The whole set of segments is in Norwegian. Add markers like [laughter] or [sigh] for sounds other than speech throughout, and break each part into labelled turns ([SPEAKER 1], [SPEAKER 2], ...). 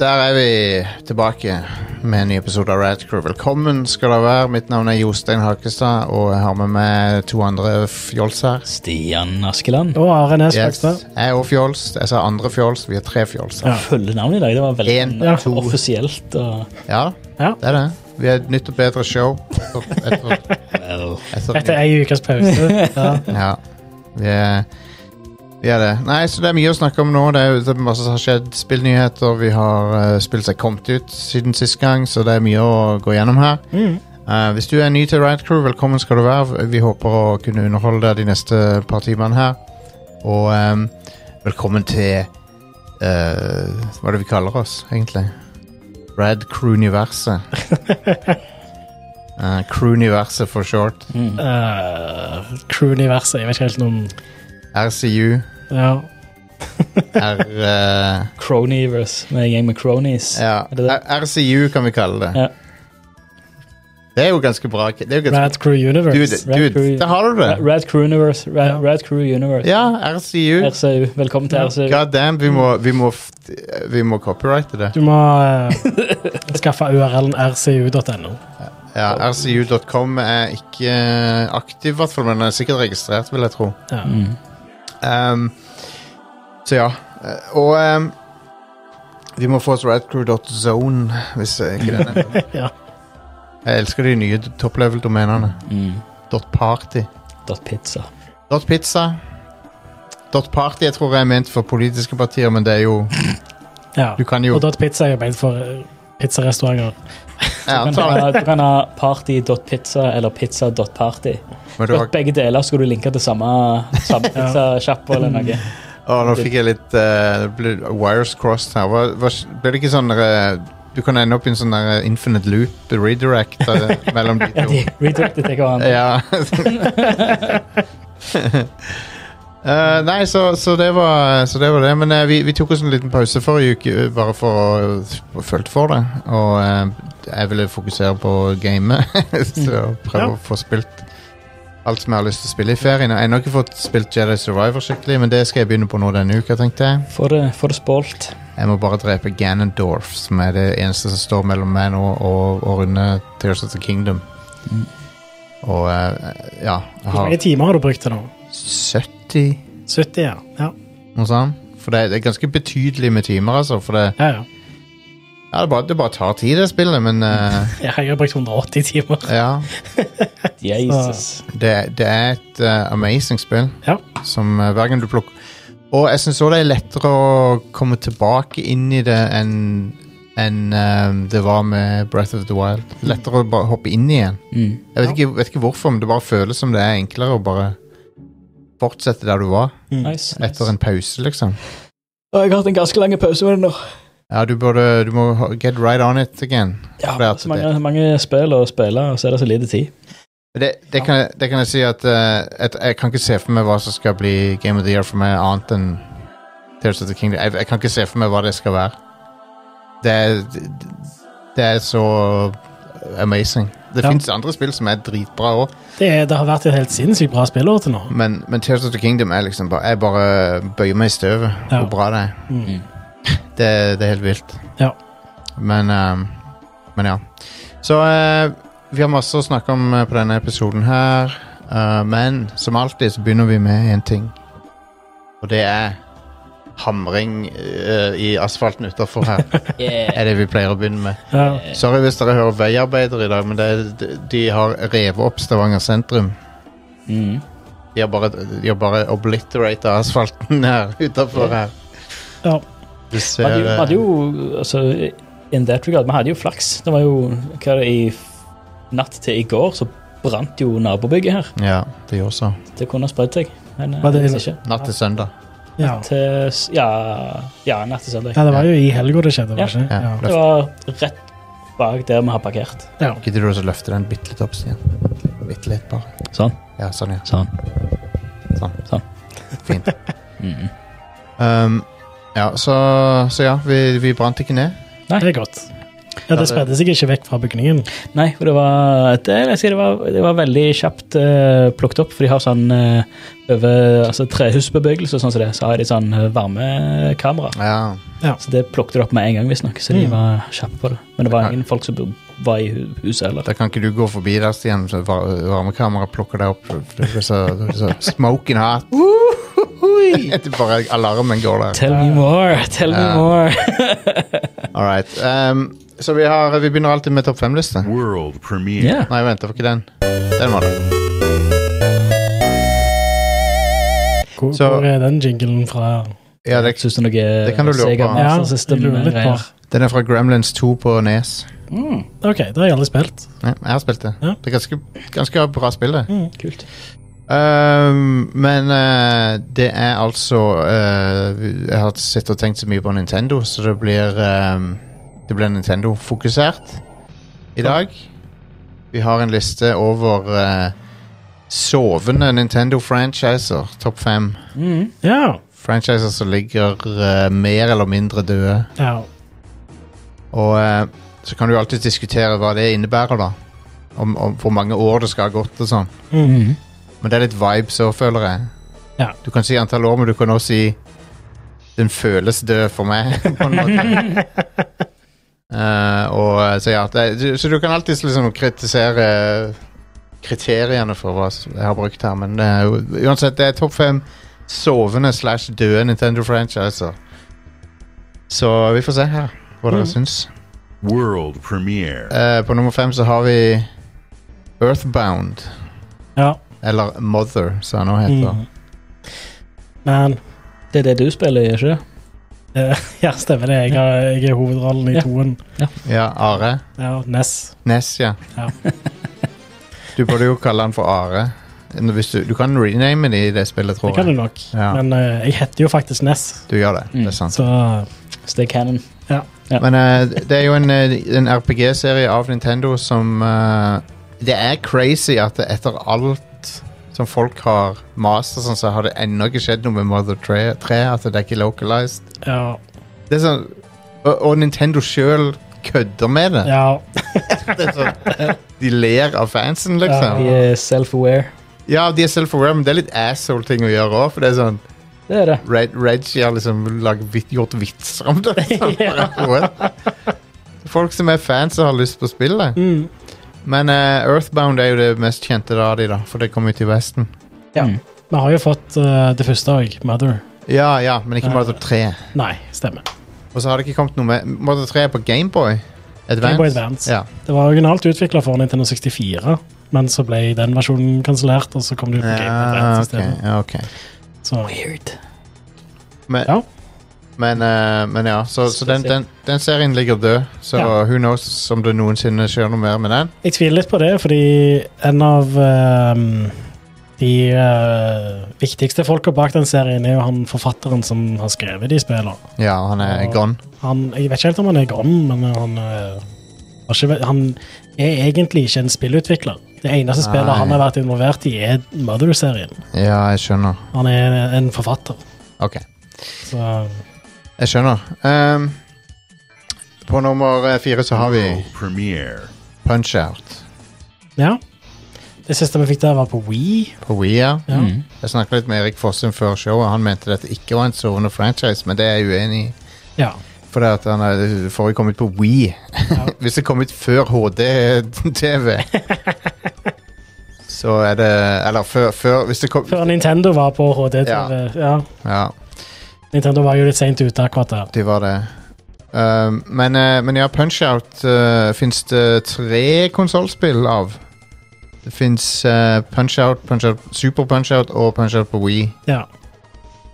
[SPEAKER 1] Der er vi tilbake med en ny episode av Radcrew. Velkommen skal dere være. Mitt navn er Jostein Hakestad, og jeg har med meg to andre fjols her.
[SPEAKER 2] Stian Askeland.
[SPEAKER 3] Og Are Næss
[SPEAKER 1] Yes.
[SPEAKER 3] Fakstad.
[SPEAKER 1] Jeg og fjols. Jeg sa andre fjols. Vi er tre fjols her.
[SPEAKER 2] Jeg følger navnet i dag. Det var veldig
[SPEAKER 1] En,
[SPEAKER 2] ja.
[SPEAKER 1] to.
[SPEAKER 2] offisielt. Og,
[SPEAKER 1] Ja,
[SPEAKER 3] Ja.
[SPEAKER 1] det er det. Vi er et nytt og bedre show. Etter, etter,
[SPEAKER 2] Vel,
[SPEAKER 1] etter,
[SPEAKER 3] Etter ei ukes pause.
[SPEAKER 1] [laughs]
[SPEAKER 3] Ja.
[SPEAKER 1] Ja. Vi er, vi er det. Nei, så det er mye å snakke om nå. Det er, det er masse som har skjedd. Spillnyheter. Vi har uh, spill som er kommet ut siden sist gang, så det er mye å gå gjennom her. Eh, hvis du er ny til Ride Crew, velkommen skal du være. Vi håper å kunne underholde deg de neste par timene her. Og ehm, velkommen til eh, Hva er det vi kaller oss, egentlig? Rad
[SPEAKER 2] [laughs]
[SPEAKER 1] Crew-universet. Eh, Crew-universet for short.
[SPEAKER 2] mm.
[SPEAKER 3] Uh, Crew-universet. Jeg vet ikke helt noen
[SPEAKER 1] RCU.
[SPEAKER 3] ja.
[SPEAKER 1] R, eh,
[SPEAKER 2] Cronyverse med en gjeng med cronies.
[SPEAKER 1] ja.
[SPEAKER 2] Er det det?
[SPEAKER 1] R- RCU kan vi kalle det.
[SPEAKER 2] Ja.
[SPEAKER 1] Det er jo ganske bra. Det er jo ganske
[SPEAKER 3] Rad Crew
[SPEAKER 1] Dude,
[SPEAKER 3] Universe.
[SPEAKER 2] Rad
[SPEAKER 1] dude,
[SPEAKER 2] Crew-
[SPEAKER 1] der har du
[SPEAKER 2] Ra-
[SPEAKER 1] det!
[SPEAKER 2] Rad Crew Universe. Ra Rad Crew Universe.
[SPEAKER 1] Ja, RCU.
[SPEAKER 2] RCU. Velkommen til RCU.
[SPEAKER 1] God damn, vi må, vi må, f- vi må copyrighte det.
[SPEAKER 3] Du må
[SPEAKER 2] [laughs]
[SPEAKER 3] eh, skaffe URL-en rcu.no.
[SPEAKER 1] Ja, RCU.com er ikke eh, aktiv, i hvert fall, men den er sikkert registrert, vil jeg tro.
[SPEAKER 3] Ja.
[SPEAKER 2] Mm.
[SPEAKER 1] Ehm, så ja. eh, Og ehm, vi må få oss radcrew.zone, hvis jeg ikke den
[SPEAKER 3] [laughs]
[SPEAKER 1] er
[SPEAKER 3] [laughs] Ja.
[SPEAKER 1] Jeg elsker de nye top level-domenene.
[SPEAKER 2] Mm.
[SPEAKER 1] Dot .party.
[SPEAKER 2] Dot pizza.
[SPEAKER 1] Dot .pizza. Dot .party jeg tror jeg er ment for politiske partier, men det er jo
[SPEAKER 3] ja.
[SPEAKER 1] Du kan jo
[SPEAKER 3] Og Dot Pizza er jo beint for eh, pizzarestauranter.
[SPEAKER 1] Jeg
[SPEAKER 2] Du kan
[SPEAKER 1] antar det,
[SPEAKER 2] ha, du kan ha party.pizza eller pizza.party.
[SPEAKER 1] men du har
[SPEAKER 2] Godt Begge deler skal du linke til samme, samme pizzasjappe eller noe.
[SPEAKER 1] Å, nå fikk jeg litt eh, ble, Wires crossed her. Hva, hva, ble det ikke sånn der, eh, Du kan ende opp i en sånn der eh, infinite loop redirect eh, mellom
[SPEAKER 2] [laughs]
[SPEAKER 1] de to.
[SPEAKER 2] Redirected til hverandre.
[SPEAKER 1] Ja. [laughs] Eh, nei, så, så, det var, så det var det. Men eh, vi, vi tok oss en liten pause forrige uke eh, bare for å uh, følge for det. Og eh, jeg ville fokusere på gamet. [laughs] så prøve
[SPEAKER 3] Ja.
[SPEAKER 1] å få spilt alt som jeg har lyst til å spille i ferien. Jeg har ennå ikke fått spilt Jedi Survivor skikkelig, men det skal jeg begynne på nå denne uka. tenkte jeg
[SPEAKER 2] Få det, få det spålt.
[SPEAKER 1] jeg må bare drepe Ganondorf, som er det eneste som står mellom meg nå og å runde Tears of the Kingdom.
[SPEAKER 2] Mm.
[SPEAKER 1] Og eh, ja jeg
[SPEAKER 3] Hvor
[SPEAKER 1] har
[SPEAKER 3] mange timer har du brukt til nå?
[SPEAKER 1] 70,
[SPEAKER 3] 70, ja. Ja,
[SPEAKER 1] noe sånt. For det, det er ganske betydelig med timer, altså. For det,
[SPEAKER 3] ja. ja.
[SPEAKER 1] ja, det, bare, det bare tar tid, det spillet, men eh,
[SPEAKER 3] Jeg har brukt 180 timer.
[SPEAKER 1] ja.
[SPEAKER 2] Jesus.
[SPEAKER 1] Det, det er et eh, amazing spill
[SPEAKER 3] Ja.
[SPEAKER 1] som eh, hver gang du plukker Og jeg syns òg det er lettere å komme tilbake inn i det enn enn, eh, det var med Breath of the Wild. Lettere å bare hoppe inn igjen.
[SPEAKER 2] Mm.
[SPEAKER 1] Jeg vet, ikke, vet ikke hvorfor, men det bare føles som det er enklere å bare fortsette der du var,
[SPEAKER 2] Mm. Nice.
[SPEAKER 1] etter en pause, liksom.
[SPEAKER 2] Og jeg har hatt en ganske lang pause med det nå.
[SPEAKER 1] Ja, du burde Du må ha- get right on it again.
[SPEAKER 2] Ja,
[SPEAKER 1] Det er at
[SPEAKER 2] så mange, mange spill å spille, og så er det så lite tid.
[SPEAKER 1] Men Det, det, kan, jeg- det kan jeg si at, eh, at jeg kan ikke se for meg hva som skal bli Game of the Year for meg, annet enn Tears of the Kingdom. Jeg, jeg kan ikke se for meg hva det skal være. Det er, det er så amazing. Det
[SPEAKER 3] Ja.
[SPEAKER 1] finnes andre spill som er dritbra òg.
[SPEAKER 3] Det, er- det har vært et helt sinnssykt bra spillår til nå.
[SPEAKER 1] Men, men Tears of the Kingdom er liksom bare Jeg bare bøyer meg i støvet
[SPEAKER 3] Ja.
[SPEAKER 1] hvor bra det er.
[SPEAKER 3] Mm.
[SPEAKER 1] Det, det er helt vilt.
[SPEAKER 3] Ja.
[SPEAKER 1] Men, ehm, men ja. Så eh, vi har masse å snakke om eh, på denne episoden her. Eh, men som alltid så begynner vi med én ting. Og det er hamring eh, i asfalten utafor her.
[SPEAKER 2] [laughs] Yeah.
[SPEAKER 1] er det vi pleier å begynne med.
[SPEAKER 3] Ja.
[SPEAKER 1] Sorry hvis dere hører veiarbeidere i dag, men det er, de, de har revet opp Stavanger sentrum.
[SPEAKER 2] Mm.
[SPEAKER 1] De har bare, de har bare obliterated asfalten her [laughs] utafor her.
[SPEAKER 3] Ja.
[SPEAKER 1] Du
[SPEAKER 2] Vi
[SPEAKER 1] ser
[SPEAKER 2] hadde jo,
[SPEAKER 1] eh,
[SPEAKER 2] hadde jo altså, In that regard, vi hadde jo flaks. Det var jo hva er det, i f- natt til i går så brant jo nabobygget her.
[SPEAKER 1] eh, Ja, det gjør så.
[SPEAKER 2] Det kunne ha spredd seg. Men eh,
[SPEAKER 3] Var det i
[SPEAKER 2] ikke.
[SPEAKER 1] Natt til søndag.
[SPEAKER 3] Ja.
[SPEAKER 2] Til, s- ja, ja, natt til søndag.
[SPEAKER 3] ja, det var jo i helga det skjedde, var det
[SPEAKER 1] Ja.
[SPEAKER 3] ikke?
[SPEAKER 2] Det var rett bak der vi har parkert.
[SPEAKER 3] Ja. ja.
[SPEAKER 1] Gidder du også løfte den bitte litt opp, Stian? Bitte litt, bare.
[SPEAKER 2] Sånn.
[SPEAKER 1] Ja, sånn, ja.
[SPEAKER 2] Sånn.
[SPEAKER 1] Sånn.
[SPEAKER 2] Sånn.
[SPEAKER 1] Fint.
[SPEAKER 2] [laughs] Mm.
[SPEAKER 1] Um, ja, så, så ja, vi, vi brant ikke ned.
[SPEAKER 3] Det er godt. Ja, det spredde seg ikke vekk fra bygningen.
[SPEAKER 2] Nei, for det var, det, jeg sier, det var, det var veldig kjapt eh, plukket opp, for de har sånn eh, over altså, trehusbevegelse og sånn som det, så har de sånn eh, varmekamera.
[SPEAKER 1] Ja.
[SPEAKER 2] Så det plukket de opp med en gang, visstnok, så de
[SPEAKER 3] Mm.
[SPEAKER 2] var kjappe på det. Men det var ingen folk som var i hu- huset heller.
[SPEAKER 1] Da kan ikke du gå forbi der, Stian. så var- Varmekameraet plukker deg opp. for Det er så, det er så smoking hot. Det er bare alarmen går
[SPEAKER 2] [laughs]
[SPEAKER 1] der.
[SPEAKER 2] Tell me more, tell me
[SPEAKER 1] Ja. [laughs]
[SPEAKER 2] more.
[SPEAKER 1] All right. Um, så vi, har, vi begynner alltid med topp fem-liste.
[SPEAKER 4] World premiere.
[SPEAKER 2] Ja.
[SPEAKER 1] Nei, vent, det var ikke den. Den var det.
[SPEAKER 3] Hvor,
[SPEAKER 1] Så-
[SPEAKER 3] hvor er den jinglen fra?
[SPEAKER 1] Ja, det,
[SPEAKER 2] Syns du noe det
[SPEAKER 1] kan du lure på.
[SPEAKER 3] Ja, jeg lurer litt
[SPEAKER 2] eh,
[SPEAKER 3] på.
[SPEAKER 1] den er fra Gremlins 2 på Nes.
[SPEAKER 3] Ok, det har jeg aldri spilt.
[SPEAKER 1] Ja, jeg har spilt det.
[SPEAKER 3] Ja.
[SPEAKER 1] Det er ganske, ganske bra spill, det.
[SPEAKER 2] Kult.
[SPEAKER 1] Um, men eh, det er altså eh, Jeg har sittet og tenkt så mye på Nintendo, så det blir ehm, Det blir Nintendo-fokusert i dag. Vi har en liste over eh, sovende Nintendo-franchiser. Topp fem
[SPEAKER 2] Mm.
[SPEAKER 3] Ja.
[SPEAKER 1] franchiser som ligger eh, mer eller mindre døde.
[SPEAKER 3] ja.
[SPEAKER 1] Og eh, så kan du alltid diskutere hva det innebærer, da. Om, om hvor mange år det skal ha gått og sånn.
[SPEAKER 3] Mm.
[SPEAKER 1] Men det er litt vibes òg, føler jeg.
[SPEAKER 3] Ja.
[SPEAKER 1] Du kan si antall år, men du kan også si Den føles død for meg, [laughs] på en måte. Eh, og, eh, så, ja, det, du- så du kan alltid liksom kritisere kriteriene for hva s- jeg har brukt her, men eh, u- uansett, det er topp fem sovende slash døde Nintendo-franchiser. Så vi får se her hva dere syns.
[SPEAKER 4] World premiere.
[SPEAKER 1] Eh, på nummer fem så har vi Earthbound,
[SPEAKER 3] ja.
[SPEAKER 1] eller Mother, som han nå heter.
[SPEAKER 3] Mm. Men
[SPEAKER 2] Det er det du spiller, ikke det?
[SPEAKER 3] ja, stemmer det. Jeg, har, jeg er hovedrollen i
[SPEAKER 2] Ja.
[SPEAKER 3] toen.
[SPEAKER 1] Ja, Are.
[SPEAKER 3] Ja, Ness.
[SPEAKER 1] Ness, ja.
[SPEAKER 3] Ja.
[SPEAKER 1] [laughs] du burde jo kalle han for Are. Nå, Hvis du, du kan rename det i det spillet, tror
[SPEAKER 3] Det kan du
[SPEAKER 1] jeg.
[SPEAKER 3] nok.
[SPEAKER 1] Ja.
[SPEAKER 3] Men eh, jeg heter jo faktisk Ness,
[SPEAKER 1] Du gjør det.
[SPEAKER 2] Mm.
[SPEAKER 1] Det er sant.
[SPEAKER 3] så
[SPEAKER 2] Stay Cannon. ja.
[SPEAKER 1] Men eh, det er jo en, eh, en RPG-serie av Nintendo som eh, Det er crazy at det etter alt som folk har mast og sånn, så har det ennå ikke skjedd noe med Mother 3. 3 at det er ikke localized.
[SPEAKER 3] ja.
[SPEAKER 1] Det er sånn, og, og Nintendo sjøl kødder med det.
[SPEAKER 3] ja.
[SPEAKER 1] det er sånn, [laughs] de ler av fansen, liksom.
[SPEAKER 2] Vi
[SPEAKER 1] Ja,
[SPEAKER 2] er self-aware.
[SPEAKER 1] de er self-aware, men det er litt asshole-ting å gjøre òg, for det er sånn
[SPEAKER 2] Det er det.
[SPEAKER 1] Reg, Reggie har liksom lag, vit, gjort vitser om
[SPEAKER 3] [laughs]
[SPEAKER 1] det. What? Folk som er fans og har lyst på spillet.
[SPEAKER 3] Mm.
[SPEAKER 1] Men eh, Earthbound er jo det mest kjente av de, da, for det kom ut i Vesten.
[SPEAKER 3] Ja.
[SPEAKER 2] Mm.
[SPEAKER 3] Vi har jo fått eh, det første òg, Mother.
[SPEAKER 1] Ja, ja, men ikke Mother 3.
[SPEAKER 3] Nei, stemmer.
[SPEAKER 1] Og så har det ikke kommet noe med Mother 3 er på Gameboy
[SPEAKER 3] Game
[SPEAKER 1] Advance.
[SPEAKER 3] Boy Advance.
[SPEAKER 1] Ja.
[SPEAKER 3] Det var originalt utvikla for Nintendo 64, men så ble den versjonen kansellert, og så kom det ut på Game Boy
[SPEAKER 1] Ja,
[SPEAKER 3] Advance i
[SPEAKER 1] Ah, ok,
[SPEAKER 3] stedet.
[SPEAKER 1] ja, ok.
[SPEAKER 3] Så
[SPEAKER 2] Weird.
[SPEAKER 1] Men,
[SPEAKER 3] Ja.
[SPEAKER 1] men, eh, men ja, så, så den, den, den serien ligger død, så
[SPEAKER 3] Ja.
[SPEAKER 1] who knows om det noensinne skjer noe mer med den.
[SPEAKER 3] jeg tviler litt på det, fordi en av ehm, de eh, viktigste folka bak den serien er jo han forfatteren som har skrevet de spillene.
[SPEAKER 1] Ja, han er
[SPEAKER 3] Ja.
[SPEAKER 1] gone.
[SPEAKER 3] Han, jeg vet ikke helt om han er gone, men han, eh, har ikke, vært- han er egentlig ikke en spillutvikler. Det eneste spillet
[SPEAKER 1] Nei.
[SPEAKER 3] han har vært involvert i, er Mother-serien.
[SPEAKER 1] Ja, jeg skjønner.
[SPEAKER 3] Han er en forfatter.
[SPEAKER 1] Ok.
[SPEAKER 3] Så
[SPEAKER 1] Jeg skjønner. Ehm, på nummer eh, fire så har vi
[SPEAKER 4] World premiere.
[SPEAKER 1] Punch-Out
[SPEAKER 3] ja. Det siste vi fikk der, var på Wii.
[SPEAKER 1] på Wea.
[SPEAKER 3] Ja.
[SPEAKER 2] Mm.
[SPEAKER 1] Jeg snakket litt med Erik Fossum før showet. Han mente dette ikke var en sovende franchise, men det er jeg uenig i.
[SPEAKER 2] [laughs]
[SPEAKER 3] Ja.
[SPEAKER 1] For det at han er, det får jo komme ut på Wii. [laughs] Hvis det kom ut før HD-TV Så er det Eller før, før Hvis det kom
[SPEAKER 3] Før Nintendo var på HD-TV. Ja.
[SPEAKER 1] Ja,
[SPEAKER 3] Nintendo var jo litt seint ute akkurat der.
[SPEAKER 1] de var det. Ehm, men, eh, men ja, Punch-Out fins det tre konsollspill av. Det fins Punch-Out, Punch-Out, Super Punch-Out og Punch-Out på Wii.
[SPEAKER 3] Ja.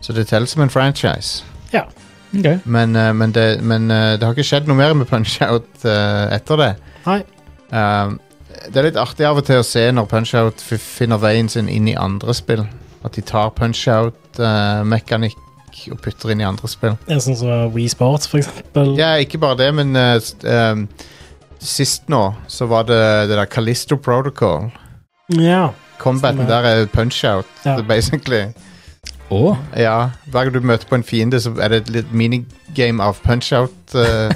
[SPEAKER 1] Så det teller som en franchise.
[SPEAKER 3] ja.
[SPEAKER 2] Ok.
[SPEAKER 1] Men, eh, men, det, men eh, det har ikke skjedd noe mer med Punch-Out eh, etter det.
[SPEAKER 3] Nei.
[SPEAKER 1] Ehm, det er litt artig av og til å se når Punch-Out f- finner veien sin inn i andre spill. At de tar Punch-Out-mekanikk og putter inn i andre spill.
[SPEAKER 3] Det er sånn som Wii Sports, for eksempel.
[SPEAKER 1] Ja, ikke bare det, men eh, s- ehm, sist nå så var det det der Callisto Protocol.
[SPEAKER 3] Ja.
[SPEAKER 1] Combaten
[SPEAKER 3] Stemmer.
[SPEAKER 1] der er punch-out,
[SPEAKER 3] Ja.
[SPEAKER 1] [laughs] basically.
[SPEAKER 2] Å,
[SPEAKER 1] Ja, Hver gang du møter på en fiende, så er det et litt minigame av punch-out. eh,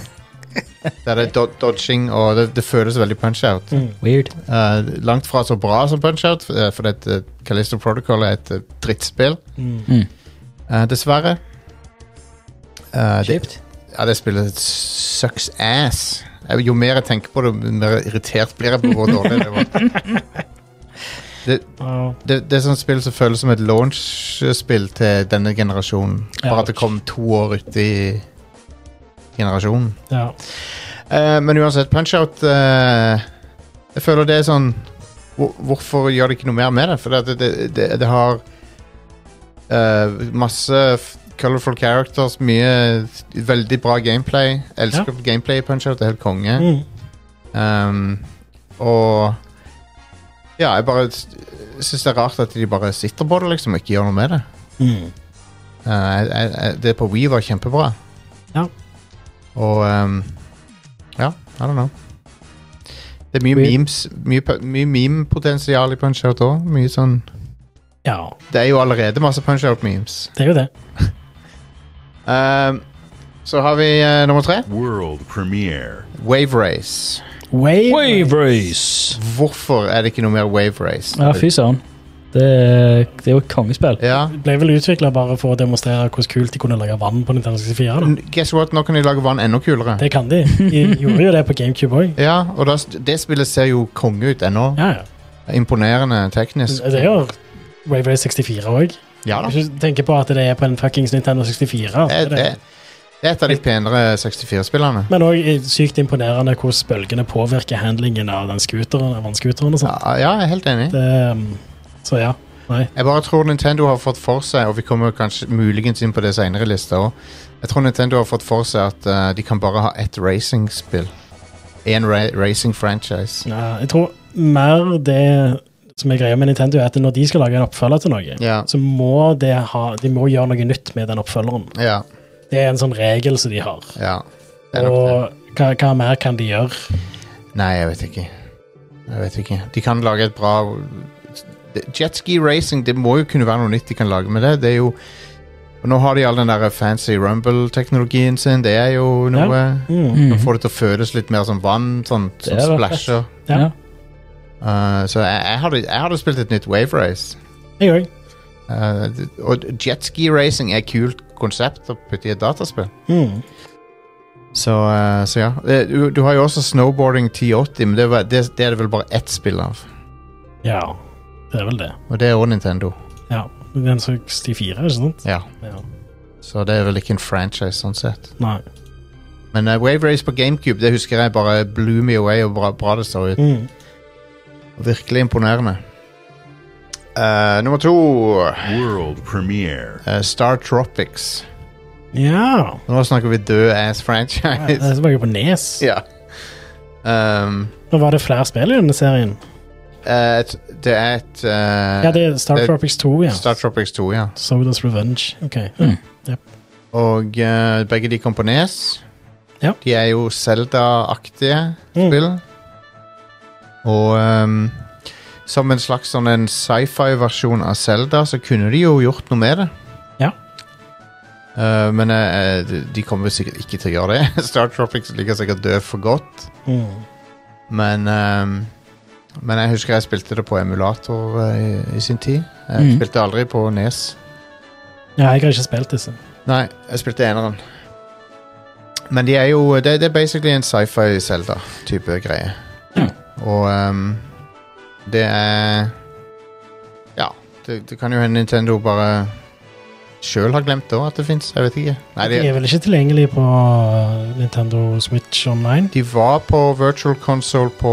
[SPEAKER 1] Der det er do dodging, og det, det føles veldig punch-out.
[SPEAKER 2] Weird.
[SPEAKER 1] Eh, langt fra så bra som Punch-Out, eh, fordi at eh, Callisto Protocol er et eh, drittspill.
[SPEAKER 2] Mm.
[SPEAKER 1] Eh, dessverre. Eh, det,
[SPEAKER 2] Kjipt.
[SPEAKER 1] ja, det spillet sucks ass. Eh, Jo mer jeg tenker på det, jo mer irritert blir jeg på hvor dårlig det var.
[SPEAKER 3] Ja.
[SPEAKER 1] Det, det er sånn spill som føles som et launch-spill til denne generasjonen. Bare at det kom to år uti generasjonen.
[SPEAKER 3] ja.
[SPEAKER 1] Eh, men uansett, punch-out eh, Jeg føler det er sånn hvor, Hvorfor gjør de ikke noe mer med det? For det, det, det, det har eh, masse f- colorful characters, mye veldig bra gameplay. Elsker gameplay i punch-out, det er helt konge.
[SPEAKER 3] Mm.
[SPEAKER 1] Um, og Ja, jeg bare syns det er rart at de bare sitter på det, liksom, og ikke gjør noe med det.
[SPEAKER 3] Mm.
[SPEAKER 1] Eh, jeg- jeg- jeg- det på Wii var kjempebra.
[SPEAKER 3] Ja.
[SPEAKER 1] Og um, Ja, I don't know. Det er mye
[SPEAKER 2] Wii-
[SPEAKER 1] memes Mye, pu- mye meme-potensial i punch-out òg. Mye sånn
[SPEAKER 3] ja,
[SPEAKER 1] Det er jo allerede masse punch-out-memes.
[SPEAKER 3] det er jo det.
[SPEAKER 1] Um, så har vi eh, nummer tre.
[SPEAKER 4] World premiere.
[SPEAKER 1] Wave Race.
[SPEAKER 3] Wave,
[SPEAKER 2] Wave race!
[SPEAKER 1] Hvorfor er det ikke noe mer Wave Race?
[SPEAKER 2] Ja, fy søren. Det, er- det er jo et kongespill.
[SPEAKER 1] Ja.
[SPEAKER 3] ble vel utvikla bare for å demonstrere hvor kult de kunne lage vann på Nintendo 64. Da.
[SPEAKER 1] N- Guess what? Nå kan de lage vann enda kulere.
[SPEAKER 3] Det kan de.
[SPEAKER 2] [laughs]
[SPEAKER 3] De gjorde jo det på GameCube òg.
[SPEAKER 1] Ja, og da, st- det spillet ser jo konge ut ennå.
[SPEAKER 3] Ja, ja.
[SPEAKER 1] Imponerende teknisk.
[SPEAKER 3] Det gjør Wave Race 64 òg.
[SPEAKER 1] Ja da.
[SPEAKER 3] Hvis du tenker på at det er på en fuckings Nintendo 64. så
[SPEAKER 1] Det,
[SPEAKER 3] er
[SPEAKER 1] det,
[SPEAKER 3] det.
[SPEAKER 1] det er et av de penere 64-spillene.
[SPEAKER 3] Men òg sykt imponerende hvordan bølgene påvirker handlingen av den scooteren, av vannskuteren og
[SPEAKER 1] Ja,
[SPEAKER 3] sånt.
[SPEAKER 1] ja, jeg er helt enig.
[SPEAKER 3] Det, um, Så ja. Nei.
[SPEAKER 1] Jeg bare tror Nintendo har fått for seg, og vi kommer kanskje muligens inn på det senere i lista òg Jeg tror Nintendo har fått for seg at eh, de kan bare ha ett racingspill. Én ra racing franchise.
[SPEAKER 3] Ja, Jeg tror mer det som er greia med Nintendo, er at når de skal lage en oppfølger til noe,
[SPEAKER 1] Ja.
[SPEAKER 3] så må det ha, de må gjøre noe nytt med den oppfølgeren.
[SPEAKER 1] Ja.
[SPEAKER 3] Det er en sånn regel som de har.
[SPEAKER 1] ja. Det er nok det.
[SPEAKER 3] Og hva, hva mer kan de gjøre?
[SPEAKER 1] Nei, jeg vet ikke. Jeg vet ikke. De kan lage et bra Jetski racing, det må jo kunne være noe nytt de kan lage med det. Det er jo og Nå har de all den der fancy rumble-teknologien sin, det er jo
[SPEAKER 3] Ja.
[SPEAKER 1] noe.
[SPEAKER 3] Mm.
[SPEAKER 2] Mhm.
[SPEAKER 1] Nå får det til å føles litt mer som vann, sånn
[SPEAKER 2] Det
[SPEAKER 1] som
[SPEAKER 2] er det
[SPEAKER 1] splasher.
[SPEAKER 3] Ja.
[SPEAKER 2] Ja.
[SPEAKER 1] Uh, så jeg, jeg, hadde, jeg hadde spilt et nytt wave race.
[SPEAKER 3] Jeg òg.
[SPEAKER 1] Uh, d- og jetski racing er et kult konsept å putte i et dataspill.
[SPEAKER 3] Mm.
[SPEAKER 1] Så, uh, så ja. Eh, Du, du har jo også snowboarding 1080, men det, var, det, det er det vel bare ett spill av.
[SPEAKER 3] Ja, det er vel det.
[SPEAKER 1] Og det er òg Nintendo.
[SPEAKER 3] Ja. Den 64, ikke sant?
[SPEAKER 1] Ja.
[SPEAKER 3] Ja.
[SPEAKER 1] Så det er vel ikke en franchise sånn sett.
[SPEAKER 3] Nei.
[SPEAKER 1] Men eh, Wave Race på GameCube det husker jeg bare blew me away og bra, bra det så ut.
[SPEAKER 3] Mm.
[SPEAKER 1] Virkelig imponerende. Eh, nummer to
[SPEAKER 4] World premiere.
[SPEAKER 1] eh, Star Tropics.
[SPEAKER 3] Ja.
[SPEAKER 1] Nå snakker vi død ass
[SPEAKER 3] Det
[SPEAKER 1] franchise.
[SPEAKER 3] er tilbake på Nes.
[SPEAKER 1] [laughs] ja. Um,
[SPEAKER 3] Nå var det flere spill i denne serien.
[SPEAKER 1] eh, et- det er et eh,
[SPEAKER 3] Ja, det er Star
[SPEAKER 1] det-
[SPEAKER 3] Tropics 2, ja.
[SPEAKER 1] Star Tropics 2, ja.
[SPEAKER 3] Sodas Revenge. Ok.
[SPEAKER 2] Mm.
[SPEAKER 1] Og eh, begge de kom på Nes.
[SPEAKER 3] Ja.
[SPEAKER 1] De er jo Zelda-aktige
[SPEAKER 3] Mm.
[SPEAKER 1] spill. Og ehm, som en slags sånn en sci-fi-versjon av Zelda, så kunne de jo gjort noe med det.
[SPEAKER 3] Ja.
[SPEAKER 1] Eh, men eh, de- de kommer sikkert ikke til å gjøre det. [laughs] Star Tropics ligger sikkert død for godt.
[SPEAKER 3] Mm.
[SPEAKER 1] Men ehm, Men jeg husker jeg spilte det på emulator eh, i, i sin tid. Jeg
[SPEAKER 3] Mm.
[SPEAKER 2] Mhm.
[SPEAKER 1] spilte aldri på Nes.
[SPEAKER 3] Ja, jeg har ikke spilt disse.
[SPEAKER 1] Nei, jeg spilte eneren. Men de er jo Det, det er basically en sci-fi Zelda-type greie.
[SPEAKER 2] Ja.
[SPEAKER 1] Og ehm, det er Ja, det, det kan jo hende Nintendo bare sjøl har glemt det òg, at det fins. Jeg vet ikke. Nei,
[SPEAKER 3] De
[SPEAKER 1] de,
[SPEAKER 3] er vel ikke tilgjengelige på uh, Nintendo Switch Online?
[SPEAKER 1] de var på virtual console på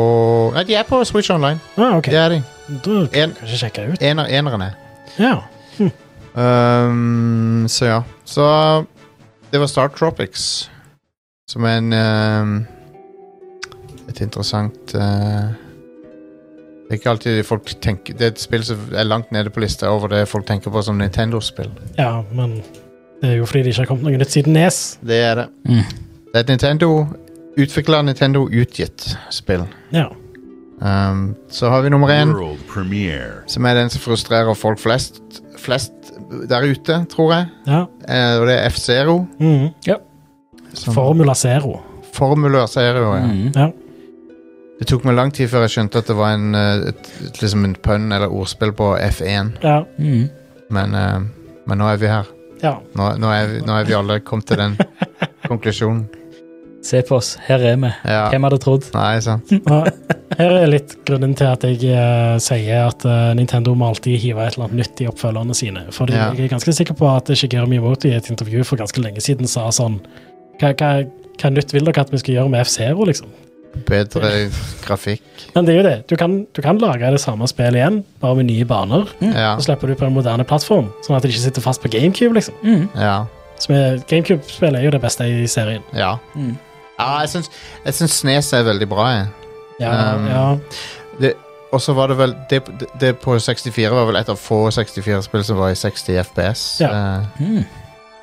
[SPEAKER 1] Nei, de er på Switch Online.
[SPEAKER 3] Ah, ok.
[SPEAKER 1] Det er de.
[SPEAKER 3] Da kan
[SPEAKER 1] En-
[SPEAKER 3] jeg kanskje sjekke det ut.
[SPEAKER 1] Ener, eneren er.
[SPEAKER 3] Ja.
[SPEAKER 1] Ehm, så ja. Så det var Star Tropics, som er en ehm, Et interessant eh, Det er ikke alltid folk tenker Det er et spill som er langt nede på lista over det folk tenker på som Nintendo-spill.
[SPEAKER 3] ja, men det er jo fordi det ikke har kommet noe nytt siden E Nes.
[SPEAKER 1] Det er det.
[SPEAKER 2] Mm.
[SPEAKER 1] Det er et Nintendo utvikla Nintendo utgitt spill.
[SPEAKER 3] Ja.
[SPEAKER 1] Ehm, så har vi nummer én,
[SPEAKER 4] World premiere.
[SPEAKER 1] som er den som frustrerer folk flest, flest der ute, tror jeg.
[SPEAKER 3] ja.
[SPEAKER 1] Eh, og det er F-Zero.
[SPEAKER 3] Mm.
[SPEAKER 1] som-
[SPEAKER 3] Formula Zero.
[SPEAKER 1] formler, sier hun. Ja.
[SPEAKER 2] Mm.
[SPEAKER 3] Ja.
[SPEAKER 1] Det tok meg lang tid før jeg skjønte at det var en, eh, et, et, liksom en pønn eller ordspill på F1,
[SPEAKER 3] Ja.
[SPEAKER 2] Mm.
[SPEAKER 1] men, eh, men nå er vi her.
[SPEAKER 3] ja.
[SPEAKER 1] Nå, nå, er vi, nå er vi alle kommet til
[SPEAKER 3] [laughs]
[SPEAKER 1] den konklusjonen.
[SPEAKER 2] Se på oss, her er vi.
[SPEAKER 1] Ja.
[SPEAKER 2] Hvem hadde trodd?
[SPEAKER 1] Nei, sant.
[SPEAKER 3] Og her er litt grunnen til at jeg eh, sier at eh, Nintendo må alltid hive et eller annet nytt i oppfølgerne sine. Fordi
[SPEAKER 1] Ja.
[SPEAKER 3] jeg er ganske sikker på at Shigeru Miyamoto i et intervju for ganske lenge siden sa sånn Hva, hva, hva nytt vil dere at vi skal gjøre med F-Zero, liksom?
[SPEAKER 1] Bedre grafikk.
[SPEAKER 3] Men det er jo det. Du kan, du kan lage det samme spillet igjen, bare med nye baner.
[SPEAKER 2] Mm.
[SPEAKER 1] Ja.
[SPEAKER 3] Så slipper du på en moderne plattform, sånn at det ikke sitter fast på GameCube, liksom.
[SPEAKER 2] Mm.
[SPEAKER 1] Ja.
[SPEAKER 3] Som er, GameCube-spillet er jo det beste i serien.
[SPEAKER 1] Ja,
[SPEAKER 2] Mm.
[SPEAKER 1] ja jeg syns- jeg syns Snes er veldig bra, jeg.
[SPEAKER 3] Ja,
[SPEAKER 1] Um,
[SPEAKER 3] ja.
[SPEAKER 1] Og så var det vel det, det på 64 var vel et av få 64-spill som var i 60 FPS. Eh,
[SPEAKER 2] Mm.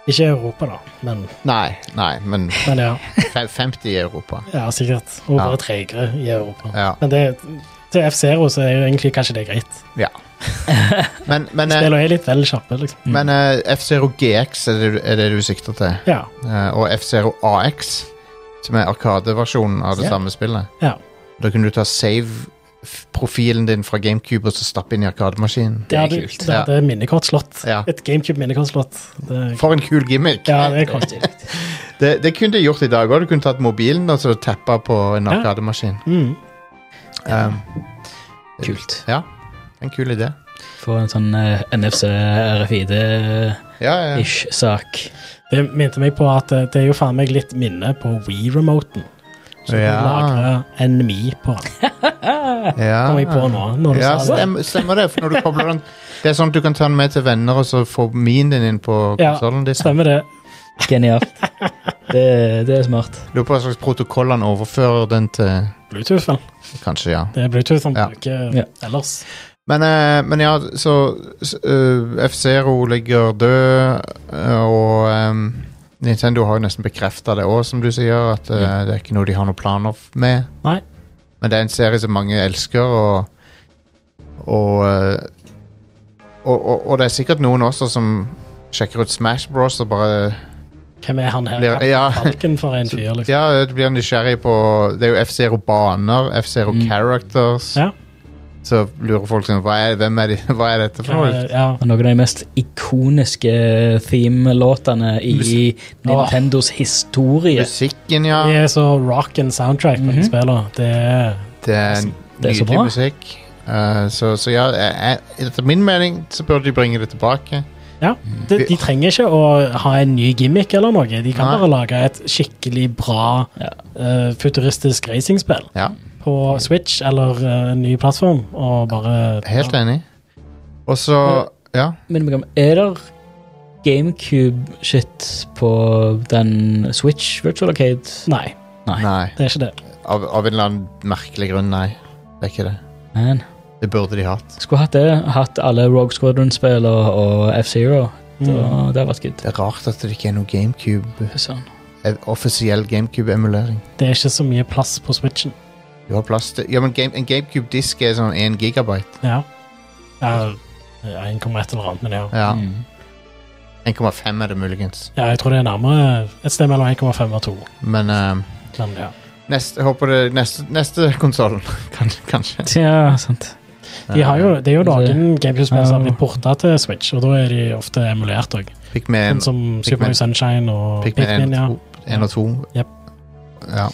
[SPEAKER 3] Ikke i Europa, da, men,
[SPEAKER 1] nei, nei, men
[SPEAKER 3] men ja.
[SPEAKER 1] fe- 50 i Europa.
[SPEAKER 3] ja sikkert. Og
[SPEAKER 1] Ja.
[SPEAKER 3] bare tregere i Europa.
[SPEAKER 1] Ja.
[SPEAKER 3] Men det, til F-Zero så er jo egentlig kanskje det greit.
[SPEAKER 1] Men, men, eh,
[SPEAKER 3] Spillene er litt vel kjappe, liksom.
[SPEAKER 1] men eh, F-Zero GX er det, du- er det du sikter til.
[SPEAKER 3] Ja.
[SPEAKER 1] Eh, og F-Zero AX, som er arkadeversjonen av det
[SPEAKER 2] Ja.
[SPEAKER 1] samme spillet.
[SPEAKER 3] Ja.
[SPEAKER 1] Da kunne du ta save-profilen din fra GameCube og så stappe inn i arkademaskinen.
[SPEAKER 2] Det
[SPEAKER 3] Ja,
[SPEAKER 2] er
[SPEAKER 3] du-
[SPEAKER 2] kult.
[SPEAKER 3] Det hadde minnekortslott.
[SPEAKER 1] Ja.
[SPEAKER 3] Et GameCube-minnekortslott. Det-
[SPEAKER 1] For en kul gimmick!
[SPEAKER 3] Ja, det er
[SPEAKER 2] Det er [laughs]
[SPEAKER 3] kort.
[SPEAKER 2] stilig.
[SPEAKER 1] Det, det kunne du gjort i dag òg. Du kunne tatt mobilen og så tappa på en
[SPEAKER 3] Ja.
[SPEAKER 1] arkademaskin.
[SPEAKER 3] Mm.
[SPEAKER 1] Um,
[SPEAKER 2] Kult.
[SPEAKER 1] ja, en kul idé.
[SPEAKER 2] Få en sånn eh, NFC RFID-ish
[SPEAKER 1] Ja, ja.
[SPEAKER 2] sak.
[SPEAKER 3] Det minte meg på at eh, det er jo faen meg litt minne på Wii-remoten. Så du
[SPEAKER 1] Ja.
[SPEAKER 3] lagrer en Mi på den.
[SPEAKER 1] ja.
[SPEAKER 3] Kom jeg på nå, når du
[SPEAKER 1] Ah. ja
[SPEAKER 3] sa det.
[SPEAKER 1] stem, stemmer det. For når du kobler den Det er sånn at du kan ta den med til venner og så få min din inn på
[SPEAKER 3] Ja,
[SPEAKER 1] konsollen din.
[SPEAKER 3] Stemmer det. [laughs]
[SPEAKER 2] Genialt. Det, det er smart.
[SPEAKER 1] Lurer på hva slags protokoll han overfører den til.
[SPEAKER 3] Bluetooth, vel.
[SPEAKER 1] Kanskje, ja.
[SPEAKER 3] Det er Bluetooth han
[SPEAKER 1] Ja.
[SPEAKER 3] bruker
[SPEAKER 2] Ja.
[SPEAKER 3] ellers.
[SPEAKER 1] Men, eh, men ja, så uh, F-Zero ligger død, eh, og ehm, Nintendo har jo nesten bekrefta det òg, som du sier, at eh, det er ikke noe de har noen planer f- med.
[SPEAKER 3] Nei.
[SPEAKER 1] Men det er en serie som mange elsker, og og, eh, og, og, og det er sikkert noen også som sjekker ut Smash Bros og bare
[SPEAKER 3] Hvem er han her?
[SPEAKER 1] blir Ja,
[SPEAKER 3] Balken for en fyr, liksom.
[SPEAKER 1] ja du blir nysgjerrig på Det er jo F-Zero baner, F-Zero
[SPEAKER 2] Mm.
[SPEAKER 1] characters.
[SPEAKER 3] Ja.
[SPEAKER 1] Så lurer folk sånn hva er, Hvem er, de, [laughs] hva er dette for noe?
[SPEAKER 3] Eh, Ja.
[SPEAKER 2] Og Noen av de mest ikoniske eh, theme-låtene i Nintendos historie.
[SPEAKER 1] Musikken, ja.
[SPEAKER 3] De er så rock and soundtrack på de
[SPEAKER 2] Mhm.
[SPEAKER 3] spillene. Det er
[SPEAKER 1] Det er
[SPEAKER 2] Det er så
[SPEAKER 1] nydelig
[SPEAKER 2] bra.
[SPEAKER 1] musikk. Eh, så, så ja, jeg, jeg, etter min mening så burde de bringe det tilbake.
[SPEAKER 3] Ja, de, de trenger ikke å ha en ny gimmick eller noe. De kan
[SPEAKER 1] Nei.
[SPEAKER 3] bare lage et skikkelig bra
[SPEAKER 2] Ja.
[SPEAKER 3] eh, futuristisk racingspill
[SPEAKER 1] Ja,
[SPEAKER 3] på Switch eller eh, en ny plattform, og bare
[SPEAKER 1] Helt
[SPEAKER 3] ja.
[SPEAKER 1] enig. Og så Ja.
[SPEAKER 2] Men Mikael, er det GameCube-shit på den Switch Virtual Arcade?
[SPEAKER 3] Nei,
[SPEAKER 2] Nei.
[SPEAKER 1] Nei.
[SPEAKER 3] det er ikke det.
[SPEAKER 1] Av, av en eller annen merkelig grunn, nei. Det er ikke det.
[SPEAKER 2] Man.
[SPEAKER 1] Det burde de hatt.
[SPEAKER 2] Skulle hatt det. Hatt alle Rogue Squadron-spill og, og F-Zero.
[SPEAKER 3] Mm.
[SPEAKER 2] Da- Det hadde vært good.
[SPEAKER 1] Det er rart at det ikke er noe GameCube
[SPEAKER 2] Sånn.
[SPEAKER 1] eh, offisiell GameCube-emulering.
[SPEAKER 3] Det er ikke så mye plass på Switchen.
[SPEAKER 1] Du har plass til Ja, men game, en GameCube-disk er sånn 1 gigabyte.
[SPEAKER 3] Ja. Ja, 1,1 eller annet, men ja.
[SPEAKER 1] Ja.
[SPEAKER 2] Mm.
[SPEAKER 1] 1,5 er det muligens.
[SPEAKER 3] ja. Jeg tror det er nærmere et sted mellom 1,5 og 2.
[SPEAKER 1] Men eh,
[SPEAKER 3] Men ja.
[SPEAKER 1] neste, jeg håper det neste, neste konsollen, kan, [laughs] kanskje.
[SPEAKER 2] Ja, sant.
[SPEAKER 3] De har jo, det er jo
[SPEAKER 2] Det-
[SPEAKER 3] noen GameCube-spill som har
[SPEAKER 2] Ja.
[SPEAKER 3] blitt porta til Switch, og da er de ofte emulert òg.
[SPEAKER 1] Fikk med en
[SPEAKER 3] Sånn som Super Mario Sunshine og
[SPEAKER 1] Pikmin 1
[SPEAKER 3] Pikmin. Ja.
[SPEAKER 1] og 2. 1 og 2.
[SPEAKER 3] Jep.
[SPEAKER 1] Ja.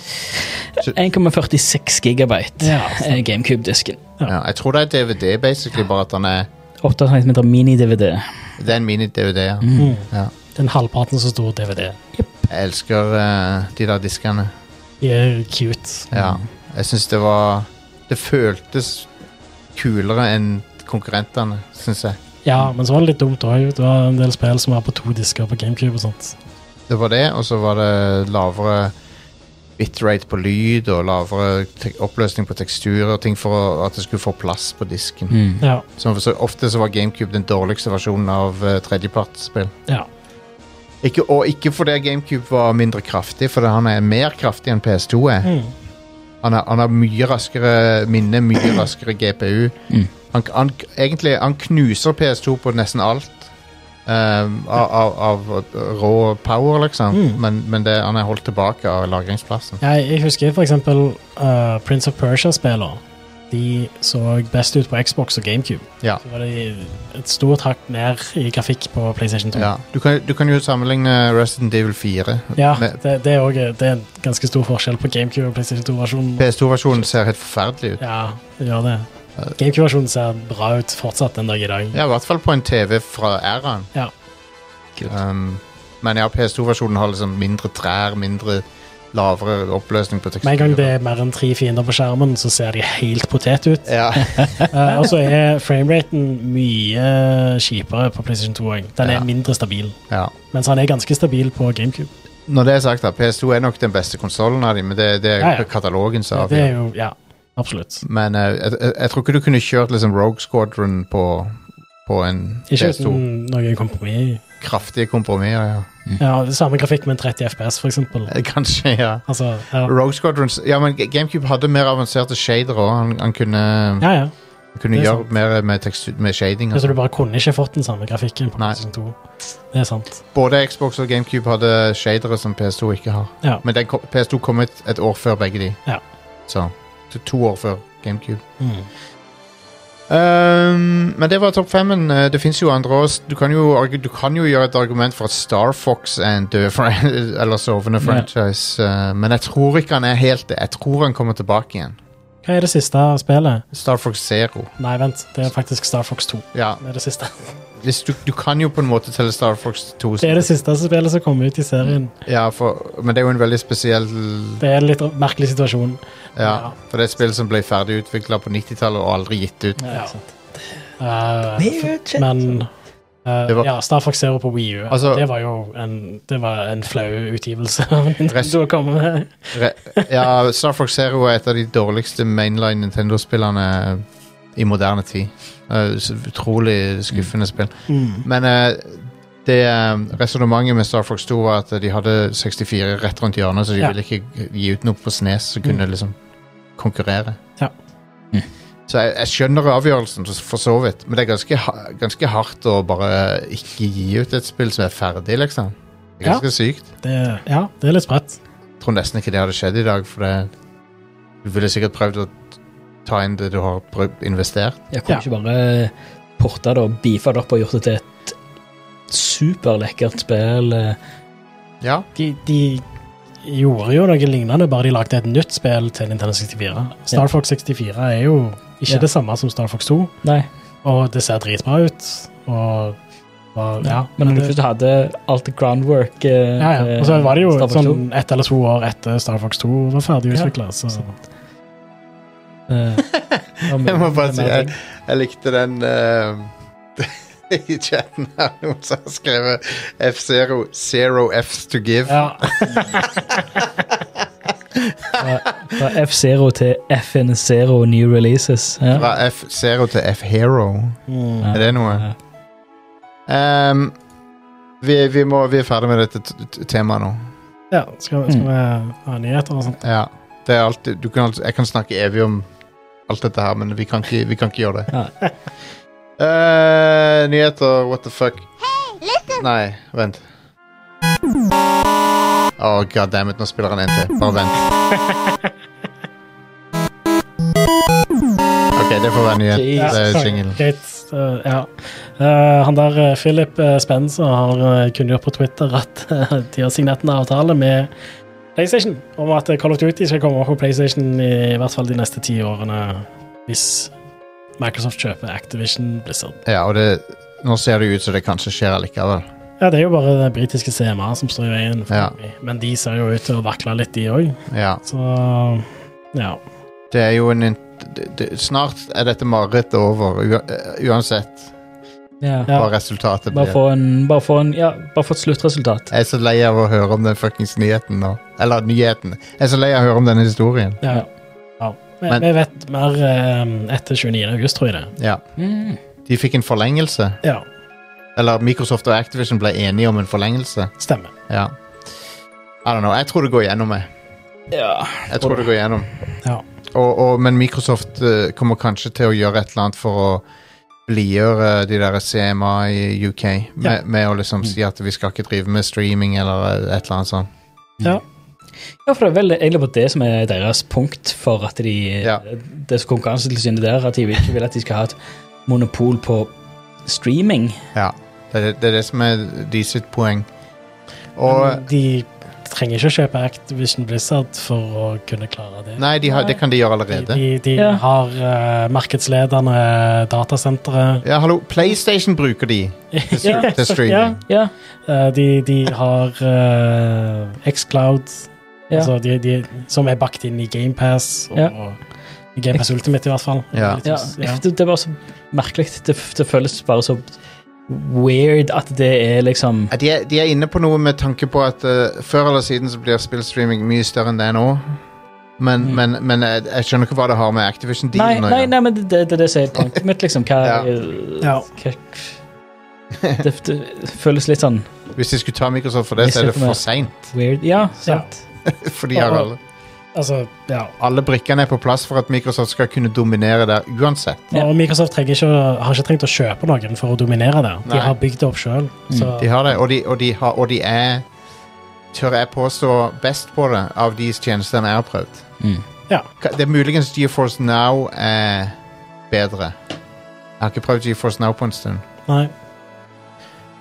[SPEAKER 2] 1,46 gigabyte
[SPEAKER 3] [laughs] Ja,
[SPEAKER 2] er GameCube-disken.
[SPEAKER 1] ja. Jeg tror det er DVD, basically, bare at den er
[SPEAKER 2] 8 cm mini-DVD.
[SPEAKER 1] Det er en mini-DVD. ja.
[SPEAKER 2] Mm.
[SPEAKER 3] Mm.
[SPEAKER 1] Ja.
[SPEAKER 3] Den halvparten så stor DVD.
[SPEAKER 1] Jeg elsker eh, de der diskene.
[SPEAKER 3] De er cute.
[SPEAKER 1] Ja. Jeg syns det var Det føltes kulere enn konkurrentene, syns jeg.
[SPEAKER 3] Ja, men så var det litt dumt òg. Det var en del spill som var på to disker på GameCube og sånt.
[SPEAKER 1] Det var det, og så var det lavere bitrate på lyd og lavere te- oppløsning på teksturer og ting for å, at det skulle få plass på disken.
[SPEAKER 2] Mm.
[SPEAKER 3] Ja.
[SPEAKER 1] Så, så ofte så var GameCube den dårligste versjonen av uh, tredjepartsspill.
[SPEAKER 3] ja.
[SPEAKER 1] Ikke, og ikke fordi GameCube var mindre kraftig, for han er mer kraftig enn PS2 er.
[SPEAKER 3] Mm.
[SPEAKER 1] Han har, han har mye raskere minne, mye raskere GPU.
[SPEAKER 2] Mm.
[SPEAKER 1] Han, han, egentlig, han knuser PS2 på nesten alt. ehm, av, av, av rå power, liksom.
[SPEAKER 3] Mm.
[SPEAKER 1] Men, men det, han er holdt tilbake av lagringsplassen.
[SPEAKER 3] Jeg, jeg husker for eksempel eh, Prince of Persia-spiller. De så best ut på Xbox og GameCube.
[SPEAKER 1] Ja.
[SPEAKER 3] Så var det et stort hakk ned i grafikk på PlayStation 2.
[SPEAKER 1] Ja. Du, kan, du kan jo sammenligne Resident Evil 4.
[SPEAKER 3] Ja,
[SPEAKER 1] Med-
[SPEAKER 3] det, det, er også, det er en ganske stor forskjell på GameCube og PlayStation 2-versjonen.
[SPEAKER 1] PS2-versjonen ser helt forferdelig ut.
[SPEAKER 3] Mm. Ja, det gjør det. GameCube-versjonen ser bra ut fortsatt den dag i dag.
[SPEAKER 1] Ja, I hvert fall på en TV fra æraen.
[SPEAKER 3] Ja.
[SPEAKER 2] Kult.
[SPEAKER 1] Ehm, men ja, PS2-versjonen har liksom mindre trær, mindre lavere oppløsning på teksturen.
[SPEAKER 3] Med en gang det er mer enn tre fiender på skjermen, så ser de helt potet [laughs] ut.
[SPEAKER 1] Ja,
[SPEAKER 3] Eh, og så er frameraten mye kjipere på PlayStation 2. også. Den
[SPEAKER 1] Ja.
[SPEAKER 3] er mindre stabil,
[SPEAKER 1] ja.
[SPEAKER 3] mens han er ganske stabil på GameCube.
[SPEAKER 1] Når det er sagt, da, PS2 er nok den beste konsollen av dem, men det, det er
[SPEAKER 3] Ja, ja.
[SPEAKER 1] katalogen som
[SPEAKER 3] det
[SPEAKER 1] avgjør.
[SPEAKER 3] er jo, ja, absolutt.
[SPEAKER 1] Men eh, jeg, jeg, jeg tror ikke du kunne kjørt liksom Rogue Squadron på, på en
[SPEAKER 3] Ikke
[SPEAKER 1] PS2.
[SPEAKER 3] uten noe kompromiss.
[SPEAKER 1] Kraftige kompromisser, ja. [laughs]
[SPEAKER 3] Ja, det samme grafikk, men 30 FPS, for eksempel.
[SPEAKER 1] Eh, Kanskje, ja.
[SPEAKER 3] Altså, ja.
[SPEAKER 1] Rogue Squadron Ja, men G- GameCube hadde mer avanserte shader òg. Han, han kunne,
[SPEAKER 3] ja, ja.
[SPEAKER 1] kunne
[SPEAKER 3] det er
[SPEAKER 1] gjøre mer med, tekstu, med shading. og
[SPEAKER 3] Altså,
[SPEAKER 1] sånn.
[SPEAKER 3] du bare kunne ikke fått den samme grafikken på
[SPEAKER 1] Nei.
[SPEAKER 3] PlayStation 2. Det er sant.
[SPEAKER 1] Både Xbox og GameCube hadde shadere som PS2 ikke har.
[SPEAKER 3] Ja.
[SPEAKER 1] Men den, kom- PS2 kom ut et år før begge de.
[SPEAKER 3] Ja.
[SPEAKER 1] Så to, to år før GameCube.
[SPEAKER 3] Mm.
[SPEAKER 1] Ehm, men det var topp femmen. Eh, Det fins jo andre òg. Du, kan jo argu- du kan jo gjøre et argument for at Star Fox er en død fran [laughs] eller sovende
[SPEAKER 2] Ja.
[SPEAKER 1] franchise, eh, men jeg tror ikke han er helt det. Jeg tror han kommer tilbake igjen.
[SPEAKER 3] Hva er det siste spillet?
[SPEAKER 1] Star Fox Zero.
[SPEAKER 3] Nei, vent. Det er faktisk Star Fox 2.
[SPEAKER 1] Ja,
[SPEAKER 3] Det er det siste.
[SPEAKER 1] hvis du, du kan jo på en måte telle Star Fox 2
[SPEAKER 3] Det er det siste spillet som kom ut i serien.
[SPEAKER 1] Ja, for, men det er jo en veldig spesiell
[SPEAKER 3] Det er en litt merkelig situasjon.
[SPEAKER 1] Ja, for det er et spill som ble ferdig utvikla på 90-tallet og aldri gitt ut.
[SPEAKER 2] Ja,
[SPEAKER 3] Ja.
[SPEAKER 2] ikke sant.
[SPEAKER 3] Eh, men eh,
[SPEAKER 1] Det var-
[SPEAKER 3] ja, Star Fox Zero på Wii U.
[SPEAKER 1] Altså-
[SPEAKER 3] det var jo en, det var en flau utgivelse [laughs] av Nintendo
[SPEAKER 1] Rest-
[SPEAKER 3] å komme med.
[SPEAKER 1] Re ja, Star Fox Zero er et av de dårligste mainline Nintendo-spillene i moderne tid. Eh, så utrolig skuffende spill. Men eh, det uh, resonnementet med Star Fox 2 var at de hadde 64 rett rundt hjørnet, så de
[SPEAKER 3] Ja. Mm.
[SPEAKER 1] ville ikke gi ut noe på Snes som kunne liksom konkurrere.
[SPEAKER 3] Ja.
[SPEAKER 2] Mm.
[SPEAKER 1] Så jeg, jeg skjønner avgjørelsen, så- for så vidt, men det er ganske, ha- ganske hardt å bare ikke gi ut et spill som er ferdig, liksom. Det er
[SPEAKER 3] Ja.
[SPEAKER 1] ganske sykt.
[SPEAKER 3] Det, ja, det er litt spredt.
[SPEAKER 1] Jeg tror nesten ikke det hadde skjedd i dag, for det, du ville sikkert prøvd å ta inn det du har prøv- investert.
[SPEAKER 2] Jeg kunne
[SPEAKER 3] Ja.
[SPEAKER 2] ikke bare porta det og beefa det opp og gjort det til et superlekkert spill. eh,
[SPEAKER 1] Ja.
[SPEAKER 3] De, de gjorde jo noe lignende, bare de lagde et nytt spill til Nintendo 64. Star Fox 64 er jo ikke
[SPEAKER 2] Ja.
[SPEAKER 3] det samme som Star Fox 2,
[SPEAKER 2] Nei,
[SPEAKER 3] og det ser dritbra ut. Og, og ja,
[SPEAKER 2] men om du
[SPEAKER 3] det-
[SPEAKER 2] først hadde alt groundwork eh,
[SPEAKER 3] Ja, ja. Og så var det jo
[SPEAKER 2] Star Fox
[SPEAKER 3] sånn ett eller to år etter Star Fox 2 var ferdig
[SPEAKER 2] Ja.
[SPEAKER 3] utvikla. Så
[SPEAKER 2] to, eh,
[SPEAKER 3] [laughs]
[SPEAKER 2] var mye-
[SPEAKER 1] Jeg må bare si
[SPEAKER 2] mer
[SPEAKER 1] jeg,
[SPEAKER 2] ting.
[SPEAKER 1] jeg likte den eh, [laughs] i chatten her noen som har skrevet F0 Zero Fs to give.
[SPEAKER 3] ja.
[SPEAKER 2] Fra F0 til FN0 New Releases. Ja.
[SPEAKER 1] Fra F0 til F-Hero.
[SPEAKER 3] Mm.
[SPEAKER 1] Er det noe?
[SPEAKER 2] Ja.
[SPEAKER 1] Ehm, vi, vi, må, vi er ferdig med dette t- t- temaet nå.
[SPEAKER 3] [laughs] ja skal, skal vi ha nyheter og sånt?
[SPEAKER 1] Ja. Det er alltid, du kan, alt- jeg kan snakke evig om alt dette her, men vi kan ikke, vi kan ikke gjøre det. [laughs] Eh, nyheter, what the fuck. Nei, vent. Oh, God damn it, nå spiller han en til. Bare vent. Ok, det får være nyhet.
[SPEAKER 2] Jesus.
[SPEAKER 1] Det er
[SPEAKER 3] sorry.
[SPEAKER 1] jingle.
[SPEAKER 3] Greit. eh, ja. Eh, han der eh, Philip eh, Spencer har eh, kunngjort på Twitter at eh, de har signert en avtale med PlayStation om at eh, Call of Duty skal komme opp på PlayStation i, i hvert fall de neste ti årene, hvis Microsoft kjøper Activision Blizzard.
[SPEAKER 1] Ja, og det, nå ser det jo ut som det kanskje skjer allikevel.
[SPEAKER 3] Ja, det er jo bare det britiske CMA som står i veien, for
[SPEAKER 1] Ja.
[SPEAKER 3] meg. men de ser jo ut til å vakle litt, de òg.
[SPEAKER 1] Ja,
[SPEAKER 3] Så ja.
[SPEAKER 1] det er jo en... det- det- Snart er dette marerittet over, ua- eh, uansett
[SPEAKER 2] Ja.
[SPEAKER 3] Ja.
[SPEAKER 1] hva resultatet
[SPEAKER 2] Bare
[SPEAKER 1] blir.
[SPEAKER 2] få en, bare få en ja, bare få et sluttresultat.
[SPEAKER 1] Jeg er så lei av å høre om den fuckings nyheten nå. Eller nyheten. Jeg er så lei av å høre om denne historien.
[SPEAKER 3] ja. ja. Vi,
[SPEAKER 1] Men-
[SPEAKER 3] vi vet mer eh, etter 29. august, tror jeg det.
[SPEAKER 1] Ja.
[SPEAKER 2] Mm.
[SPEAKER 1] De fikk en forlengelse.
[SPEAKER 3] Ja,
[SPEAKER 1] Eller Microsoft og Activision ble enige om en forlengelse.
[SPEAKER 3] stemmer.
[SPEAKER 1] Ja. I don't know. Jeg tror det går gjennom, jeg.
[SPEAKER 2] Ja.
[SPEAKER 1] jeg tror det går gjennom.
[SPEAKER 3] Ja.
[SPEAKER 1] Og, og, men Microsoft eh, kommer kanskje til å gjøre et eller annet for å blidgjøre de der CMA i UK med, med å liksom
[SPEAKER 3] Mm.
[SPEAKER 1] si at vi skal ikke drive med streaming eller eh, et eller annet sånt.
[SPEAKER 3] Ja.
[SPEAKER 2] Ja, for det er vel egentlig på det som er deres punkt for at de
[SPEAKER 1] Ja.
[SPEAKER 2] Det som Konkurransetilsynet der, at de ikke vil at de skal ha et monopol på streaming.
[SPEAKER 1] Ja, det, er- det er det som er de sitt poeng. Og
[SPEAKER 3] Men eh, de trenger ikke å kjøpe Activision Blizzard for å kunne klare det.
[SPEAKER 1] Nei, de har, det kan de gjøre
[SPEAKER 3] De,
[SPEAKER 1] allerede.
[SPEAKER 3] de, de
[SPEAKER 2] Ja.
[SPEAKER 3] har eh, markedsledende datasentre.
[SPEAKER 1] Ja, hallo, PlayStation bruker de til,
[SPEAKER 3] [laughs] Ja,
[SPEAKER 1] stre- til
[SPEAKER 3] ja.
[SPEAKER 1] streaming.
[SPEAKER 2] Ja,
[SPEAKER 3] Eh, de, de har eh, Xcloud,
[SPEAKER 2] ja.
[SPEAKER 3] altså de, de, som er bakt inn i GamePass. Og,
[SPEAKER 2] Ja.
[SPEAKER 3] i GamePass Ultimate, i hvert fall.
[SPEAKER 1] Ja.
[SPEAKER 2] ja.
[SPEAKER 3] Ja.
[SPEAKER 2] Det, det er bare så merkelig. Det, det føles bare så weird at det er liksom
[SPEAKER 1] Ja, De er, de er inne på noe med tanke på at eh, før eller siden så blir spillstreaming mye større enn det er nå. Men,
[SPEAKER 2] Mm.
[SPEAKER 1] men, men jeg, jeg skjønner ikke hva det har med
[SPEAKER 2] Nei,
[SPEAKER 1] Activision-dealen å
[SPEAKER 2] nei,
[SPEAKER 1] gjøre.
[SPEAKER 2] nei men det det er det, som er poenget mitt, liksom. Hva,
[SPEAKER 1] Ja.
[SPEAKER 3] Ja.
[SPEAKER 2] hva det, det føles litt sånn
[SPEAKER 1] [laughs] Hvis de skulle ta Microsoft for det, så er det
[SPEAKER 2] Microsoft med-
[SPEAKER 1] for seint. [laughs]
[SPEAKER 2] weird. Ja, sant.
[SPEAKER 1] For de har
[SPEAKER 3] Ja.
[SPEAKER 1] alle,
[SPEAKER 3] Altså, ja.
[SPEAKER 1] alle brikkene er på plass for at Microsoft skal kunne dominere der uansett.
[SPEAKER 2] Ja.
[SPEAKER 3] Og Microsoft trenger ikke, å- har ikke trengt å kjøpe noen for å dominere det.
[SPEAKER 1] Nei.
[SPEAKER 3] De har bygd det opp sjøl.
[SPEAKER 1] Mm, De har det, og de, og de, har, og de er Tør jeg påstå best på det av de tjenestene jeg har prøvd.
[SPEAKER 2] Mm.
[SPEAKER 1] Ka- Det er muligens GeForce Now er bedre. Jeg har ikke prøvd GeForce Now på en stund.
[SPEAKER 3] Nei.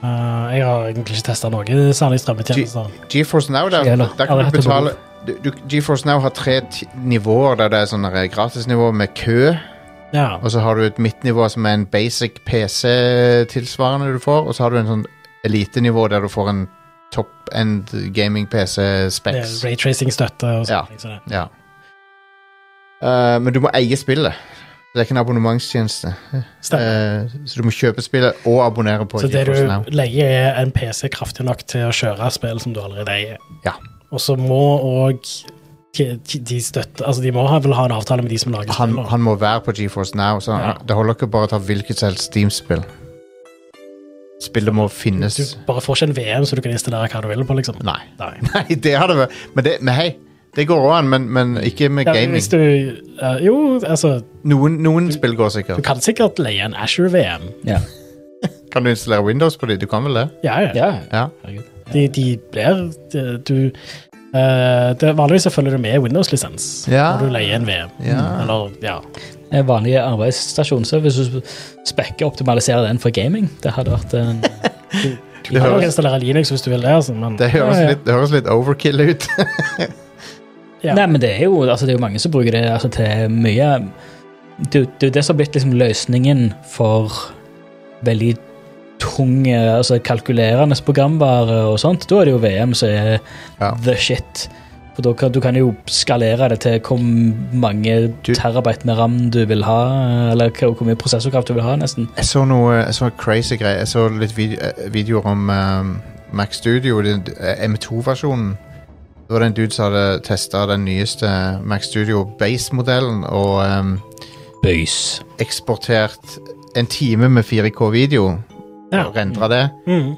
[SPEAKER 3] Eh, jeg har egentlig ikke testa noe særlig strømmetjenester.
[SPEAKER 1] GeForce Now, der,
[SPEAKER 2] Jævla.
[SPEAKER 1] der kan
[SPEAKER 3] Aldri
[SPEAKER 1] du
[SPEAKER 3] hatt det
[SPEAKER 1] betale du, du, GeForce Now har tre ti- nivåer der det er sånne eh, gratisnivå med kø,
[SPEAKER 3] Ja.
[SPEAKER 1] og så har du et midtnivå som er en basic PC-tilsvarende du får, og så har du en sånn elitenivå der du får en top-end
[SPEAKER 3] det
[SPEAKER 1] gaming-PC-specs.
[SPEAKER 3] er Raytracing-støtte og
[SPEAKER 1] Ja.
[SPEAKER 3] sånne ting. som det.
[SPEAKER 1] Ja. Eh, men du må eie spillet. Det er ikke en abonnementstjeneste.
[SPEAKER 3] Stemmer.
[SPEAKER 1] Eh, så du må kjøpe spillet og abonnere på
[SPEAKER 3] Så det
[SPEAKER 1] GeForce Now.
[SPEAKER 3] du leier, er en PC kraftig nok til å kjøre spill som du allerede eier.
[SPEAKER 1] Ja.
[SPEAKER 3] Og så må òg de de støtte Altså, de må ha, vel ha en avtale med de som lager
[SPEAKER 1] Han,
[SPEAKER 3] spillene.
[SPEAKER 1] han må være på GeForce Now. Så
[SPEAKER 3] Ja.
[SPEAKER 1] Det holder ikke bare å ta hvilket som helst Steam-spill. Spillet må finnes.
[SPEAKER 3] Du bare får ikke en VM så du kan installere hva du vil på, liksom.
[SPEAKER 1] Nei. [laughs]
[SPEAKER 3] Nei.
[SPEAKER 1] Nei, det hadde vært Men, det, men hei, det går an, men, men ikke med
[SPEAKER 3] Ja,
[SPEAKER 1] gaming.
[SPEAKER 3] hvis du eh, Jo, altså,
[SPEAKER 1] Noen, noen spill går
[SPEAKER 3] du
[SPEAKER 1] sikkert.
[SPEAKER 3] kan sikkert leie en Asher-VM.
[SPEAKER 2] Ja.
[SPEAKER 1] Kan du installere Windows på dem? Du kan vel det?
[SPEAKER 3] Ja, ja.
[SPEAKER 2] ja.
[SPEAKER 1] Ja.
[SPEAKER 2] Herregud.
[SPEAKER 3] De, de blir de, Du eh, det, Vanligvis så følger du med Windows-lisens
[SPEAKER 1] Ja.
[SPEAKER 3] når du leier en VM.
[SPEAKER 1] Ja.
[SPEAKER 3] Eller, ja.
[SPEAKER 2] En vanlig arbeidsstasjon, så hvis du spekker og optimaliserer den for gaming, det hadde vært en
[SPEAKER 3] Du kan nok installere Linux hvis du vil det, altså, men
[SPEAKER 1] Det høres,
[SPEAKER 2] Ja, ja.
[SPEAKER 1] Litt, det høres litt overkill ut.
[SPEAKER 3] Ja.
[SPEAKER 2] Nei, men det er, jo, altså, det er jo mange som bruker det altså, til mye Det det er jo det som har blitt liksom, løsningen for veldig tung eh, altså, kalkulerende programvare og sånt. Da er det jo VM som er
[SPEAKER 1] Ja.
[SPEAKER 2] the shit. For da kan, du kan jo skalere det til hvor mange
[SPEAKER 1] Du-
[SPEAKER 2] terabyte med ram du vil ha, eller hvor hvor mye prosessorkraft du vil ha, nesten.
[SPEAKER 1] Jeg så noe jeg så en crazy greier. Jeg så litt vide- eh, videoer om ehm, Mac Studio, den d- eh, M2-versjonen. Det var det en dude som hadde testa den nyeste Mac Studio Base-modellen og ehm,
[SPEAKER 2] Bøys.
[SPEAKER 1] eksportert en time med 4K-video.
[SPEAKER 3] Ja.
[SPEAKER 1] Og rendra det.
[SPEAKER 3] Mm.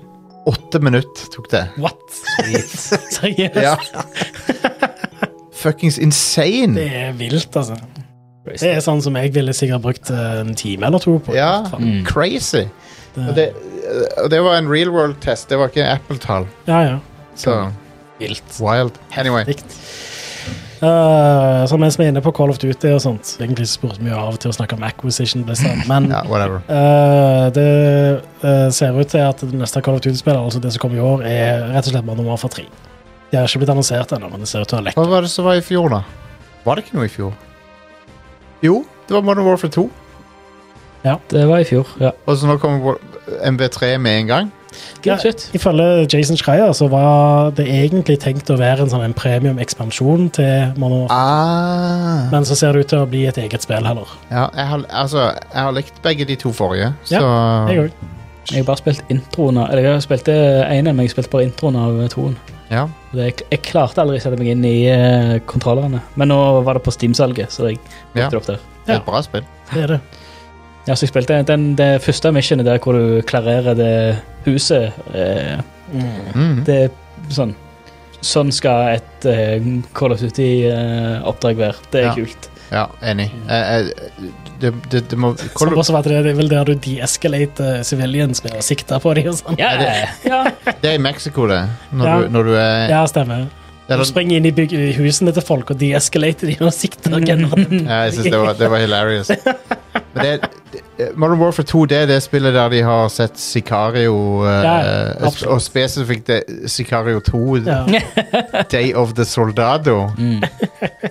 [SPEAKER 1] Åtte minutter tok det.
[SPEAKER 3] What? [laughs] Seriøst?
[SPEAKER 1] Ja. [laughs] Fuckings
[SPEAKER 3] Det
[SPEAKER 1] insane!
[SPEAKER 3] er vilt, altså. Det er sånn som jeg ville sikkert brukt eh, en time eller to på. i
[SPEAKER 1] Ja,
[SPEAKER 3] hvert fall.
[SPEAKER 2] Mm.
[SPEAKER 1] crazy. Og
[SPEAKER 3] det,
[SPEAKER 1] det, og det var en real world-test, det var ikke Apple-tall.
[SPEAKER 3] ja, ja.
[SPEAKER 1] Så
[SPEAKER 3] Vilt.
[SPEAKER 1] wild. Anyway.
[SPEAKER 3] Dikt. Eh, så mens vi er inne på Call of Duty og sånt Egentlig så spurte vi jo av og til å snakke om Acquisition Blizzard,
[SPEAKER 1] [laughs]
[SPEAKER 3] men
[SPEAKER 1] Ja, whatever.
[SPEAKER 3] Eh, det eh, ser ut til at det neste Call of Duty-spillet, altså det som kommer i år, er rett og slett bare nummer for tre. Det har ikke blitt annonsert ennå, men det ser ut til å ha lekk.
[SPEAKER 1] Hva var det som var i fjor, da? Var det ikke noe i fjor? Jo, det var Modern Warfare 2.
[SPEAKER 2] Det var i fjor, ja.
[SPEAKER 1] Og så nå kommer War- MV3 med en gang.
[SPEAKER 3] Ja.
[SPEAKER 2] Good shit.
[SPEAKER 3] Ifølge Jason Schreier så var det egentlig tenkt å være en sånn en premium-ekspansjon til Modern Warfare,
[SPEAKER 1] Ah.
[SPEAKER 3] men så ser det ut til å bli et eget spill heller.
[SPEAKER 1] Ja, jeg har, altså, jeg har likt begge de to forrige, så
[SPEAKER 3] Ja, Jeg òg.
[SPEAKER 2] Jeg har bare spilt introen av Eller jeg eh, spilte enen, men jeg spilte bare introen av eh, toen.
[SPEAKER 1] ja.
[SPEAKER 2] Og det- Jeg, jeg klarte aldri å sette meg inn i eh, kontrollerne, men nå var det på Steam-salget, så jeg plukket
[SPEAKER 1] Ja.
[SPEAKER 2] det opp der.
[SPEAKER 1] Det er
[SPEAKER 3] Ja.
[SPEAKER 1] et bra spill.
[SPEAKER 3] Det er det.
[SPEAKER 2] Ja, så jeg spilte den, det første missionet der hvor
[SPEAKER 1] Mhm.
[SPEAKER 2] du klarerer det huset. Eh,
[SPEAKER 3] Mm.
[SPEAKER 1] Mm.
[SPEAKER 2] det er sånn sånn skal et eh, Call of Duty-oppdrag være. Det er
[SPEAKER 1] Ja. [laughs]
[SPEAKER 2] kult.
[SPEAKER 1] Ja, enig. Eh, eh, det, det, det må
[SPEAKER 3] Som også var at det, det er vel der du de-escalate civilians med å sikte på dem og sånn.
[SPEAKER 2] Ja, ja.
[SPEAKER 1] Det er i Mexico, det. Når,
[SPEAKER 3] Ja.
[SPEAKER 1] du, når du er
[SPEAKER 3] Ja, stemmer. Du
[SPEAKER 1] eller,
[SPEAKER 3] springer inn i bygg husene til folk og de-escalate dem og sikter og generer dem.
[SPEAKER 1] Ja, jeg synes det var, det var
[SPEAKER 3] [laughs]
[SPEAKER 1] hilarious. Men det, det, Modern Warfare 2 det er det spillet der de har sett Sicario eh,
[SPEAKER 3] Ja,
[SPEAKER 1] eh,
[SPEAKER 3] absolutt.
[SPEAKER 1] Og spesifikt det, Sicario 2,
[SPEAKER 3] Ja. [laughs]
[SPEAKER 1] Day of the Soldado.
[SPEAKER 2] Mm.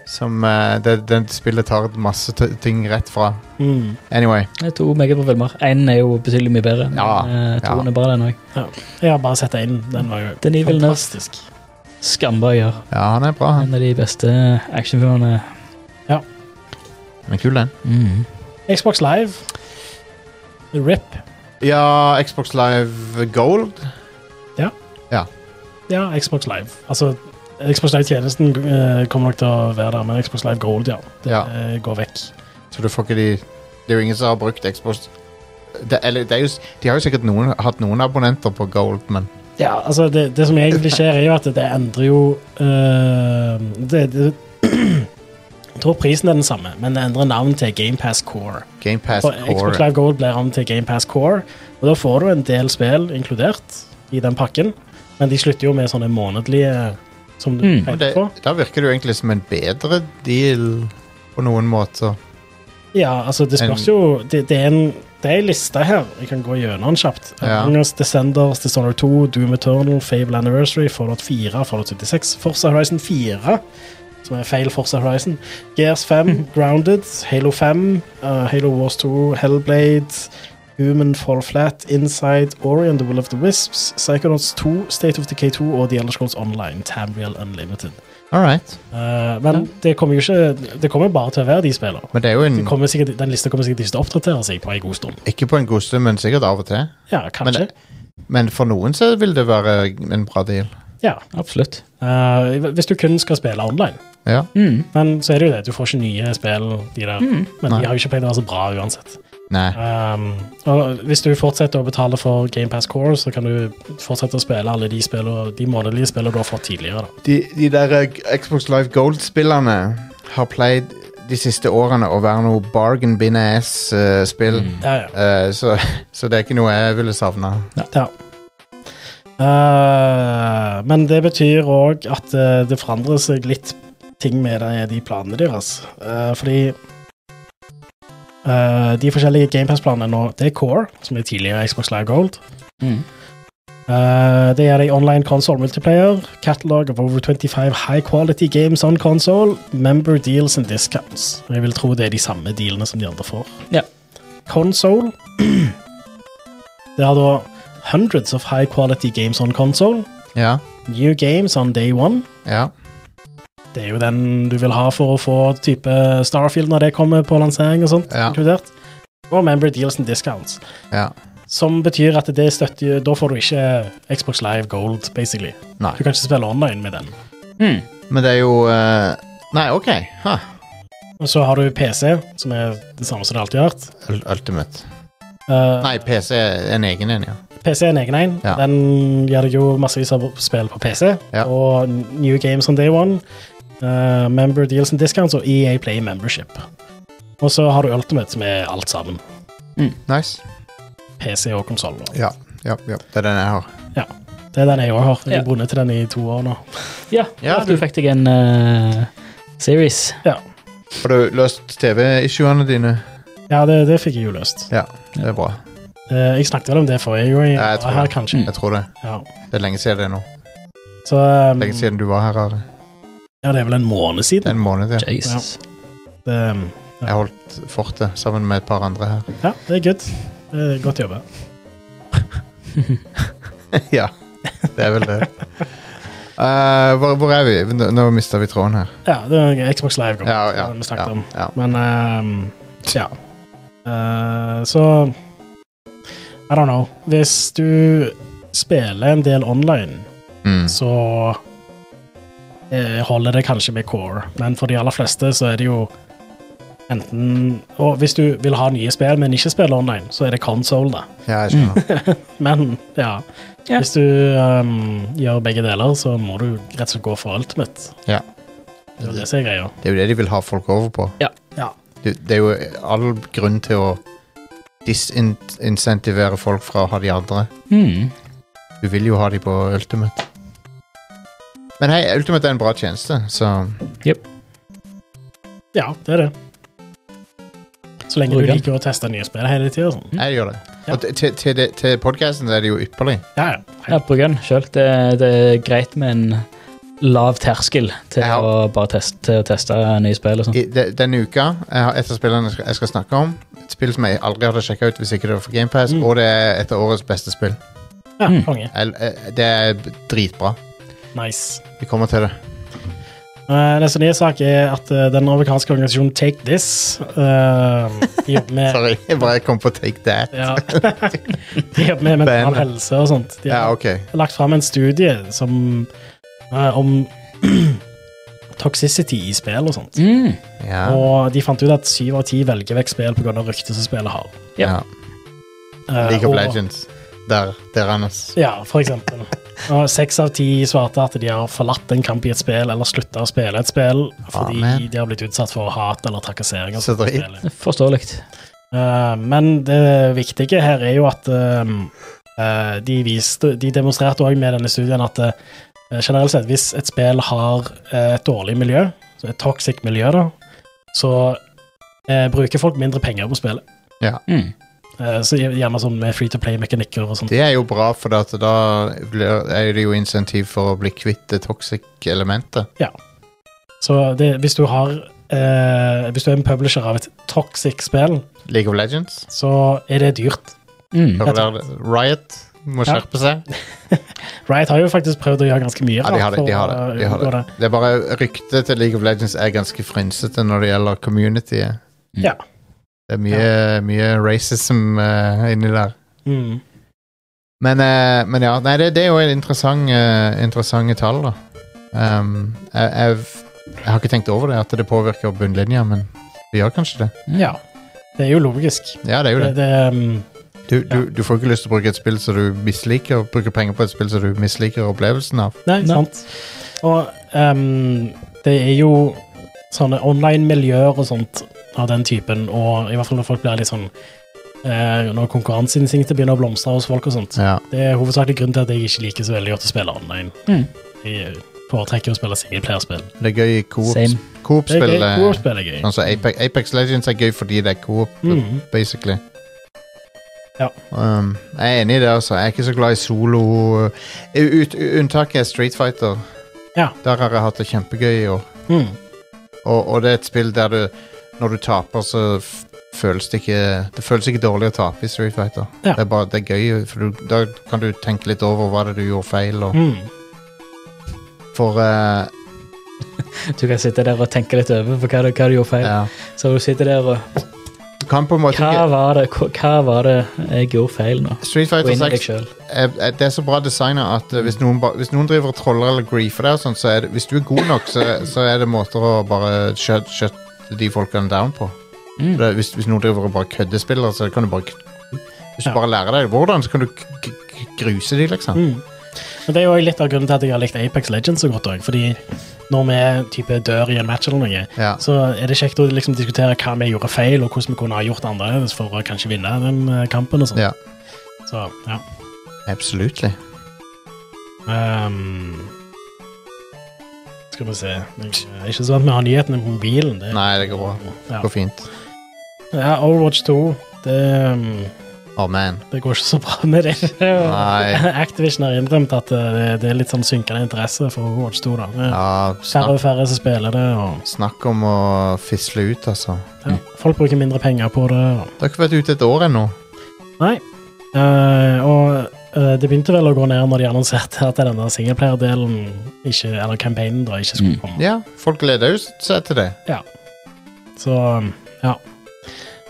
[SPEAKER 1] Som eh, det, den spillet tar masse t ting rett fra.
[SPEAKER 3] Mm.
[SPEAKER 1] Anyway.
[SPEAKER 2] Det er to megabra filmer. Én er jo betydelig mye bedre. men,
[SPEAKER 1] Ja,
[SPEAKER 2] eh,
[SPEAKER 1] ja.
[SPEAKER 2] Toen er bra, den òg.
[SPEAKER 3] Jeg har bare sett én. Den var jo
[SPEAKER 2] Den er vel nøst.
[SPEAKER 3] fantastisk.
[SPEAKER 2] Skambøyer.
[SPEAKER 1] Ja, han er bra. han.
[SPEAKER 2] En av de beste eh, actionfilmene.
[SPEAKER 1] Han er kul, den.
[SPEAKER 2] Mm.
[SPEAKER 3] Xbox Live. RIP.
[SPEAKER 1] Ja, Xbox Live Gold.
[SPEAKER 3] Ja, Xbox Live. Altså, Xbox Live-tjenesten eh, kommer nok til å være der, men Xbox Live Gold, ja. Det
[SPEAKER 1] Ja.
[SPEAKER 3] eh, går vekk.
[SPEAKER 1] Så du får ikke de Det er jo ingen som har brukt Xbox det, eller, det er jo, s- De har jo sikkert noen, hatt noen abonnenter på Gold, men
[SPEAKER 3] Ja, altså, det, det som egentlig skjer, er jo at det endrer jo eh, det, det, [clears throat] Jeg tror prisen er den samme, men det endrer navn til GamePass Core.
[SPEAKER 1] GamePass
[SPEAKER 3] For Xbox
[SPEAKER 1] Core
[SPEAKER 3] Live Gold blir om til GamePass Core, og da får du en del spill inkludert i den pakken, men de slutter jo med sånne månedlige som du
[SPEAKER 2] Mm.
[SPEAKER 1] Men
[SPEAKER 3] peker
[SPEAKER 1] det,
[SPEAKER 3] på.
[SPEAKER 1] Da virker det jo egentlig som en bedre deal på noen måter.
[SPEAKER 3] Ja, altså det spørs
[SPEAKER 1] En-
[SPEAKER 3] jo Det, det er en det er en liste her. Jeg kan gå gjennom den kjapt.
[SPEAKER 1] Ja.
[SPEAKER 3] Among Us, Descenders, Dishonored 2, Doom Eternal, Fable Anniversary, Fallout 4, Fallout 76, Forza Horizon 4, som er feil Forza Horizon,
[SPEAKER 1] [laughs]
[SPEAKER 3] Gears 5, Grounded, Halo 5, uh, Halo Wars 2, Hellblade, Human Fall Flat, Inside, Ori and the Will of the Wisps, Psychonauts 2, State of Decay 2 og The Elder Scrolls Online, Tamriel Unlimited.
[SPEAKER 1] All right.
[SPEAKER 3] Uh, men det kommer jo ikke Det kommer bare til å være de spillene.
[SPEAKER 1] Men det er jo
[SPEAKER 3] Det
[SPEAKER 1] en,
[SPEAKER 3] kommer sikkert, den lista kommer sikkert ikke til å oppdatere seg på en god stund.
[SPEAKER 1] ikke på en god stund, men sikkert av og til.
[SPEAKER 3] Ja,
[SPEAKER 1] Men,
[SPEAKER 3] kanskje.
[SPEAKER 1] men for noen så vil det være en bra deal.
[SPEAKER 3] ja.
[SPEAKER 2] Absolutt.
[SPEAKER 3] Eh, hvis du kun skal spille online.
[SPEAKER 1] Ja.
[SPEAKER 2] Mm.
[SPEAKER 3] Men så er det jo det, du får ikke nye spill, de der. Men
[SPEAKER 1] Mm. Nei.
[SPEAKER 3] de har jo ikke pleid å være så bra uansett.
[SPEAKER 1] Nei.
[SPEAKER 3] Um, og hvis du fortsetter å betale for GamePass Core, så kan du fortsette å spille alle de, spillene, de månedlige spillene du har fått tidligere. Da.
[SPEAKER 1] De, de der eh, Xbox Live Gold-spillerne har pleid de siste årene å være noe bargain bin ass-spill.
[SPEAKER 2] Mm.
[SPEAKER 3] Ja, ja.
[SPEAKER 1] Eh, så, så det er ikke noe jeg ville savna.
[SPEAKER 3] Ja. Eh, men det betyr òg at eh, det forandrer seg litt ting med de, de planene deres. Eh, fordi eh, de forskjellige GamePass-planene nå, det er Core, som er tidligere Xbox Live Gold.
[SPEAKER 2] Mm.
[SPEAKER 3] Eh, det er de online console multiplayer, catalog of over 25 high quality games on console, member deals and discounts. Jeg vil tro det er de samme dealene som de andre får.
[SPEAKER 2] Ja.
[SPEAKER 3] Console. [clears throat] det har da hundreds of high quality games on console,
[SPEAKER 1] Ja,
[SPEAKER 3] new games on day one.
[SPEAKER 1] ja.
[SPEAKER 3] Det er jo den du vil ha for å få type Starfield når det kommer på lansering og sånt,
[SPEAKER 1] Ja.
[SPEAKER 3] inkludert. Og member deals and discounts.
[SPEAKER 1] ja.
[SPEAKER 3] Som betyr at det støtter Da får du ikke Xbox Live Gold, basically.
[SPEAKER 1] Nei.
[SPEAKER 3] Du kan ikke spille online med den.
[SPEAKER 2] Mm.
[SPEAKER 1] Men det er jo eh, Nei, OK. Huh.
[SPEAKER 3] Og så har du PC, som er det samme som det alltid har vært.
[SPEAKER 1] Ul- Ultimate.
[SPEAKER 3] Eh,
[SPEAKER 1] Nei, PC er en egen en, ja.
[SPEAKER 3] PC er en egen en.
[SPEAKER 1] Ja.
[SPEAKER 3] Den gir deg jo massevis av spill på PC.
[SPEAKER 1] Ja.
[SPEAKER 3] Og New Games on Day One, eh, Member Deals and Discounts og EA Play Membership. Og så har du Ultimate, som er alt sammen.
[SPEAKER 1] Nice.
[SPEAKER 3] PC og konsoll.
[SPEAKER 1] Ja, ja, ja. Det er den jeg har.
[SPEAKER 3] Det er den jeg òg har. Jeg
[SPEAKER 2] Ja.
[SPEAKER 3] har bundet til den i to år nå.
[SPEAKER 2] Ja,
[SPEAKER 1] Ja,
[SPEAKER 2] du
[SPEAKER 1] du-
[SPEAKER 2] fikk deg en eh, series.
[SPEAKER 3] Ja,
[SPEAKER 1] Har du løst TV-issuene dine?
[SPEAKER 3] ja det, det fikk jeg jo løst.
[SPEAKER 1] Ja, det er bra.
[SPEAKER 3] Eh, jeg snakket vel om det forrige gang.
[SPEAKER 1] Ja, jeg
[SPEAKER 3] Jeg
[SPEAKER 1] tror
[SPEAKER 3] var her,
[SPEAKER 1] det.
[SPEAKER 2] Mm.
[SPEAKER 3] kanskje.
[SPEAKER 1] Jeg tror det.
[SPEAKER 3] Ja.
[SPEAKER 1] Det er lenge siden det er nå.
[SPEAKER 3] Så eh,
[SPEAKER 1] Lenge siden du var her. Are.
[SPEAKER 3] Ja, det er vel en
[SPEAKER 1] Det
[SPEAKER 3] måned
[SPEAKER 1] er
[SPEAKER 3] siden.
[SPEAKER 1] en måned siden.
[SPEAKER 2] Jesus.
[SPEAKER 3] Det,
[SPEAKER 1] Jeg holdt fortet sammen med et par andre her.
[SPEAKER 3] ja, det er good. Det er godt jobba.
[SPEAKER 1] ja, det er vel det. [laughs] Eh, hvor, hvor er vi? Nå, nå mista vi tråden her.
[SPEAKER 3] Ja, det er Xbox Live. kom.
[SPEAKER 1] Ja, ja,
[SPEAKER 3] Det vi snakket
[SPEAKER 1] ja,
[SPEAKER 3] om.
[SPEAKER 1] ja.
[SPEAKER 3] Men ehm, ja. Eh, så I don't know. Hvis du spiller en del online,
[SPEAKER 1] Mm.
[SPEAKER 3] så eh, holder det kanskje med core. Men for de aller fleste så er det jo Enten, og hvis du vil ha nye spill, men ikke spille online, så er det console, da.
[SPEAKER 1] Ja, jeg skjønner.
[SPEAKER 3] Men ja,
[SPEAKER 2] Ja.
[SPEAKER 3] hvis du ehm, gjør begge deler, så må du rett og slett gå for ultimate.
[SPEAKER 1] Ja.
[SPEAKER 3] Det er jo det som er greia.
[SPEAKER 1] Det er jo det de vil ha folk over på.
[SPEAKER 2] Ja.
[SPEAKER 3] Ja.
[SPEAKER 1] Det, det er jo all grunn til å disinsentivere folk fra å ha de andre.
[SPEAKER 2] Mm.
[SPEAKER 1] Du vil jo ha de på Ultimate. Men hei, Ultimate er en bra tjeneste, så
[SPEAKER 3] Mhm. Ja, det er det. Så lenge
[SPEAKER 2] Bruker Mm.
[SPEAKER 3] du
[SPEAKER 2] den.
[SPEAKER 3] liker å teste nye spill hele tida. Sånn.
[SPEAKER 1] jeg gjør det.
[SPEAKER 3] Ja.
[SPEAKER 1] Og til- til, til, det- til podkasten er det jo ypperlig.
[SPEAKER 3] Ja, ja.
[SPEAKER 2] Ja, bruk den sjøl. Det, det er greit med en lav terskel til
[SPEAKER 1] Ja.
[SPEAKER 2] å bare teste, til å teste nye spill og sånn.
[SPEAKER 1] I, de, denne uka jeg har et av spillene jeg skal- jeg skal snakke om. Et spill som jeg aldri hadde sjekka ut hvis ikke det var for GamePass,
[SPEAKER 3] Mm.
[SPEAKER 1] og det er et av årets beste spill.
[SPEAKER 3] ja
[SPEAKER 2] Mm.
[SPEAKER 3] konge.
[SPEAKER 1] Jeg, jeg, det er b- dritbra.
[SPEAKER 3] Nice.
[SPEAKER 1] Vi kommer til det.
[SPEAKER 3] Eh, neste nye sak er at eh, den amerikanske organisasjonen Take This eh, de jobber med,
[SPEAKER 1] [laughs] Sorry, jeg bare kom på Take That.
[SPEAKER 3] ja, [laughs] de jobber med mental
[SPEAKER 1] Bandet.
[SPEAKER 3] helse og sånt. De
[SPEAKER 1] Ja,
[SPEAKER 3] har
[SPEAKER 1] ok.
[SPEAKER 3] lagt fram en studie som, eh, om [clears throat] toxicity i spill og sånt.
[SPEAKER 2] Mm.
[SPEAKER 1] Ja.
[SPEAKER 3] Og de fant ut at syv av ti velger vekk spill pga. ryktet som spillet har.
[SPEAKER 2] Ja.
[SPEAKER 1] ja.
[SPEAKER 3] Eh,
[SPEAKER 1] League of
[SPEAKER 3] og-
[SPEAKER 1] Legends. Der. Der, Anders.
[SPEAKER 3] Ja, for eksempel. Og seks av ti svarte at de har forlatt en kamp i et spill eller slutta å spille et spill fordi
[SPEAKER 1] Amen.
[SPEAKER 3] de har blitt utsatt for hat eller trakassering. og
[SPEAKER 1] Så
[SPEAKER 3] sånt i
[SPEAKER 1] dritt.
[SPEAKER 3] spillet.
[SPEAKER 2] Forståelig.
[SPEAKER 3] Eh, men det viktige her er jo at ehm, eh, de, viste, de demonstrerte òg med denne studien at eh, generelt sett, hvis et spill har eh, et dårlig miljø, så et toxic miljø, da, så eh, bruker folk mindre penger på spillet.
[SPEAKER 2] Mm.
[SPEAKER 3] Eh, så gjerne sånn med free to play-mekanikker og sånt.
[SPEAKER 1] Det er jo bra, for at da blir, er det jo insentiv for å bli kvitt det toxic elementet.
[SPEAKER 3] Så det, hvis du har eh, Hvis du er en publisher av et toxic spill,
[SPEAKER 1] League of Legends.
[SPEAKER 3] så er det dyrt.
[SPEAKER 2] Mm.
[SPEAKER 1] Hører dere det? Riot må
[SPEAKER 3] Ja.
[SPEAKER 1] skjerpe seg.
[SPEAKER 3] Riot har jo faktisk prøvd å gjøre ganske mye
[SPEAKER 1] Ja, de har det.
[SPEAKER 3] for
[SPEAKER 1] de har
[SPEAKER 3] å
[SPEAKER 1] det, de har
[SPEAKER 3] unngå
[SPEAKER 1] det. Det er bare Ryktet til League of Legends er ganske frynsete når det gjelder communityet.
[SPEAKER 3] Ja.
[SPEAKER 1] Det er mye, mye racism eh, inni der.
[SPEAKER 3] Mm.
[SPEAKER 1] Men, eh, men ja, nei, det, det er jo en interessant, eh, interessante tall, da. Um, jeg, jeg, jeg har ikke tenkt over det, at det påvirker bunnlinja, men det gjør kanskje det.
[SPEAKER 3] ja. Det er jo logisk.
[SPEAKER 1] Ja, det er jo
[SPEAKER 3] Det,
[SPEAKER 1] det.
[SPEAKER 3] det, mm,
[SPEAKER 1] Du, du, du får ikke lyst til å bruke et spill som du misliker, og bruke penger på et spill som du misliker opplevelsen av.
[SPEAKER 3] nei,
[SPEAKER 2] Nei.
[SPEAKER 3] sant. Og em, det er jo sånne online-miljøer og sånt av den typen, og i hvert fall når folk blir litt sånn eh, Når konkurranseinstinktet begynner å blomstre hos folk og sånt.
[SPEAKER 1] Ja,
[SPEAKER 3] Det er hovedsakelig grunnen til at jeg ikke liker så veldig godt å spille online.
[SPEAKER 2] Mm.
[SPEAKER 3] Jeg eh, foretrekker å spille singelplayerspill.
[SPEAKER 1] det er gøy i
[SPEAKER 2] Same.
[SPEAKER 1] coop-
[SPEAKER 3] Det er
[SPEAKER 1] coop-spill.
[SPEAKER 3] gøy.
[SPEAKER 1] eh,
[SPEAKER 3] Koop-spill er gøy.
[SPEAKER 1] Sånn som Apex, Apex Legends er gøy fordi det er coop,
[SPEAKER 3] Mm.
[SPEAKER 1] basically.
[SPEAKER 3] Ja.
[SPEAKER 1] Um, jeg er enig i det, altså. Jeg er ikke så glad i solo. Ut, ut, unntaket er Street Fighter.
[SPEAKER 3] Ja.
[SPEAKER 1] Der har jeg hatt det kjempegøy i år.
[SPEAKER 3] Mm.
[SPEAKER 1] Og, og det er et spill der du Når du taper, så f- føles det ikke Det føles ikke dårlig å tape i Street Fighter.
[SPEAKER 3] Ja.
[SPEAKER 1] Det er bare det er gøy, for du, da kan du tenke litt over hva det er du gjorde feil. Og,
[SPEAKER 3] Mm.
[SPEAKER 1] for eh,
[SPEAKER 2] Du kan sitte der og tenke litt over på hva du, hva du gjorde feil.
[SPEAKER 1] ja.
[SPEAKER 2] Så du sitter der og
[SPEAKER 1] Du kan på en måte
[SPEAKER 2] Hva
[SPEAKER 1] ikke
[SPEAKER 2] var det, hva- hva var det jeg gjorde feil nå?
[SPEAKER 1] Street
[SPEAKER 2] Gå
[SPEAKER 1] Fighter
[SPEAKER 2] inn i deg
[SPEAKER 1] 6
[SPEAKER 2] sjøl.
[SPEAKER 1] er, er, Eh, det er så bra designa at eh, hvis, noen ba, hvis noen driver og troller eller griefer deg, og sånn, så er det, hvis du er god nok, så, så er det måter å bare shut, shutte de folkene down på.
[SPEAKER 2] Mm.
[SPEAKER 1] Det, er- hvis, hvis noen driver og bare køddespiller, så kan du bare k- Hvis du
[SPEAKER 3] Ja.
[SPEAKER 1] bare lærer deg hvordan, så kan du k k k gruse de, liksom.
[SPEAKER 3] Mm. Men det er jo også litt av grunnen til at jeg har likt Apex Legends så godt òg. Fordi når vi type dør i en match eller noe,
[SPEAKER 1] Ja.
[SPEAKER 3] så er det kjekt å liksom diskutere hva vi gjorde feil, og hvordan vi kunne ha gjort det annerledes for å kanskje vinne den eh, kampen og sånn.
[SPEAKER 1] Ja.
[SPEAKER 3] Så, ja.
[SPEAKER 1] Mm. Absolutely.
[SPEAKER 3] Ehm, skal vi se Jeg er ikke sånn at vi har nyhetene på mobilen. Det,
[SPEAKER 1] Nei, det går bra.
[SPEAKER 3] Ja.
[SPEAKER 1] Det går fint.
[SPEAKER 3] ja, Overwatch 2 det, mm,
[SPEAKER 1] Oh, man.
[SPEAKER 3] det går ikke så bra med det.
[SPEAKER 1] Nei.
[SPEAKER 3] [laughs] Activision har innrømt at eh, det, det er litt sånn synkende interesse for Overwatch 2. da. Det er
[SPEAKER 1] Ja,
[SPEAKER 3] Færre
[SPEAKER 1] snakk,
[SPEAKER 3] og færre som spiller det, og
[SPEAKER 1] snakk om å fisle ut, altså.
[SPEAKER 3] ja, folk bruker mindre penger på det. Og,
[SPEAKER 1] Det har ikke vært ute et år ennå.
[SPEAKER 3] nei. Eh, og eh, det begynte vel å gå ned når de annonserte at denne singleplayer-delen, ikke- eller campaignen, da, ikke skulle
[SPEAKER 2] Mm.
[SPEAKER 3] komme.
[SPEAKER 1] Ja, folk gleder jo seg til det.
[SPEAKER 3] Så um, ja.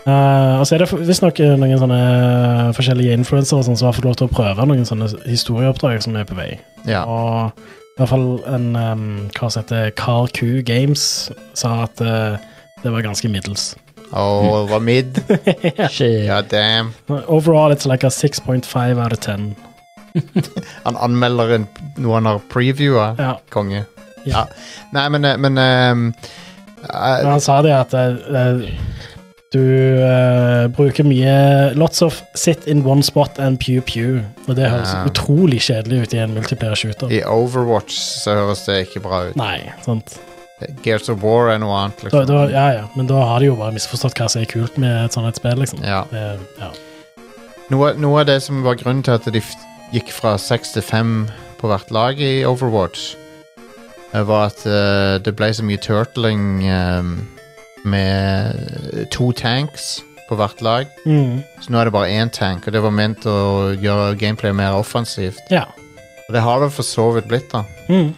[SPEAKER 3] Eh, og så er det visstnok noen sånne eh, forskjellige influensere sånn som har fått lov til å prøve noen sånne historieoppdrag som er på vei.
[SPEAKER 1] Ja.
[SPEAKER 3] Og i hvert fall en
[SPEAKER 1] [laughs]
[SPEAKER 3] um, hva som heter Car Q Games, sa at eh, det var ganske middels.
[SPEAKER 1] Åh, det var mid.
[SPEAKER 2] Shit.
[SPEAKER 1] God damn.
[SPEAKER 3] Overall, it's like a 6.5 out of 10.
[SPEAKER 1] Han anmelder en, noe han har previewa.
[SPEAKER 3] Ja.
[SPEAKER 1] Konge.
[SPEAKER 3] Ja.
[SPEAKER 1] Ja. Nei, men, eh, men ehm, eh,
[SPEAKER 3] Men han sa det at eh, du eh, bruker mye Lots of sit in one spot and pew pew. Og det høres
[SPEAKER 1] Ja.
[SPEAKER 3] utrolig kjedelig ut i en multiplayer shooter.
[SPEAKER 1] I Overwatch så høres det ikke bra ut.
[SPEAKER 3] Nei, sant.
[SPEAKER 1] Gears of War er noe annet,
[SPEAKER 3] Da,
[SPEAKER 1] liksom.
[SPEAKER 3] da, ja, ja. Men da har de jo bare misforstått hva som er kult med et sånt et spill, liksom.
[SPEAKER 1] Ja.
[SPEAKER 3] Det- ja.
[SPEAKER 1] Noe, noe av det som var grunnen til at de f gikk fra seks til fem på hvert lag i Overwatch, eh, var at eh, det ble så mye turtling eh, med to tanks på hvert lag.
[SPEAKER 3] Mm.
[SPEAKER 1] Så nå er det bare én tank, og det var ment å gjøre gameplay mer offensivt.
[SPEAKER 3] ja.
[SPEAKER 1] Og det har det for så vidt blitt, da.
[SPEAKER 3] Mm.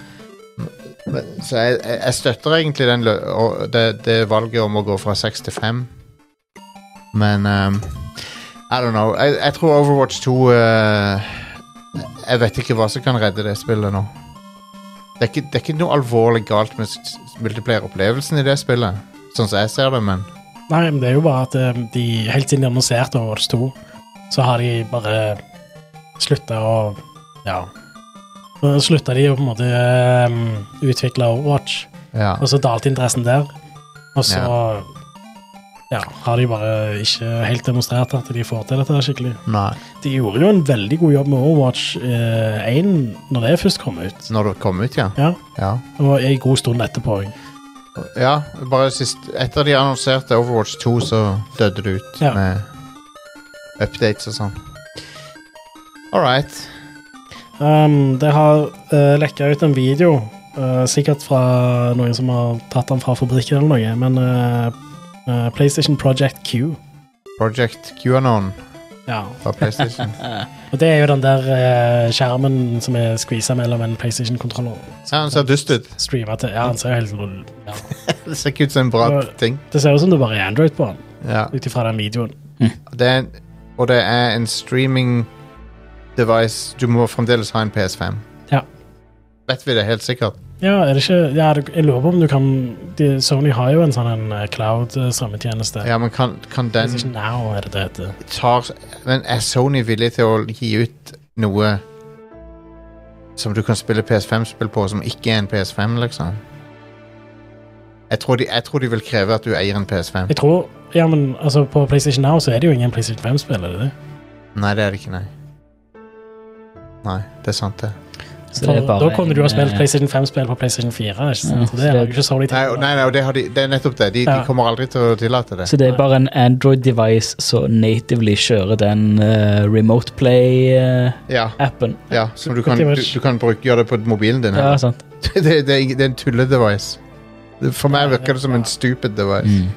[SPEAKER 1] Men- Så jeg, jeg jeg støtter egentlig den, lø- og det, det valget om å gå fra seks til fem. Men ehm, I don't know. Jeg, jeg tror Overwatch 2 eh, Jeg vet ikke hva som kan redde det spillet nå. Det er ikke, det er ikke noe alvorlig galt med s- multiplayer-opplevelsen i det spillet. Sånn som jeg ser det, men
[SPEAKER 3] Nei, men det er jo bare at eh, de helt siden de annonserte Overwatch 2, så har de bare slutta å Ja. Så slutta de å på en måte eh, utvikle Overwatch.
[SPEAKER 1] ja.
[SPEAKER 3] Og så dalte interessen der. Og så ja, har de bare ikke helt demonstrert at de får til dette her skikkelig.
[SPEAKER 1] Nei.
[SPEAKER 3] De gjorde jo en veldig god jobb med Overwatch eh, 1 når det først kom ut.
[SPEAKER 1] Når det kom ut, ja.
[SPEAKER 3] Ja,
[SPEAKER 1] ja.
[SPEAKER 3] Og en god stund etterpå òg.
[SPEAKER 1] Ja, bare sist Etter de annonserte Overwatch 2 så døde det ut
[SPEAKER 3] Ja.
[SPEAKER 1] med updates og sånn. All right.
[SPEAKER 3] Um, det har uh, lekka ut en video, eh, sikkert fra noen som har tatt den fra fabrikken eller noe, men eh, eh, PlayStation Project Q.
[SPEAKER 1] Project QAnon
[SPEAKER 3] Ja.
[SPEAKER 1] fra
[SPEAKER 3] [laughs]
[SPEAKER 1] PlayStation.
[SPEAKER 3] Og det er jo den der eh, skjermen som er skvisa mellom en PlayStation-kontroller.
[SPEAKER 1] ja, han ser dust
[SPEAKER 3] [laughs]
[SPEAKER 1] ut.
[SPEAKER 3] Streamer til Ja, han ser jo helt lol. Ja.
[SPEAKER 1] Det ser ikke ut som en bra
[SPEAKER 3] Ja.
[SPEAKER 1] ting.
[SPEAKER 3] Det ser ut som det bare er Android på den,
[SPEAKER 1] Ja.
[SPEAKER 3] ut ifra den videoen.
[SPEAKER 1] Det er, en- og det er en streaming device. Du må fremdeles ha en PS5.
[SPEAKER 3] Ja.
[SPEAKER 1] Vet vi det helt sikkert?
[SPEAKER 3] Ja, er det ikke ja, det- Jeg lurer på om du kan de, Sony har jo en sånn en eh, cloud eh, strømmetjeneste.
[SPEAKER 1] Ja, men kan, kan den
[SPEAKER 3] PlayStation Now er det det heter.
[SPEAKER 1] tar Men er Sony villig til å gi ut noe som du kan spille PS5-spill på, som ikke er en PS5, liksom? Jeg tror, de, jeg tror de vil kreve at du eier en PS5.
[SPEAKER 3] Jeg tror Ja, men altså, på PlayStation Now så er det jo ingen PlayStation 5-spill, er det det?
[SPEAKER 1] Nei, det er det ikke, nei. Nei, det er sant, det.
[SPEAKER 2] Så
[SPEAKER 3] For,
[SPEAKER 2] det er bare
[SPEAKER 3] da kunne du ha
[SPEAKER 2] en,
[SPEAKER 3] spilt
[SPEAKER 2] eh,
[SPEAKER 3] PlayStation 5-spill på PlayStation 4. Ikke sant?
[SPEAKER 2] Ja,
[SPEAKER 3] Og det er
[SPEAKER 2] det-
[SPEAKER 3] jo ikke Sony
[SPEAKER 1] Nei,
[SPEAKER 3] til.
[SPEAKER 1] nei, nei og det, har de, det er nettopp det. De,
[SPEAKER 3] Ja.
[SPEAKER 1] de kommer aldri til å tillate det.
[SPEAKER 2] Så det er bare en Android-device som natively kjører den eh, remote play-appen.
[SPEAKER 1] Ja, ja så du kan,
[SPEAKER 3] Pretty
[SPEAKER 1] du,
[SPEAKER 3] much.
[SPEAKER 1] du kan bruke, gjøre det på mobilen din.
[SPEAKER 2] Ja,
[SPEAKER 1] her.
[SPEAKER 2] sant.
[SPEAKER 1] [laughs] Det, det, det, er ing- det er en tulledevice. Det- For meg virker det som en stupid device.
[SPEAKER 2] Mm.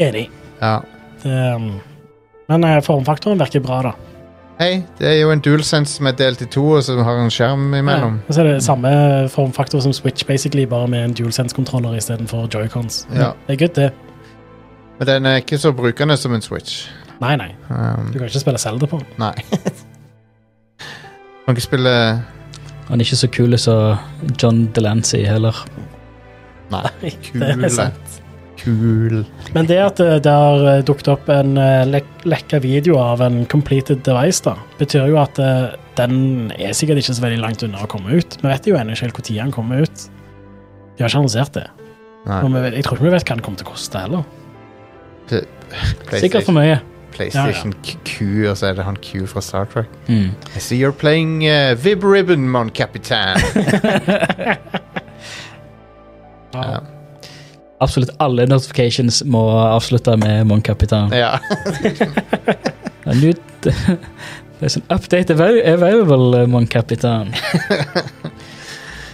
[SPEAKER 3] Enig.
[SPEAKER 1] Ja.
[SPEAKER 3] Det, um, men eh, formfaktoren virker bra, da.
[SPEAKER 1] Hei, det er jo en DualSense som er delt i to, og som har en skjerm imellom.
[SPEAKER 3] Ja, og så er det samme formfaktor som Switch, basically, bare med en DualSense-kontroller istedenfor joycons.
[SPEAKER 1] Ja.
[SPEAKER 3] Det er good, det.
[SPEAKER 1] Men den er ikke så brukende som en Switch.
[SPEAKER 3] Nei, nei.
[SPEAKER 1] Um,
[SPEAKER 3] Du kan ikke spille Zelda på den.
[SPEAKER 1] nei. kan ikke spille
[SPEAKER 2] Han er ikke så kul som John Delancey heller.
[SPEAKER 1] Nei.
[SPEAKER 3] [laughs] Det er
[SPEAKER 1] Kule.
[SPEAKER 3] sant.
[SPEAKER 1] Kul.
[SPEAKER 3] Men det at eh, det har eh, dukket opp en eh, lek lekka video av en completed device, da, betyr jo at eh, den er sikkert ikke så veldig langt unna å komme ut. Vi vet jo ennå ikke helt når den kommer ut. De har ikke annonsert det. Og
[SPEAKER 1] Nei.
[SPEAKER 3] vi vet, jeg tror ikke vi vet hva den kommer til å koste heller.
[SPEAKER 2] Sikkert
[SPEAKER 1] PlayStation,
[SPEAKER 2] for mye.
[SPEAKER 1] PlayStation Q, og så er det han Q fra Star Trek.
[SPEAKER 2] Mm.
[SPEAKER 1] I see you're playing uh, Vib Ribbon, mon [laughs] capitan. ja.
[SPEAKER 2] [laughs] Absolutt alle notifications må avslutte med Mon Capitan.
[SPEAKER 1] ja.
[SPEAKER 2] And [laughs] you- There's an sånn update avail- available, eh, Mon
[SPEAKER 1] [laughs]
[SPEAKER 2] Capitan.
[SPEAKER 3] [laughs]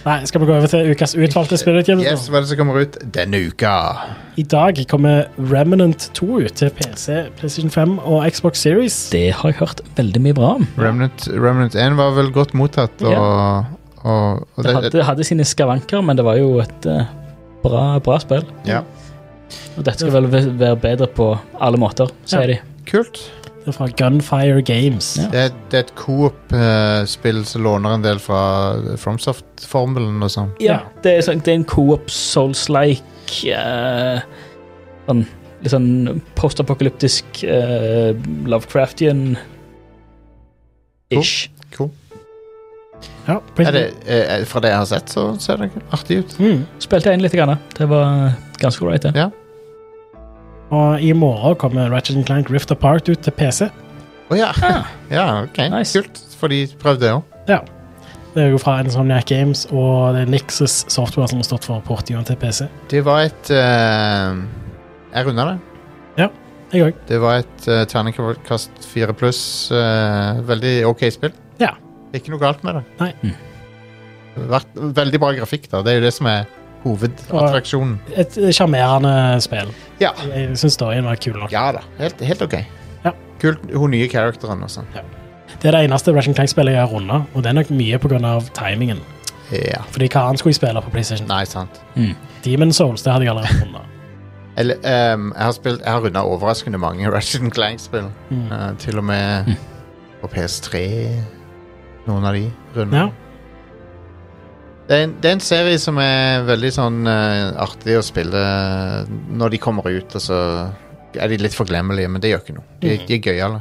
[SPEAKER 3] Nei, skal vi gå over til ukas utvalgte spillutgivelse?
[SPEAKER 1] Yes, hva er [laughs] det som kommer ut denne uka?
[SPEAKER 3] I dag kommer Remnant 2 ut til PC, PlayStation 5 og Xbox Series.
[SPEAKER 2] Det har jeg hørt veldig mye bra om.
[SPEAKER 1] Remnant, Remnant 1 var vel godt mottatt, og, og, og
[SPEAKER 2] Det hadde, hadde sine skavanker, men det var jo et eh, bra, bra spill.
[SPEAKER 1] Ja.
[SPEAKER 2] Og dette skal vel v- være bedre på alle måter, sier de.
[SPEAKER 1] Kult.
[SPEAKER 3] Det er fra Gunfire Games.
[SPEAKER 2] Ja.
[SPEAKER 1] Det er, det er et Coop-spill som låner en del fra eh, FromSoft-formelen og sånn.
[SPEAKER 2] Ja, det er, sånn- det er en co-op souls-like eh, sånn litt sånn postapokalyptisk eh, Lovecraftian-ish.
[SPEAKER 1] Cool.
[SPEAKER 3] Ja,
[SPEAKER 1] Er
[SPEAKER 3] Prison-
[SPEAKER 1] det, eh, fra det jeg har sett, så ser det artig ut.
[SPEAKER 3] Mm.
[SPEAKER 2] Spilte jeg inn litt. Grann. Det var ganske ålreit, det.
[SPEAKER 1] Ja.
[SPEAKER 3] Og i morgen kommer Ratchet Clank Rift Apart ut til PC.
[SPEAKER 1] Å ja. ja, ok.
[SPEAKER 2] Nice.
[SPEAKER 1] Kult. For de prøvde det òg.
[SPEAKER 3] Ja. Det er jo fra Insomniac Games, og det er Nixus Software som har stått for portioen til PC.
[SPEAKER 1] Det var et eh, Jeg runda det.
[SPEAKER 3] Jeg òg.
[SPEAKER 1] Det var et eh, terningkast fire pluss. eh, veldig ok spill.
[SPEAKER 3] Ja.
[SPEAKER 1] Ikke noe galt med det.
[SPEAKER 3] Nei.
[SPEAKER 2] Mm.
[SPEAKER 1] Vært, veldig bra grafikk, da. Det er jo det som er hovedattraksjonen.
[SPEAKER 3] Et sjarmerende spill.
[SPEAKER 1] Ja.
[SPEAKER 3] Jeg syns storyen var kul nok.
[SPEAKER 1] ja da. Helt, helt ok.
[SPEAKER 3] Ja.
[SPEAKER 1] Kult, hun nye characteren og sånn.
[SPEAKER 3] Det er det eneste Ratchet Clank-spillet jeg har runda, og det er nok mye pga. timingen.
[SPEAKER 1] Ja.
[SPEAKER 3] Fordi hva annet skulle jeg spille på PlayStation?
[SPEAKER 1] Nei, sant.
[SPEAKER 2] Mm.
[SPEAKER 3] Demon Souls, det hadde jeg allerede runda.
[SPEAKER 1] Eller, ehm, jeg har, spilt- jeg har runda overraskende mange [laughs] Ratchet Clank-spill.
[SPEAKER 3] Mm.
[SPEAKER 1] Eh, til og med på PS3. Noen av de rundene.
[SPEAKER 3] Ja.
[SPEAKER 1] Det er, en, det er en serie som er veldig sånn eh, artig å spille når de kommer ut, og så er de litt forglemmelige, men det gjør ikke noe. De,
[SPEAKER 3] Mhm.
[SPEAKER 1] de er gøyale.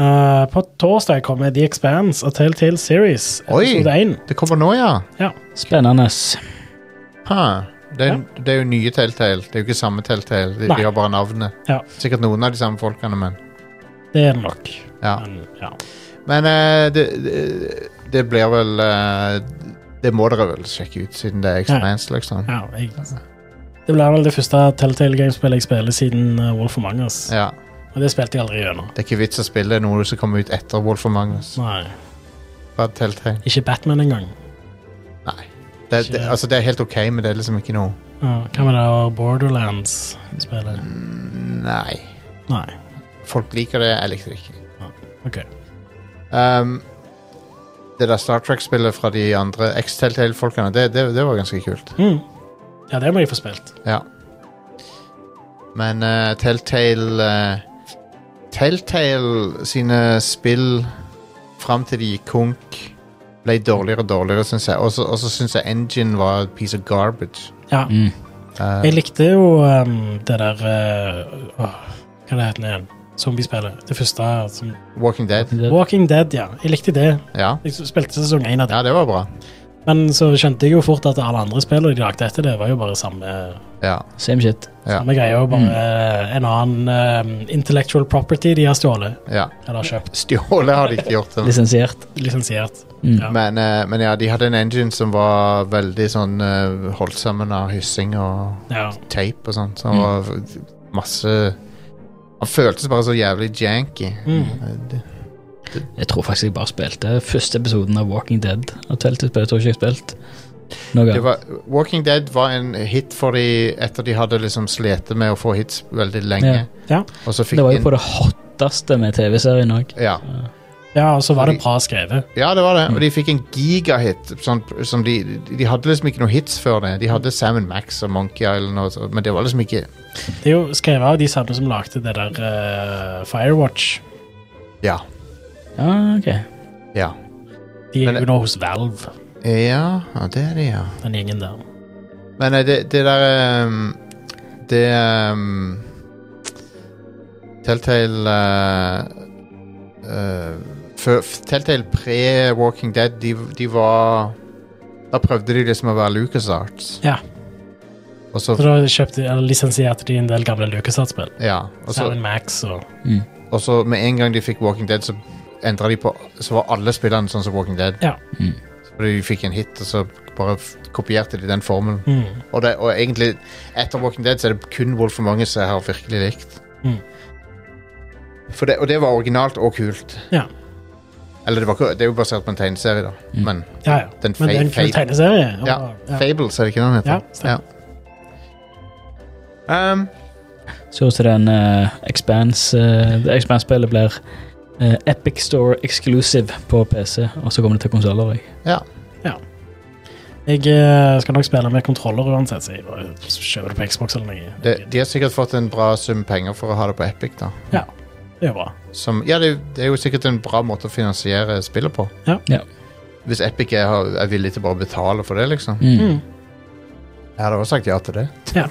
[SPEAKER 3] Eh, på torsdag kommer The Expanse og Telltale Series,
[SPEAKER 1] Oi.
[SPEAKER 3] episode 1.
[SPEAKER 1] Det kommer nå, ja!
[SPEAKER 2] Spennende.
[SPEAKER 1] Ha. Det, er, det er jo nye Telltale. Det er jo ikke samme Telltale. De,
[SPEAKER 3] Nei.
[SPEAKER 1] de har bare navnet.
[SPEAKER 3] Ja.
[SPEAKER 1] Sikkert noen av de samme folkene, men
[SPEAKER 3] Det er det nok.
[SPEAKER 1] ja.
[SPEAKER 3] Men, ja.
[SPEAKER 1] Men eh, det, det, det blir vel eh, Det må dere vel sjekke ut, siden det er Expanse, liksom.
[SPEAKER 3] ja jeg, det blir vel det første Telltale Games-spillet jeg spiller siden eh, Wolf of Mangas.
[SPEAKER 1] Ja.
[SPEAKER 3] Og det spilte jeg aldri gjennom.
[SPEAKER 1] Det er ikke vits å spille noe som kommer ut etter Wolf of Magnus.
[SPEAKER 3] Nei.
[SPEAKER 1] Bare Telltale.
[SPEAKER 3] Ikke Batman engang.
[SPEAKER 1] Nei. Det, det, altså, det er helt OK, men det er liksom ikke noe
[SPEAKER 3] Ja, Hva med det der Borderlands-spillet?
[SPEAKER 1] Mm, Nei.
[SPEAKER 3] Nei.
[SPEAKER 1] Folk liker det, jeg likte det ikke.
[SPEAKER 3] OK.
[SPEAKER 1] Um, det der Star Trek-spillet fra de andre eks-Telltale-folkene, det, det, det var ganske kult.
[SPEAKER 3] Mm. Ja, det må jeg få spilt.
[SPEAKER 1] Ja. Men eh, Telltale eh, Telltale sine spill fram til de gikk konk, ble dårligere og dårligere, syns jeg. Og så- Og så syns jeg Engine var a piece of garbage.
[SPEAKER 3] Ja.
[SPEAKER 2] Mm.
[SPEAKER 1] Eh,
[SPEAKER 3] Jeg likte jo um, det der uh, åh, Hva det heter det igjen? Zombiespillet. Det første. Som,
[SPEAKER 1] Walking Dead.
[SPEAKER 3] Walking Dead, ja. Jeg likte det.
[SPEAKER 1] Ja.
[SPEAKER 3] Jeg spilte sesong én av det.
[SPEAKER 1] ja, det var bra.
[SPEAKER 3] Men så skjønte jeg jo fort at alle andre spillene de lagde etter det, var jo bare samme,
[SPEAKER 1] Ja.
[SPEAKER 2] Same shit.
[SPEAKER 1] Ja. Mm.
[SPEAKER 3] samme greie. Og bare eh, en annen um, intellectual property de har stjålet.
[SPEAKER 1] ja.
[SPEAKER 3] Eller kjøpt.
[SPEAKER 1] Stjåle har de ikke gjort.
[SPEAKER 2] [laughs]
[SPEAKER 1] Det.
[SPEAKER 2] Lisensiert.
[SPEAKER 3] Lisensiert.
[SPEAKER 2] Mm.
[SPEAKER 3] Ja.
[SPEAKER 1] Men, eh, men ja, de hadde en engine som var veldig sånn eh, holdt sammen av hyssing og
[SPEAKER 3] Ja.
[SPEAKER 1] tape og sånt. Så han var masse Han føltes bare så jævlig janky.
[SPEAKER 3] Mm.
[SPEAKER 1] Eh, det-
[SPEAKER 2] Jeg tror faktisk jeg bare spilte første episoden av Walking Dead. Og teltet jeg tror ikke jeg spilt noe.
[SPEAKER 1] Det var, Walking Dead var en hit for de etter de hadde liksom slitt med å få hits veldig lenge.
[SPEAKER 3] Ja. Ja.
[SPEAKER 1] Og så fikk
[SPEAKER 2] det var
[SPEAKER 1] de
[SPEAKER 2] jo
[SPEAKER 1] en-
[SPEAKER 2] på det hotteste med TV-serien òg.
[SPEAKER 1] ja.
[SPEAKER 3] ja, og så var det bra skrevet.
[SPEAKER 1] ja, det var det. Og de fikk en gigahit. Sånn, som de, de hadde liksom ikke noen hits før det. De hadde Sam Max og Monkey Island, og, så- men det var liksom ikke
[SPEAKER 3] Det er jo skrevet av de samme som lagde det der eh, Firewatch.
[SPEAKER 1] Ja.
[SPEAKER 2] Ja, ok.
[SPEAKER 1] Ja,
[SPEAKER 3] De
[SPEAKER 1] Men
[SPEAKER 3] er
[SPEAKER 1] det-
[SPEAKER 3] jo nå hos Valve,
[SPEAKER 1] ja ja, det er det, ja.
[SPEAKER 3] den gjengen der.
[SPEAKER 1] Men eh, det, det der ehm, Det ehm, Telltale eh, eh, før- f- Telltale pre-Walking Dead, de, de var Da prøvde de liksom å være LucasArts.
[SPEAKER 3] Ja.
[SPEAKER 1] Og så
[SPEAKER 3] Så da kjøpte, eller lisensierte de en del gamle LucasArts-spill.
[SPEAKER 1] Ja. Og så,
[SPEAKER 3] Sam Max og
[SPEAKER 2] Mm.
[SPEAKER 1] og så med en gang de fikk Walking Dead, så endra de på Så var alle spillene sånn som Walking Dead.
[SPEAKER 3] Ja.
[SPEAKER 2] Mm.
[SPEAKER 1] Så de fikk en hit, og så bare f- kopierte de den formelen.
[SPEAKER 3] mm.
[SPEAKER 1] Og, det, og egentlig, etter Walking Dead så er det kun Wolf of Magnus jeg har virkelig likt.
[SPEAKER 3] Mm.
[SPEAKER 1] For det, og det var originalt og kult.
[SPEAKER 3] Ja.
[SPEAKER 1] Eller det, var, ikke- det er jo basert på en tegneserie, da.
[SPEAKER 2] Mm.
[SPEAKER 1] Men
[SPEAKER 3] Ja, ja.
[SPEAKER 1] den
[SPEAKER 3] Men det er en
[SPEAKER 1] fa-
[SPEAKER 3] kul
[SPEAKER 1] fa-
[SPEAKER 3] tegneserie. og-
[SPEAKER 1] ja, Fables, er det ikke den
[SPEAKER 3] ja,
[SPEAKER 1] heter?
[SPEAKER 3] stemmer.
[SPEAKER 1] Um,
[SPEAKER 2] Så ut til den eh, Expanse eh, det Expanse-spillet blir eh, Epic Store Exclusive på PC, og så kommer det til konsoller òg.
[SPEAKER 3] Jeg eh, skal nok spille med kontroller uansett, så jeg bare kjøper det på Xbox eller noe.
[SPEAKER 1] det, de har sikkert fått en bra sum penger for å ha det på Epic, da.
[SPEAKER 3] Det er jo bra.
[SPEAKER 1] Som, ja, det, det er jo sikkert en bra måte å finansiere spillet på.
[SPEAKER 3] Ja.
[SPEAKER 2] Ja.
[SPEAKER 1] Hvis Epic er, er villig til bare å betale for det, liksom.
[SPEAKER 2] Mm.
[SPEAKER 3] Mm.
[SPEAKER 1] Jeg hadde også sagt ja til det.
[SPEAKER 3] Ja.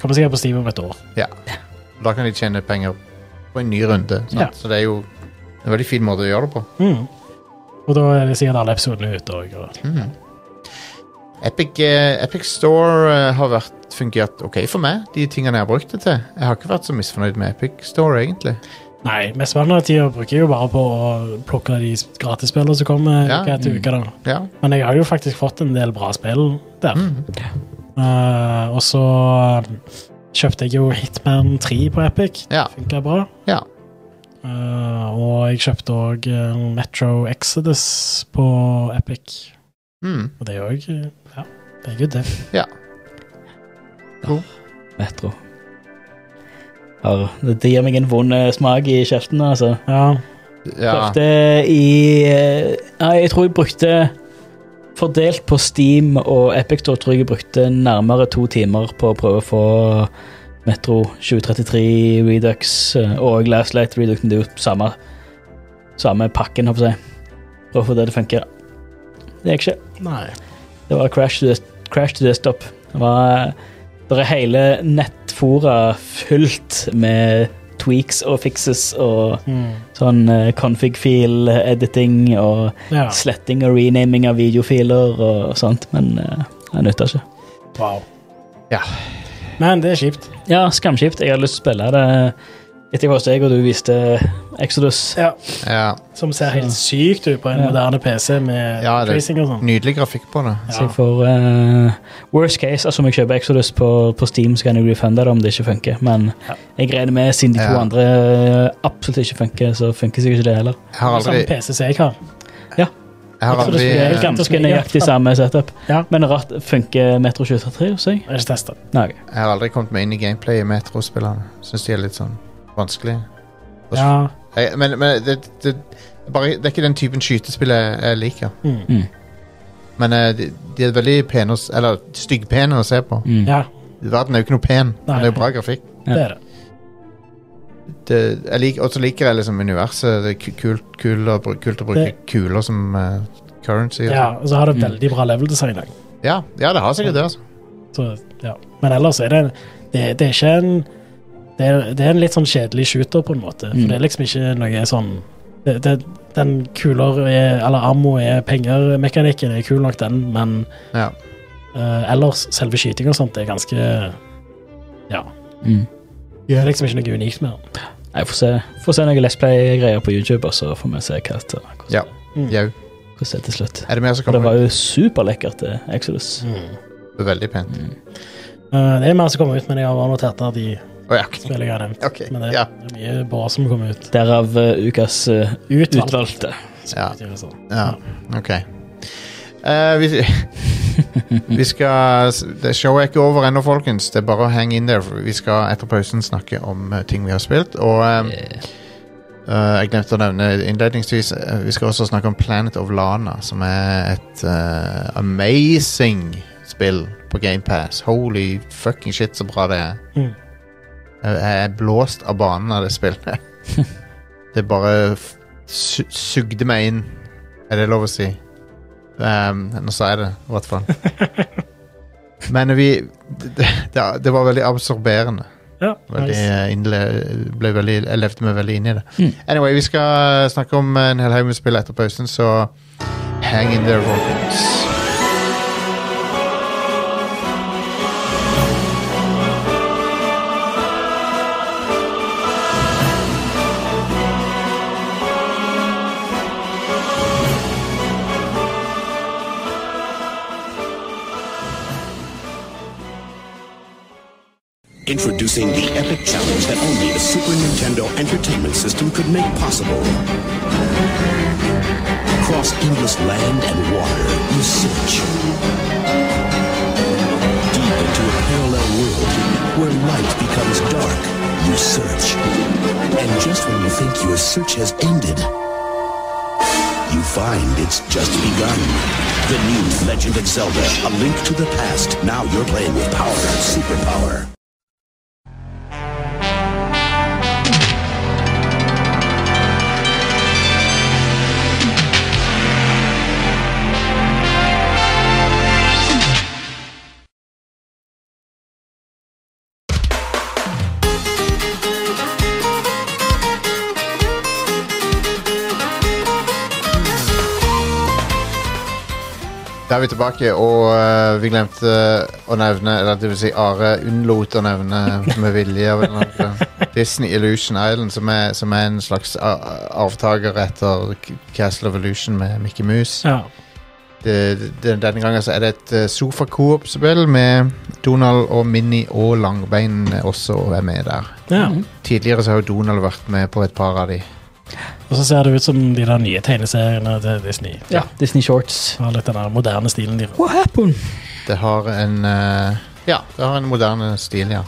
[SPEAKER 3] kommer sikkert på Steam om et år.
[SPEAKER 1] Da kan de tjene penger på en ny runde. Sant?
[SPEAKER 3] Ja.
[SPEAKER 1] Så det er jo en veldig fin måte å gjøre det på.
[SPEAKER 3] Mm. Og da er det sikkert alle episodene ute òg. Og,
[SPEAKER 1] Mhm. Epic, eh, Epic Store eh, har vært, fungert ok for meg, de tingene jeg har brukt det til. Jeg har ikke vært så misfornøyd med Epic Store, egentlig.
[SPEAKER 3] Nei, mesteparten av tida bruker jeg jo bare på å plukke de gratisspillene som kommer
[SPEAKER 1] Ja,
[SPEAKER 3] uke etter
[SPEAKER 2] mm.
[SPEAKER 3] uke. da.
[SPEAKER 1] Ja.
[SPEAKER 3] Men jeg har jo faktisk fått en del bra spill der.
[SPEAKER 1] Mhm.
[SPEAKER 3] Eh, og så eh, kjøpte jeg jo Hitman 3 på Epic.
[SPEAKER 1] Ja.
[SPEAKER 3] Funka bra.
[SPEAKER 1] Ja.
[SPEAKER 3] Eh, og jeg kjøpte òg Metro Exodus på Epic.
[SPEAKER 1] Mhm.
[SPEAKER 3] Og det òg Ja, det er good, det.
[SPEAKER 2] Metro. Ja, det det gir meg en vond eh, smak i kjeften, altså.
[SPEAKER 3] Ja,
[SPEAKER 1] ja.
[SPEAKER 2] Prøvde i eh, Nei, jeg tror jeg brukte Fordelt på Steam og Epic Store tror jeg jeg brukte nærmere to timer på å prøve å få Metro 2033 Redux eh, og Last Light Redux men Det er jo samme, samme pakken, håper jeg. Prøve å få det til å funke. Det gikk ikke.
[SPEAKER 3] nei.
[SPEAKER 2] Det var Crash to, des- crash to Desktop. Det var Det er hele nettfora fylt med tweaks og fixes og
[SPEAKER 3] Mm.
[SPEAKER 2] sånn eh, config-fil-editing og
[SPEAKER 3] Ja.
[SPEAKER 2] sletting og renaming av videofiler og sånt, men eh, det nytter ikke.
[SPEAKER 3] Wow.
[SPEAKER 1] Ja.
[SPEAKER 3] Men det er kjipt.
[SPEAKER 2] Ja, skamskipt. Jeg har lyst til å spille det etter hva jeg og du viste Exodus.
[SPEAKER 1] ja.
[SPEAKER 3] Som ser helt sykt ut på en
[SPEAKER 2] Ja.
[SPEAKER 3] moderne PC med
[SPEAKER 1] Ja, det- Mm.
[SPEAKER 3] tracing og sånn.
[SPEAKER 1] Nydelig grafikk på det.
[SPEAKER 2] Så
[SPEAKER 3] Ja.
[SPEAKER 2] jeg får eh, Worst case, altså om jeg kjøper Exodus på, på Steam, så kan jeg refunde det om det ikke funker. Men
[SPEAKER 3] Ja.
[SPEAKER 2] jeg regner med, siden de to
[SPEAKER 1] Ja.
[SPEAKER 2] andre eh, absolutt ikke funker, så funker sikkert ikke det heller.
[SPEAKER 1] Jeg har aldri,
[SPEAKER 3] Samme PC som jeg har.
[SPEAKER 1] jeg har
[SPEAKER 2] Så det
[SPEAKER 1] aldri
[SPEAKER 2] skulle
[SPEAKER 1] eh,
[SPEAKER 2] jeg ganske nøyaktig samme setup.
[SPEAKER 3] Ja.
[SPEAKER 2] Men rart funker Metro 2033 hos deg?
[SPEAKER 3] Jeg har ikke testa.
[SPEAKER 2] Nei, ok.
[SPEAKER 1] Jeg har aldri kommet meg inn i gameplay i Metro-spillene. Syns de er litt sånn vanskelig.
[SPEAKER 3] Ja.
[SPEAKER 1] Jeg, men men det, det, det, er bare, det er ikke den typen skytespill jeg, jeg liker.
[SPEAKER 3] Mm.
[SPEAKER 2] Mm.
[SPEAKER 1] Men eh, de, de er veldig pene å s- Eller styggpene å se på.
[SPEAKER 2] Mm.
[SPEAKER 3] ja,
[SPEAKER 1] Verden er jo ikke noe pen, men det er jo bra grafikk.
[SPEAKER 2] Ja.
[SPEAKER 3] det er det.
[SPEAKER 1] Det, jeg lik, og så liker jeg liksom universet. Det er ku- kult, kul å, bru- kult å bruke
[SPEAKER 3] Det-
[SPEAKER 1] kuler som eh, currency. og
[SPEAKER 3] Ja,
[SPEAKER 1] sånn.
[SPEAKER 3] og så har det
[SPEAKER 2] Mm.
[SPEAKER 3] veldig bra level design òg.
[SPEAKER 1] Ja, ja, det har sikkert det. altså
[SPEAKER 3] Så, ja. Men ellers er det, det Det er ikke en det er, det er en litt sånn kjedelig shooter, på en måte. For
[SPEAKER 2] Mm.
[SPEAKER 3] det er liksom ikke noe sånn det, det, Den kuler er, eller ammo er penger-mekanikken er kul nok, den, men
[SPEAKER 1] Ja.
[SPEAKER 3] eh, ellers, selve skyting og sånt, det er ganske Ja.
[SPEAKER 2] Mm.
[SPEAKER 3] Det er liksom ikke noe unikt med den.
[SPEAKER 2] Jeg får se, får se noen Let's Play-greier på YouTube, og så får vi se hva til- hvordan,
[SPEAKER 1] Ja.
[SPEAKER 3] Mm.
[SPEAKER 1] Jau.
[SPEAKER 2] hvordan det er til slutt.
[SPEAKER 1] Er det mer som
[SPEAKER 2] For det
[SPEAKER 1] kommer?
[SPEAKER 2] var jo superlekkert, det, Exodus.
[SPEAKER 3] Mm.
[SPEAKER 1] ut? Veldig pent.
[SPEAKER 3] Eh, det er mer som kommer ut, men jeg har bare notert ned de
[SPEAKER 1] Å ja, ok.
[SPEAKER 3] spillene jeg har nevnt.
[SPEAKER 1] Ok,
[SPEAKER 3] Men det,
[SPEAKER 1] ja.
[SPEAKER 3] det er mye bra som kommer ut.
[SPEAKER 2] Derav eh, ukas eh, utvalgte.
[SPEAKER 3] som
[SPEAKER 1] Ja.
[SPEAKER 3] betyr sånn.
[SPEAKER 1] ja. Ok. Eh, vi, [laughs] vi skal det- Showet er ikke over ennå, folkens. Det er bare å hang in there. for Vi skal etter pausen snakke om eh, ting vi har spilt. Og eh,
[SPEAKER 2] Eh,
[SPEAKER 1] Eh, jeg glemte å nevne innledningsvis eh, Vi skal også snakke om Planet of Lana, som er et eh, amazing spill på GamePass. Holy fucking shit, så bra det er.
[SPEAKER 3] Mm.
[SPEAKER 1] Jeg jeg er blåst av banen av det spillet. det bare f su sugde meg inn. Er det lov å si? Ehm, nå sa jeg det, i hvert fall. Men vi det, det, det var veldig absorberende.
[SPEAKER 3] Ja,
[SPEAKER 1] Veldig,
[SPEAKER 3] nice.
[SPEAKER 1] eh, innle, ble veldig, jeg levde meg veldig inn i det.
[SPEAKER 2] Mm.
[SPEAKER 1] Anyway, vi skal eh, snakke om en hel haug med spill etter pausen, så hang in there, folkens.
[SPEAKER 5] Introducing the epic challenge that only the Super Nintendo Entertainment System could make possible. Across endless land and water, you search. Deep into a parallel world where light becomes dark, you search. And just when you think your search has ended, you find it's just begun. The new Legend of Zelda, A Link to the Past. Now you're playing with power, superpower.
[SPEAKER 1] Da er vi tilbake, og eh, vi glemte å nevne Eller det vil si Are unnlot å nevne med vilje av en eller annen grunn, Disney Illusion Island, som er, som er en slags a- avtaker etter K- Castle of Illusion med Mickey Mouse.
[SPEAKER 3] Ja.
[SPEAKER 1] Det, det, denne gangen så er det et eh, sofa-coop-spill med Donald og Minnie og Langbein også og er med der.
[SPEAKER 3] ja.
[SPEAKER 2] Mhm.
[SPEAKER 1] Tidligere så har jo Donald vært med på et par av de.
[SPEAKER 3] Og så ser det ut som de der nye tegneseriene til Disney.
[SPEAKER 2] Ja, Disney Shorts.
[SPEAKER 3] Har litt den der moderne stilen de
[SPEAKER 2] What happened?
[SPEAKER 1] Det har en eh, Ja, det har en moderne stil, ja.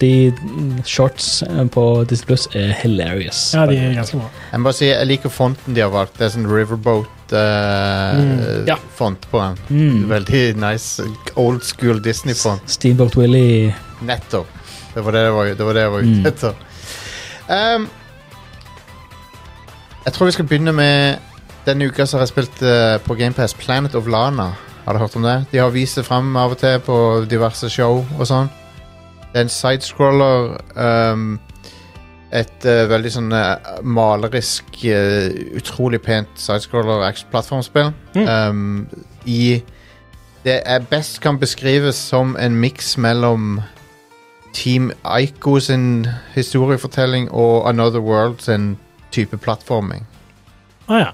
[SPEAKER 2] De mm, shorts eh, på Disney Plus er hilarious.
[SPEAKER 3] Ja, de er ganske bra.
[SPEAKER 1] Jeg må bare si, jeg liker fonten de har valgt. Det er sånn
[SPEAKER 2] Ja.
[SPEAKER 1] Riverboat-font på den.
[SPEAKER 2] Mm.
[SPEAKER 1] Veldig nice old school Disney-font.
[SPEAKER 2] Steamboat Willie.
[SPEAKER 1] Nettopp. Det var det jeg var, det var, det jeg var ute
[SPEAKER 2] Mm.
[SPEAKER 1] etter. Ehm, jeg tror vi skal begynne med Denne uka så har jeg spilt eh, på GamePass Planet of Lana. Har du hørt om det? De har vist det fram av og til på diverse show og sånn. Det er en sidescroller ehm, Et eh, veldig sånn eh, malerisk, eh, utrolig pent sidescroller action- plattformspill. Ehm, I Det er best kan beskrives som en miks mellom Team Ico sin historiefortelling og Another World sin type plattforming.
[SPEAKER 3] Å Ah, ja.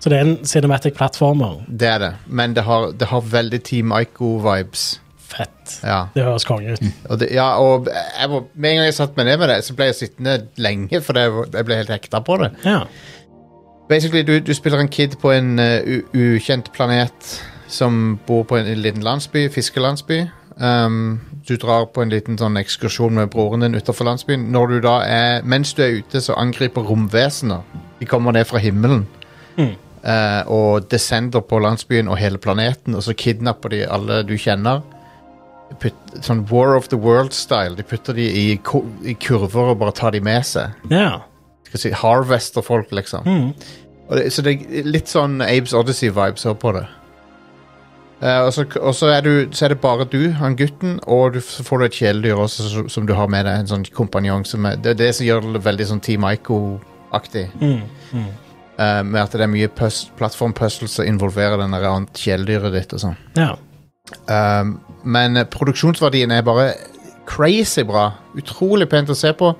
[SPEAKER 3] Så det er en cinematic platformer.
[SPEAKER 1] Det er det, men det har, det har veldig Team Ico-vibes.
[SPEAKER 3] Fett.
[SPEAKER 1] Ja.
[SPEAKER 3] Det høres konge ut.
[SPEAKER 1] Og, det, ja, og jeg var, med en gang jeg satte meg ned med det, så ble jeg sittende lenge, for det, var- jeg ble helt hekta på det.
[SPEAKER 3] Ja.
[SPEAKER 1] Basically, du, du spiller en kid på en eh, u ukjent planet som bor på en liten landsby, fiskelandsby. Um, du drar på en liten sånn ekskursjon med broren din utenfor landsbyen. Når du da er, mens du er ute, så angriper romvesener. De kommer ned fra himmelen. Eh, og descender på landsbyen og hele planeten, og så kidnapper de alle du kjenner. Putt, sånn War of the World-style. De putter de i, ko- i kurver og bare tar de med seg
[SPEAKER 3] ja. Mm.
[SPEAKER 1] skal si, harvester folk, liksom. Og det, så det er litt sånn Abes Odyssey-vibes over på det. Eh, og så, og så, er du, så er det bare du, han gutten, og du, så får du et kjæledyr også som, som du har med deg. En sånn kompanjong. Som er, det er det som gjør det veldig sånn Team Ico-aktig.
[SPEAKER 3] Mm.
[SPEAKER 1] Eh, med at det er mye pus- plattform-puzzles som involverer den der annet kjæledyret ditt og sånn.
[SPEAKER 3] Ja.
[SPEAKER 1] Um, men eh, produksjonsverdien er bare crazy bra. Utrolig pent å se på.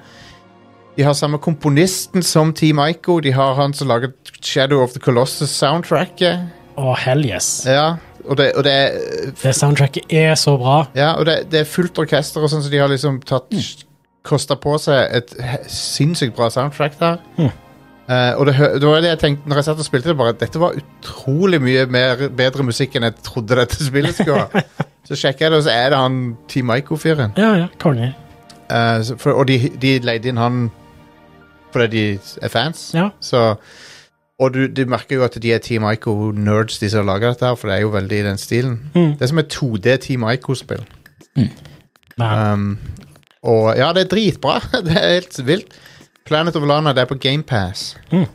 [SPEAKER 1] De har samme komponisten som Team Ico. De har han som laget Shadow of the Colossus-soundtracket.
[SPEAKER 3] Og hell yes.
[SPEAKER 1] Ja, og det, og det er
[SPEAKER 3] Det soundtracket er så bra.
[SPEAKER 1] ja, og det, det er fullt orkester og sånn, så de har liksom tatt Kosta på seg et he- sinnssykt bra soundtrack der. Eh, og det, hø- det var det jeg tenkte når jeg satt og spilte det, bare at dette var utrolig mye mer, bedre musikk enn jeg trodde dette spillet skulle ha. så sjekker jeg det, og så er det han Team Ico-fyren.
[SPEAKER 3] Ja, ja. Konge.
[SPEAKER 1] Eh, så for- og de, de leide inn han fordi de er fans.
[SPEAKER 3] Ja.
[SPEAKER 1] Så, og du, du merker jo at de er Team Ico-nerds, de som lager dette her, for det er jo veldig i den stilen.
[SPEAKER 3] Mm.
[SPEAKER 1] Det er som et 2D Team Ico-spill.
[SPEAKER 3] Man.
[SPEAKER 1] Um, og ja, det er dritbra. [laughs] det er helt vilt. Planet of Lana det er på GamePass.
[SPEAKER 3] Mm.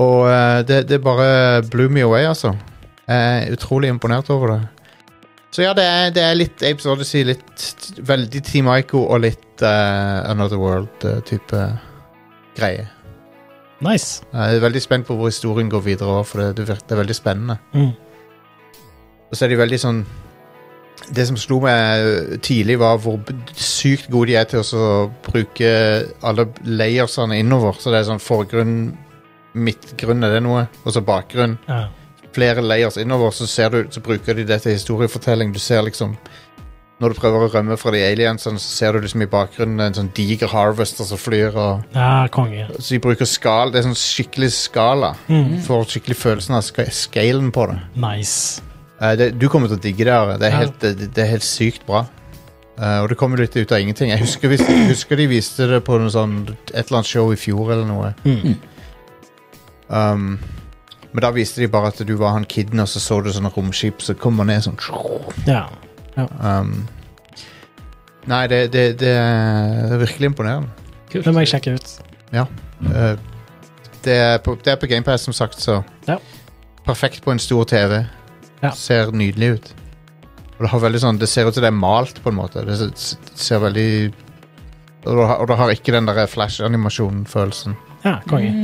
[SPEAKER 1] Og eh, det, det bare blew me away, altså. Jeg er utrolig imponert over det. Så ja, det er, det er litt Apes Odyssey, litt veldig Team Ico og litt eh, Another World-type greie.
[SPEAKER 3] Nice.
[SPEAKER 1] Jeg er veldig spent på hvor historien går videre også, for det, det, virker, det er veldig spennende.
[SPEAKER 3] Mm.
[SPEAKER 1] Og så er de veldig sånn Det som slo meg eh, tidlig, var hvor b- sykt gode de er til å så bruke alle layersene innover. Så det er sånn forgrunn, midtgrunn er det noe, og så bakgrunn.
[SPEAKER 3] Ja.
[SPEAKER 1] Flere layers innover, så, ser du, så bruker de det til historiefortelling. Du ser liksom Når du prøver å rømme fra de aliensene, så ser du liksom i bakgrunnen en sånn diger harvester som flyr. og
[SPEAKER 3] ja, konge.
[SPEAKER 1] så de bruker skal, det er sånn skikkelig skala.
[SPEAKER 3] Mm.
[SPEAKER 1] Får skikkelig følelsen av ska- scalen på det.
[SPEAKER 3] Nice.
[SPEAKER 1] Eh, det. Du kommer til å digge det. Are. Det er
[SPEAKER 3] Ja.
[SPEAKER 1] helt, det, det er helt sykt bra. Eh, og det kommer litt ut av ingenting. Jeg husker, vis, jeg husker de viste det på noe sånn, et eller annet show i fjor eller noe.
[SPEAKER 3] Mm.
[SPEAKER 1] Um, men da viste de bare at du var han kiden, og så så du sånne romskip som kommer ned sånn
[SPEAKER 3] Ja.
[SPEAKER 1] um, Nei, det, det, det, er, det er virkelig imponerende.
[SPEAKER 3] Det må jeg sjekke ut.
[SPEAKER 1] Eh, det, er på, det er på GamePass, som sagt, så
[SPEAKER 3] Ja.
[SPEAKER 1] Perfekt på en stor TV.
[SPEAKER 3] Ja.
[SPEAKER 1] Ser nydelig ut. Og det, har veldig sånn, det ser ut som det er malt, på en måte. Det ser, ser veldig og det, har, og det har ikke den der flash-animasjon-følelsen.
[SPEAKER 3] Ja,
[SPEAKER 2] Mm.
[SPEAKER 3] konge.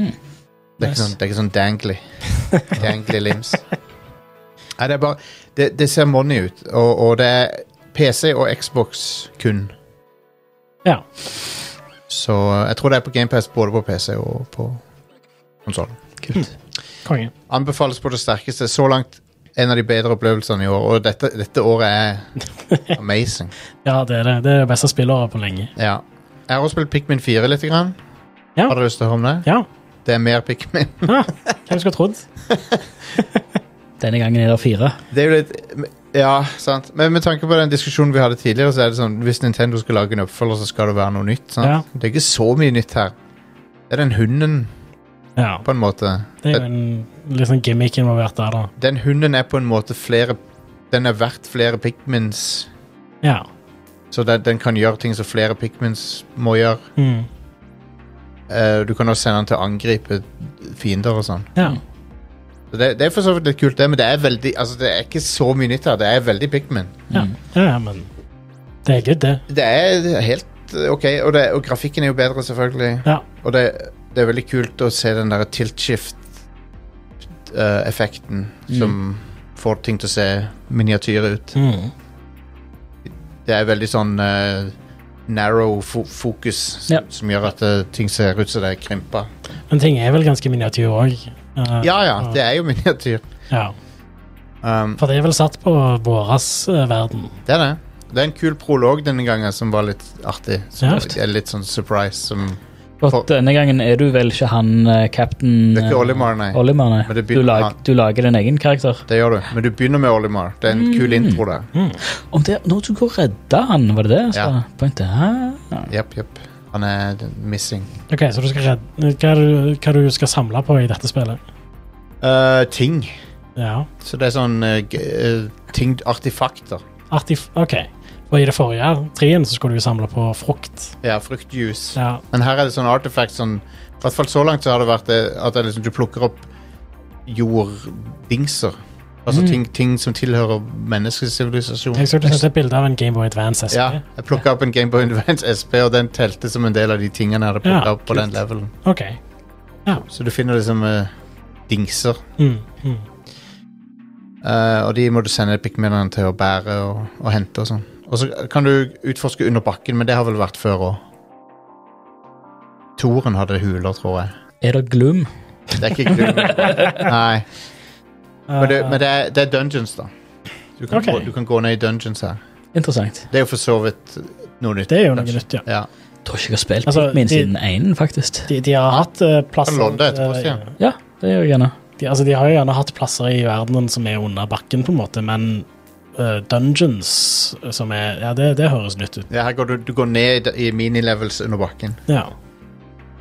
[SPEAKER 1] Det, er ikke
[SPEAKER 3] Nice. [laughs]
[SPEAKER 1] sånn, det er ikke sånn dangly. dangly limbs. Nei, det er bare Det, det ser money ut, og, og det er PC og Xbox kun.
[SPEAKER 3] Ja.
[SPEAKER 1] Så eh, jeg tror det er på GamePass både på PC og på konsollen.
[SPEAKER 2] Kult.
[SPEAKER 3] Konge.
[SPEAKER 1] Anbefales på det sterkeste. Så langt en av de bedre opplevelsene i år, og dette, dette året er
[SPEAKER 3] [laughs]
[SPEAKER 1] amazing.
[SPEAKER 3] Ja, det er det. Det er det beste spillåret på lenge.
[SPEAKER 1] Ja. Jeg har også spilt Pikmin 4 litt. Grann.
[SPEAKER 3] Ja.
[SPEAKER 1] Har du lyst til å høre om det?
[SPEAKER 3] [laughs] Ja,
[SPEAKER 1] Det er mer Pikmin.
[SPEAKER 3] hvem skulle trodd?
[SPEAKER 2] Denne gangen er det fire.
[SPEAKER 1] Det er jo litt Ja, sant. Men med tanke på den diskusjonen vi hadde tidligere, så er det sånn hvis Nintendo skal lage en oppfølger, så skal det være noe nytt. sant?
[SPEAKER 3] Ja.
[SPEAKER 1] Det er ikke så mye nytt her. Det er den hunden,
[SPEAKER 3] Ja,
[SPEAKER 1] på en måte.
[SPEAKER 3] det er jo en litt sånn gimmick involvert der, da.
[SPEAKER 1] Den hunden er på en måte flere Den er verdt flere Pikmins,
[SPEAKER 3] Ja.
[SPEAKER 1] så den, den kan gjøre ting som flere Pikmins må gjøre.
[SPEAKER 3] Mm.
[SPEAKER 1] Eh, du kan også sende den til å angripe fiender og sånn.
[SPEAKER 3] ja.
[SPEAKER 1] Så Det, det er for så vidt litt kult, det, men det er veldig Altså, det er ikke så mye nytt her. Det er veldig Pikmin.
[SPEAKER 3] Ja.
[SPEAKER 2] Mm.
[SPEAKER 3] ja, ja, men det er good, det.
[SPEAKER 1] Det er helt eh, OK, og, det, og grafikken er jo bedre, selvfølgelig.
[SPEAKER 3] Ja.
[SPEAKER 1] Og det, det er veldig kult å se den der tilt-shift-effekten som får ting til å se miniatyre ut.
[SPEAKER 3] Mm.
[SPEAKER 1] Det er veldig sånn eh, narrow fo fokus som,
[SPEAKER 2] Ja.
[SPEAKER 1] som gjør at eh, ting ser ut som det er krympa.
[SPEAKER 3] Men ting er vel ganske miniatyr òg.
[SPEAKER 1] Ja ja, det er jo [laughs] miniatyr.
[SPEAKER 3] ja.
[SPEAKER 1] Um,
[SPEAKER 3] For det er vel satt på våras eh, verden.
[SPEAKER 1] det er det. Det er en kul prolog denne gangen som var litt artig. Som,
[SPEAKER 3] Ja.
[SPEAKER 1] det er litt sånn surprise som
[SPEAKER 2] Og
[SPEAKER 1] For-
[SPEAKER 2] denne gangen er du vel ikke han eh, captain
[SPEAKER 1] Det er ikke
[SPEAKER 2] eh,
[SPEAKER 1] Olimar, nei.
[SPEAKER 2] Olimar, nei.
[SPEAKER 1] Men det
[SPEAKER 2] Du,
[SPEAKER 1] begynner
[SPEAKER 2] lag,
[SPEAKER 1] han.
[SPEAKER 2] du lager din egen karakter.
[SPEAKER 1] Det gjør du. Men du begynner med Olimar. Det er en kul intro der.
[SPEAKER 2] Om det, når du går og redder han, var det det? Så,
[SPEAKER 1] Ja.
[SPEAKER 2] Pointet? Hæ? Ja.
[SPEAKER 1] Jepp, jepp. Han er missing.
[SPEAKER 3] Ok, Så du skal redde Hva er det du- hva er det du skal samle på i dette spillet?
[SPEAKER 1] Eh, ting.
[SPEAKER 3] Ja.
[SPEAKER 1] Så det er sånn eh, g- eh, ting, artefakter.
[SPEAKER 3] Artif... OK. Og i det forrige trien så skulle du jo samle på frukt.
[SPEAKER 1] Ja, fruktjuice.
[SPEAKER 3] Ja.
[SPEAKER 1] Men her er det sånn artefakt sånn I hvert fall så langt så har det vært det at det er liksom, du plukker opp jorddingser. Altså
[SPEAKER 3] Mm.
[SPEAKER 1] ting, ting som tilhører menneskesivilisasjon.
[SPEAKER 3] Jeg så du sendte et bilde av en Gameboy Advance SB.
[SPEAKER 1] Ja, jeg plukka opp en Gameboy Advance SP, og den telte som en del av de tingene jeg hadde plukka
[SPEAKER 3] Ja,
[SPEAKER 1] opp på den levelen.
[SPEAKER 3] OK.
[SPEAKER 1] Så du finner liksom eh, dingser,
[SPEAKER 3] Mm. Mm.
[SPEAKER 1] eh, og de må du sende pikminene til å bære og, og hente og sånn. Og så kan du utforske under bakken, men det har vel vært før òg. Toren hadde huler, tror jeg.
[SPEAKER 2] Er det gloom?
[SPEAKER 1] Det er ikke
[SPEAKER 3] [laughs]
[SPEAKER 1] Gloom. Nei. Men, det,
[SPEAKER 3] Eh,
[SPEAKER 1] men det, er, det er dungeons, da. Du kan,
[SPEAKER 3] Ok.
[SPEAKER 1] gå, du kan gå ned i dungeons her.
[SPEAKER 2] Interessant.
[SPEAKER 1] Det er jo for så vidt noe nytt.
[SPEAKER 3] Det er jo noe nytt, ja.
[SPEAKER 1] Ja.
[SPEAKER 2] Jeg tror ikke jeg har spilt
[SPEAKER 3] Altså,
[SPEAKER 2] Pikmin
[SPEAKER 3] de-
[SPEAKER 2] siden én, faktisk.
[SPEAKER 3] De, de har hatt eh, plasser eh,
[SPEAKER 1] Kan låne det etterpå, sier jeg.
[SPEAKER 2] Ja, det gjør jeg gjerne.
[SPEAKER 3] de, altså, de har jo gjerne hatt plasser i verdenen som er under bakken, på en måte, men eh, dungeons eh, som er Ja, det, det høres nytt ut.
[SPEAKER 1] Ja, her går du, du går ned i, i minilevels under bakken.
[SPEAKER 3] Ja.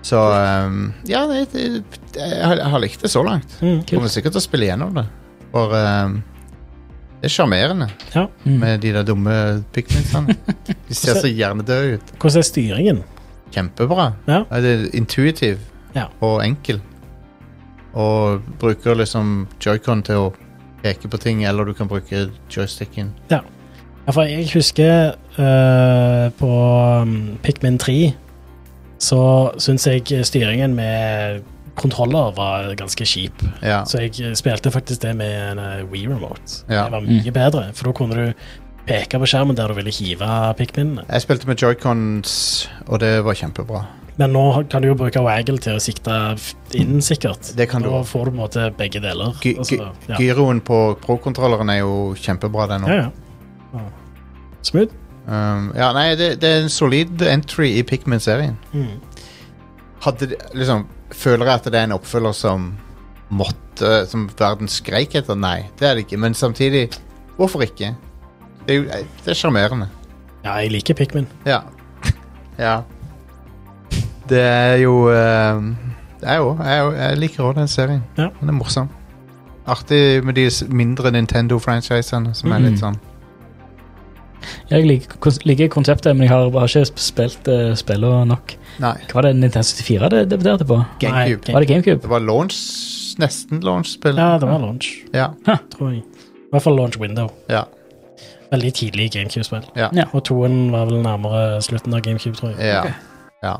[SPEAKER 1] Så ehm, Ja, det, det, jeg, har, jeg har likt det så langt.
[SPEAKER 3] Mm.
[SPEAKER 1] Kommer sikkert til å spille gjennom det. For ehm, det er sjarmerende
[SPEAKER 3] ja.
[SPEAKER 2] Mm.
[SPEAKER 1] med de der dumme
[SPEAKER 3] [laughs]
[SPEAKER 1] pikminsene. De ser så hjernedøde ut.
[SPEAKER 3] Hvordan er styringen?
[SPEAKER 1] Kjempebra.
[SPEAKER 3] Ja.
[SPEAKER 1] Ja, Det er intuitiv
[SPEAKER 3] Ja.
[SPEAKER 1] og enkel. Og bruker liksom joycon til å peke på ting, eller du kan bruke joysticken.
[SPEAKER 3] Ja, for jeg husker eh, på um, Pikmin 3 så syns jeg styringen med kontroller var ganske kjip.
[SPEAKER 1] Ja.
[SPEAKER 3] Så jeg eh, spilte faktisk det med en eh, Wii Remote.
[SPEAKER 1] Ja.
[SPEAKER 3] Det var mye bedre, for da kunne du peke på skjermen der du ville hive pikminene.
[SPEAKER 1] Jeg spilte med joycons, og det var kjempebra.
[SPEAKER 3] Men nå kan du jo bruke waggle til å sikte f- inn, sikkert.
[SPEAKER 1] Det kan du
[SPEAKER 3] Da
[SPEAKER 1] også.
[SPEAKER 3] får du på en måte begge deler.
[SPEAKER 1] Gy gy
[SPEAKER 3] Altså, ja.
[SPEAKER 1] gyroen på pro-kontrolleren er jo kjempebra, den òg.
[SPEAKER 3] Ja, ja. Ja. Smooth.
[SPEAKER 1] Um, ja, nei, det, det er en solid entry i Pikmin-serien.
[SPEAKER 3] Mm.
[SPEAKER 1] Hadde de- liksom Føler jeg at det er en oppfølger som måtte Som verden skreik etter? Nei, det er det ikke. Men samtidig, hvorfor ikke? Det er jo det er sjarmerende.
[SPEAKER 3] Ja, jeg liker pikmin.
[SPEAKER 1] Ja. [laughs] ja. Det er jo eh, det er jo- Jeg, er jo- jeg liker òg den serien.
[SPEAKER 3] Ja.
[SPEAKER 1] Den er morsom. Artig med de s- mindre Nintendo-franchisene, som er
[SPEAKER 3] Mhm.
[SPEAKER 1] litt sånn
[SPEAKER 2] [laughs] Jeg liker, kons- liker konseptet, men jeg har, har ikke sp- spilt uh, spillet nok.
[SPEAKER 1] Nei.
[SPEAKER 2] Hva var det Nintendo 64 det debuterte på?
[SPEAKER 1] GameCube.
[SPEAKER 3] Nei,
[SPEAKER 2] Var det GameCube?
[SPEAKER 1] Det var launch Nesten launch-spill.
[SPEAKER 3] Ja, det var launch,
[SPEAKER 1] Ja.
[SPEAKER 3] tror jeg. I hvert fall launch window.
[SPEAKER 1] ja.
[SPEAKER 3] Veldig tidlig GameCube-spill.
[SPEAKER 1] Ja.
[SPEAKER 2] Ja.
[SPEAKER 3] Og toen var vel nærmere slutten av GameCube, tror jeg.
[SPEAKER 1] Ja. ja.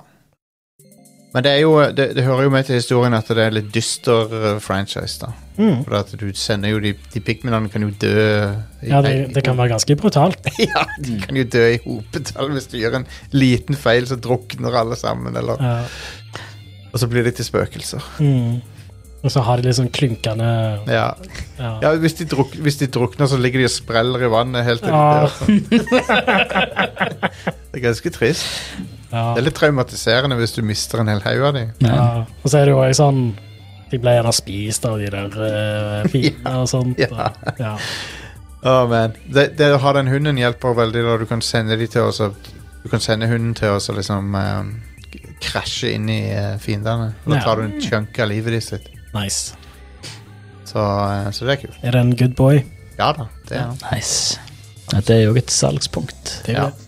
[SPEAKER 1] Men det, er jo, det, det hører jo med til historien at det er litt dyster eh, franchise. da
[SPEAKER 3] Mm.
[SPEAKER 1] For at du sender jo de, de pikminene kan jo dø i,
[SPEAKER 3] Ja, det, det kan være ganske brutalt.
[SPEAKER 1] [laughs] Ja, de kan jo dø i hopetall hvis du gjør en liten feil, så drukner alle sammen. Eller,
[SPEAKER 3] Ja.
[SPEAKER 1] Og så blir de til spøkelser.
[SPEAKER 3] Mm. Og så har de litt sånn klunkende
[SPEAKER 1] Ja,
[SPEAKER 3] ja.
[SPEAKER 1] ja hvis, de druk, hvis de drukner, så ligger de og spreller i vannet helt til de
[SPEAKER 3] Ah.
[SPEAKER 1] dør. [laughs] Det er ganske trist.
[SPEAKER 3] Ja.
[SPEAKER 1] Det er litt traumatiserende hvis du mister en hel haug av dem.
[SPEAKER 2] Ja.
[SPEAKER 3] Ja. Og så er det jo også sånn De ble gjerne spist av de der uh, fiendene og sånt.
[SPEAKER 1] [laughs] Ja.
[SPEAKER 3] Og, ja.
[SPEAKER 1] Å, man. Det, det å ha den hunden hjelper veldig. Da. Du kan sende de til oss og- Du kan sende hunden til oss og liksom eh, k- krasje inn i eh, fiendene. Og Da
[SPEAKER 3] Ja.
[SPEAKER 1] tar du en chunk av livet ditt. sitt.
[SPEAKER 3] Nice.
[SPEAKER 1] Så, eh, så det er kult.
[SPEAKER 3] Er det en good boy?
[SPEAKER 1] Ja da. Det er han.
[SPEAKER 2] Nice. Ja, det er jo et salgspunkt.
[SPEAKER 3] Det er
[SPEAKER 1] Ja.
[SPEAKER 3] det.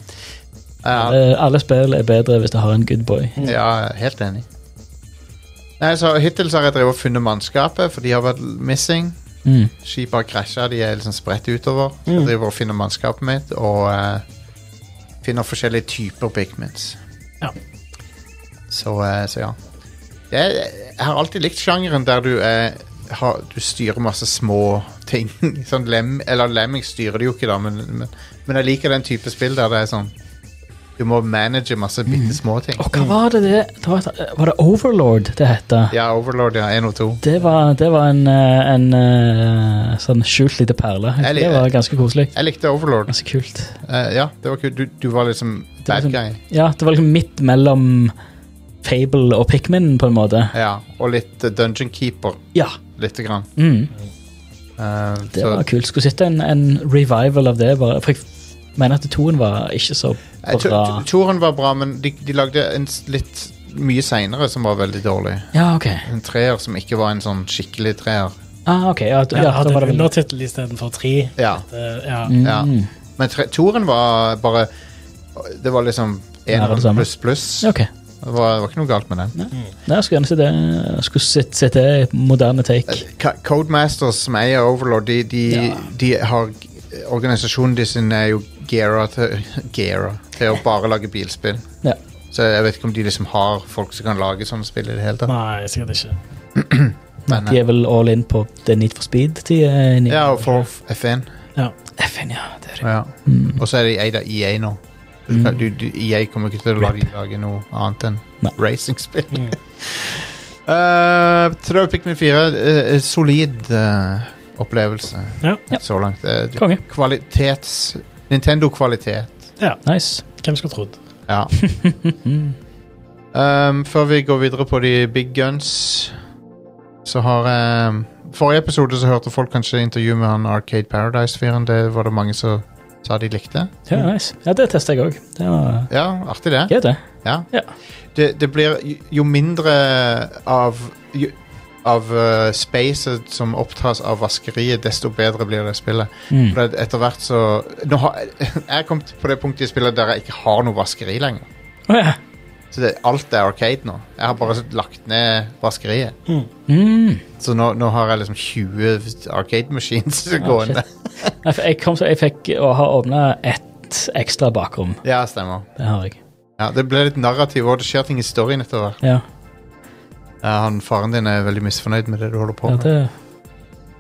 [SPEAKER 1] Ja,
[SPEAKER 2] Alle, alle spill er bedre hvis det har en good boy.
[SPEAKER 1] ja, helt enig. Nei, så Hittil så har jeg drevet og funnet mannskapet, for de har vært missing.
[SPEAKER 2] Mm.
[SPEAKER 1] Skipet har krasja, de er liksom spredt utover. Så Jeg driver og finner mannskapet mitt og eh, finner forskjellige typer pigments.
[SPEAKER 3] Ja.
[SPEAKER 1] Så, eh, så ja. Jeg, jeg har alltid likt sjangeren der du, eh, har, du styrer masse små ting. [laughs] sånn lem, eller lemming styrer du jo ikke, da, men, men, men jeg liker den type spill der det er sånn Du må manage masse bitte
[SPEAKER 2] Mm.
[SPEAKER 1] små ting.
[SPEAKER 2] Og hva var det det det var, var det Overlord det hette?
[SPEAKER 1] Ja, Overlord, ja. 1 og 2.
[SPEAKER 2] Det var, det var en, eh, en eh, sånn skjult lite perle.
[SPEAKER 1] Jeg lik-
[SPEAKER 2] Det var ganske koselig.
[SPEAKER 1] Jeg likte Overlord.
[SPEAKER 2] Ganske kult.
[SPEAKER 1] Eh, ja, det var kult. Du, du var liksom
[SPEAKER 2] var
[SPEAKER 1] bad
[SPEAKER 2] sånn-
[SPEAKER 1] guy.
[SPEAKER 2] Ja, det var liksom midt mellom Fable og Pikmin, på en måte.
[SPEAKER 1] Ja, og litt eh, Dungeon Keeper.
[SPEAKER 2] Ja.
[SPEAKER 1] Lite grann.
[SPEAKER 2] Mm,
[SPEAKER 1] Eh,
[SPEAKER 2] det
[SPEAKER 1] så,
[SPEAKER 2] var kult. Skulle sett en, en revival av det. Bare, for jeg mener at toen var ikke så
[SPEAKER 1] Eh, to-
[SPEAKER 2] bra.
[SPEAKER 1] to- Toren var bra, men de, de lagde en s- litt mye seinere som var veldig dårlig.
[SPEAKER 2] Ja, ok.
[SPEAKER 1] En treer som ikke var en sånn skikkelig treer.
[SPEAKER 2] Ah, ok. Ja, da- ja,
[SPEAKER 3] Ja,
[SPEAKER 2] da
[SPEAKER 3] hadde
[SPEAKER 2] var
[SPEAKER 3] en
[SPEAKER 2] det vel
[SPEAKER 3] undertittel istedenfor tre.
[SPEAKER 1] Ja,
[SPEAKER 3] Det- Ja.
[SPEAKER 1] ja.
[SPEAKER 2] Mm.
[SPEAKER 1] Men tre, toren var bare Det var liksom
[SPEAKER 2] Nær det
[SPEAKER 1] eneren
[SPEAKER 2] samme.
[SPEAKER 1] pluss pluss.
[SPEAKER 2] Ok.
[SPEAKER 1] Det var, det var ikke noe galt med den.
[SPEAKER 2] Nei, jeg skulle gjerne se det. Jeg skulle sett, sett det i et moderne take.
[SPEAKER 1] Eh, Ka- Codemasters, som eier Overlord, de, de,
[SPEAKER 2] Ja.
[SPEAKER 1] de har eh, Organisasjonen de sin er jo geara til, [laughs] geara til å bare lage bilspill.
[SPEAKER 2] Ja.
[SPEAKER 1] Så jeg vet ikke om de liksom har folk som kan lage sånne spill i det hele tatt.
[SPEAKER 3] Nei, sikkert ikke.
[SPEAKER 1] Men, eh,
[SPEAKER 2] De er vel all in på The Need for Speed. De er inne i-
[SPEAKER 1] Ja, og for F1.
[SPEAKER 3] Ja.
[SPEAKER 2] FN, ja. Mm. Det er det.
[SPEAKER 1] Ja. Og så er E de eid av EA nå. Du, kan- du, du, EA kommer ikke til å la de lage noe annet enn
[SPEAKER 2] Nei.
[SPEAKER 1] racingspill.
[SPEAKER 3] Mm.
[SPEAKER 1] uh, Trøv Pikmin 4, eh, eh, solid eh, opplevelse [laughs]
[SPEAKER 3] Ja.
[SPEAKER 1] så langt. Eh, du-
[SPEAKER 2] Konge.
[SPEAKER 1] kvalitets... Nintendo-kvalitet.
[SPEAKER 2] Nice. [laughs]
[SPEAKER 3] Hvem skulle trodd?
[SPEAKER 1] Ja. um, før vi går videre på de big guns, så har um, Forrige episode så hørte folk kanskje intervju med han Arcade Paradise-fyren. Det var det mange som sa de likte.
[SPEAKER 2] Ja, nice. ja det testa jeg òg. Det var
[SPEAKER 1] Ja, artig det.
[SPEAKER 2] gøy, det.
[SPEAKER 1] Ja.
[SPEAKER 2] Ja.
[SPEAKER 1] Det, det blir jo- jo mindre av jo, av eh, spacet som opptas av vaskeriet, desto bedre blir det spillet.
[SPEAKER 2] Mm.
[SPEAKER 1] For det- etter hvert så nå har, [laughs] Jeg er kommet på det punktet i spillet der jeg ikke har noe vaskeri lenger.
[SPEAKER 2] Å ja.
[SPEAKER 1] Så det, alt er arcade nå. Jeg har bare lagt ned vaskeriet.
[SPEAKER 2] Mm.
[SPEAKER 1] Så nå, nå har jeg liksom 20 arcade machines [laughs]
[SPEAKER 2] Ah,
[SPEAKER 1] gående.
[SPEAKER 2] Nei, for Jeg, kom, så jeg fikk å ha åpna ett ekstra bakrom.
[SPEAKER 1] Ja, stemmer.
[SPEAKER 2] Det har jeg.
[SPEAKER 1] Ja, det ble litt narrativ, og det skjer ting i storyen etter hvert.
[SPEAKER 2] Ja,
[SPEAKER 1] Ja, han, faren din er veldig misfornøyd med det du holder på
[SPEAKER 2] ja
[SPEAKER 1] med.
[SPEAKER 2] det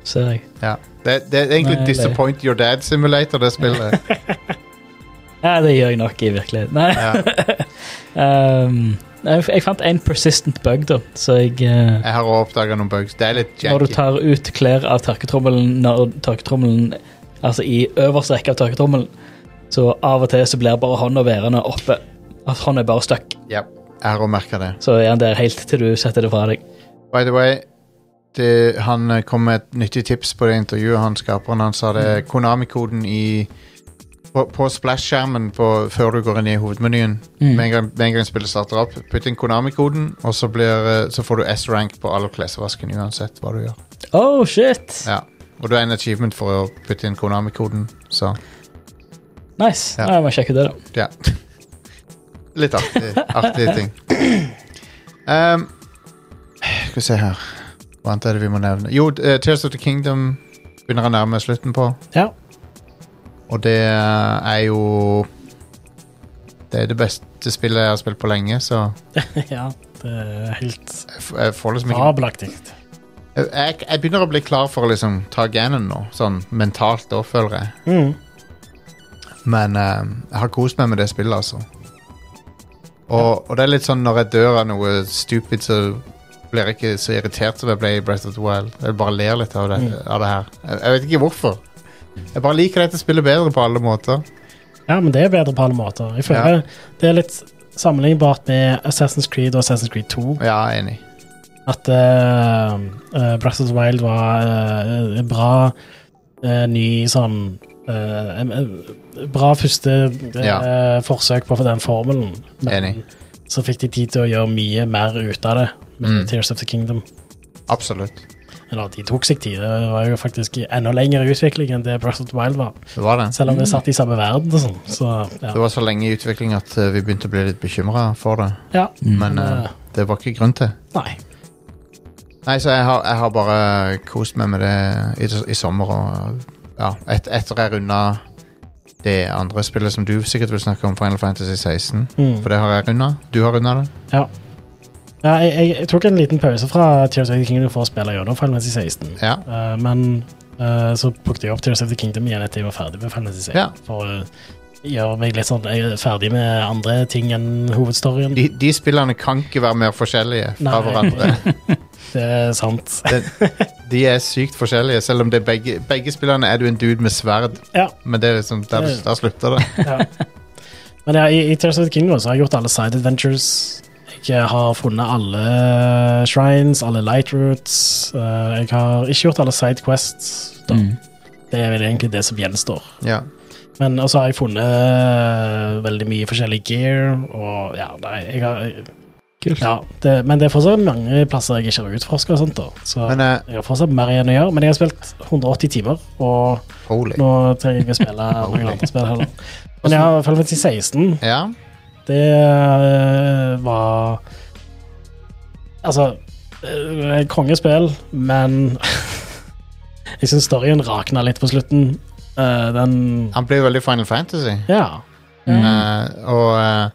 [SPEAKER 2] ser jeg.
[SPEAKER 1] Ja. Det, det er egentlig
[SPEAKER 2] Nei, det-
[SPEAKER 1] Disappoint Your Dad Simulator, det spillet.
[SPEAKER 2] Ja, det gjør jeg nok i virkeligheten. Nei.
[SPEAKER 1] Ja.
[SPEAKER 2] [laughs] Ehm, jeg, jeg fant en persistent bug, da, så jeg eh,
[SPEAKER 1] [laughs] Jeg har også oppdaga noen bugs. Det er litt
[SPEAKER 2] Når du
[SPEAKER 1] janky.
[SPEAKER 2] tar ut klær av tørketrommelen når tørketrommelen Altså i øverste rekke av tørketrommelen, så av og til så blir bare hånda værende oppe. At hånda er bare stuck.
[SPEAKER 1] Ja, jeg har også merka det.
[SPEAKER 2] Så er den der helt til du setter det fra deg.
[SPEAKER 1] By the way, det, han eh, kom med et nyttig tips på det intervjuet han skaperen. Han sa det
[SPEAKER 2] Mm.
[SPEAKER 1] Konami-koden i på, på splash-skjermen på- før du går inn i hovedmenyen.
[SPEAKER 3] Mm.
[SPEAKER 2] Mm.
[SPEAKER 1] Med, en gang, med en gang spillet starter opp, putt inn Konami-koden, og så, blir, eh, så får du S-rank på all klesvasken uansett hva du gjør.
[SPEAKER 2] Oh, shit!
[SPEAKER 1] Ja. Og du har en achievement for å putte inn Konami-koden, så
[SPEAKER 2] Nice.
[SPEAKER 1] Ja.
[SPEAKER 2] Nei, jeg må sjekke det, da.
[SPEAKER 1] ja. [laughs] Litt artig, artige ting. Um, skal vi se her Hva annet er det vi må nevne? Jo, eh, Tears of the Kingdom begynner å nærme slutten på.
[SPEAKER 3] Ja.
[SPEAKER 1] Og det eh, er jo Det er det beste spillet jeg har spilt på lenge, så
[SPEAKER 3] [laughs] ja. Det er helt
[SPEAKER 1] Jeg, f- jeg får liksom ikke
[SPEAKER 3] fabelaktig.
[SPEAKER 1] jeg, jeg, jeg begynner å bli klar for å liksom ta Ganon nå, sånn mentalt da, føler jeg.
[SPEAKER 3] Mm.
[SPEAKER 1] Men eh, jeg har kost meg med det spillet, altså. Og, og det er litt sånn når jeg dør av noe stupid, så blir jeg ikke så irritert som jeg ble i Breath of the Wild. Jeg bare ler litt av det,
[SPEAKER 3] Mm.
[SPEAKER 1] av det her. Jeg, jeg vet ikke hvorfor. Jeg bare liker dette spillet bedre på alle måter.
[SPEAKER 3] Ja, men det er bedre på alle måter. Jeg
[SPEAKER 1] Ja.
[SPEAKER 3] føler Det er litt sammenlignbart med Assassin's Creed og Assassin's Creed 2.
[SPEAKER 1] Ja, enig.
[SPEAKER 3] At uh, Breath of the Wild var eh, en bra eh, ny sånn eh, en- en Bra første eh,
[SPEAKER 1] Ja.
[SPEAKER 3] forsøk på den formelen.
[SPEAKER 1] Enig.
[SPEAKER 3] så fikk de tid til å gjøre mye mer ut av det med
[SPEAKER 1] Mm.
[SPEAKER 3] Tears of the Kingdom.
[SPEAKER 1] Absolutt.
[SPEAKER 3] Eller de tok seg tid. Det var jo faktisk i enda lengre utvikling enn det Breath of the Wild var.
[SPEAKER 1] Det var det.
[SPEAKER 3] Selv om vi satt i samme verden og sånn. Så ja.
[SPEAKER 1] Mm. Det var så lenge i utvikling at eh, vi begynte å bli litt bekymra for det.
[SPEAKER 3] ja.
[SPEAKER 1] Men eh,
[SPEAKER 3] eh,
[SPEAKER 1] det var ikke grunn til.
[SPEAKER 3] Nei.
[SPEAKER 1] Nei, så jeg har, jeg har bare kost meg med det i, i sommer. Og, ja, et, etter jeg runda det andre spillet som du sikkert vil snakke om, Final Fantasy 16.
[SPEAKER 3] Mm.
[SPEAKER 1] For det har jeg runda. Du har runda det.
[SPEAKER 3] Ja, jeg, jeg, jeg tok en liten pause fra Tears of the Kingdom for å spille gjennom Final Fantasy 16.
[SPEAKER 1] Ja.
[SPEAKER 3] Eh, men eh, så plukket jeg opp Tears of the Kingdom igjen etter jeg var ferdig med Final Fantasy 16.
[SPEAKER 1] Ja.
[SPEAKER 3] For eh, å gjøre meg litt sånn Jeg er ferdig med andre ting enn hovedstoryen.
[SPEAKER 1] De, de spillene kan ikke være mer forskjellige fra
[SPEAKER 3] Nei.
[SPEAKER 1] hverandre.
[SPEAKER 3] [laughs] Det er sant.
[SPEAKER 1] De er sykt forskjellige, selv om det er begge, begge spillene er du en dude med sverd.
[SPEAKER 3] Ja.
[SPEAKER 1] Men det er liksom der, du- der slutter det.
[SPEAKER 3] [laughs] ja. Men ja, i, i Tears of the Kingdom så har jeg gjort alle side adventures. Jeg eh, har funnet alle eh, shrines, alle light routes. Eh, jeg har ikke gjort alle side quests. Da.
[SPEAKER 2] Mm.
[SPEAKER 3] Det er vel egentlig det som gjenstår.
[SPEAKER 1] Ja.
[SPEAKER 3] Men også har jeg funnet eh, veldig mye forskjellig gear, og ja, nei, jeg har
[SPEAKER 2] Kult.
[SPEAKER 3] ja, det, Men det er fortsatt mange plasser jeg ikke har utforska og sånt, da. Så
[SPEAKER 1] Men eh,
[SPEAKER 3] jeg har fortsatt mer igjen å gjøre, men jeg har spilt 180 timer, og
[SPEAKER 1] holy.
[SPEAKER 3] nå trenger jeg ikke spille mange andre spill heller. Men jeg har Final Fantasy 16,
[SPEAKER 1] Ja.
[SPEAKER 3] det øh, var Altså øh, Kongespill, men [laughs] Jeg syns storyen rakna litt på slutten. Eh, den
[SPEAKER 1] Han blir veldig Final Fantasy.
[SPEAKER 3] Ja.
[SPEAKER 1] Eh, og eh,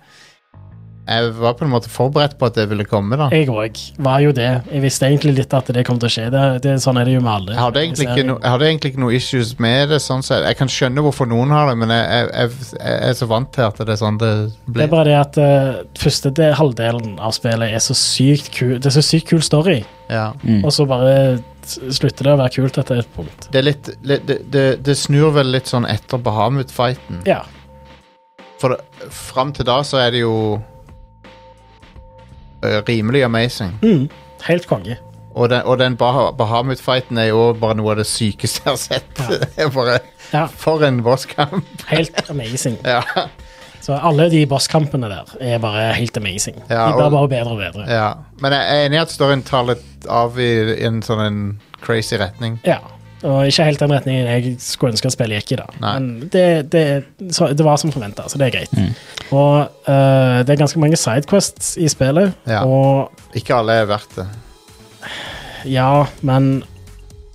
[SPEAKER 1] jeg var på en måte forberedt på at det ville komme, da.
[SPEAKER 3] Jeg òg var jo det. Jeg visste egentlig litt at det kom til å skje. Det, det, sånn er det jo med alle.
[SPEAKER 1] Jeg hadde, egentlig ikke
[SPEAKER 3] serier.
[SPEAKER 1] no, jeg hadde egentlig ikke noe issues med det. Sånn sett. Jeg kan skjønne hvorfor noen har det, men jeg, jeg, jeg, jeg er så vant til at det er sånn det
[SPEAKER 3] Det
[SPEAKER 1] blir.
[SPEAKER 3] er bare det at eh, første del, halvdelen av spillet er så sykt kul. Det er så sykt kul story,
[SPEAKER 1] Ja.
[SPEAKER 2] Mm.
[SPEAKER 3] og så bare s- slutter det å være kult etter et punkt.
[SPEAKER 1] Det, er litt, litt, det, det, det snur vel litt sånn etter Bahamut-fighten.
[SPEAKER 3] Ja.
[SPEAKER 1] For det- fram til da så er det jo eh, rimelig amazing.
[SPEAKER 3] Mm, helt konge.
[SPEAKER 1] Og den, og den Bah- Bahamut-fighten er jo bare noe av det sykeste jeg har sett. [laughs] Det er bare,
[SPEAKER 3] Ja.
[SPEAKER 1] for en bosskamp!
[SPEAKER 3] [laughs] Helt amazing.
[SPEAKER 1] Ja.
[SPEAKER 3] Så alle de bosskampene der er bare helt amazing.
[SPEAKER 1] Ja,
[SPEAKER 3] de blir
[SPEAKER 1] og-
[SPEAKER 3] bare bedre og bedre. Ja.
[SPEAKER 1] Ja, men jeg er enig i at storyen tar litt av i, i en sånn en crazy retning.
[SPEAKER 3] Og ikke helt den retningen jeg skulle ønske at spillet gikk i. da.
[SPEAKER 1] Nei. Mm.
[SPEAKER 3] Men det, det, så det var som forventa, så det er greit. Og øh, det er ganske mange sidequests i spillet,
[SPEAKER 1] Ja.
[SPEAKER 3] og
[SPEAKER 1] Ikke alle er verdt det.
[SPEAKER 3] ja, men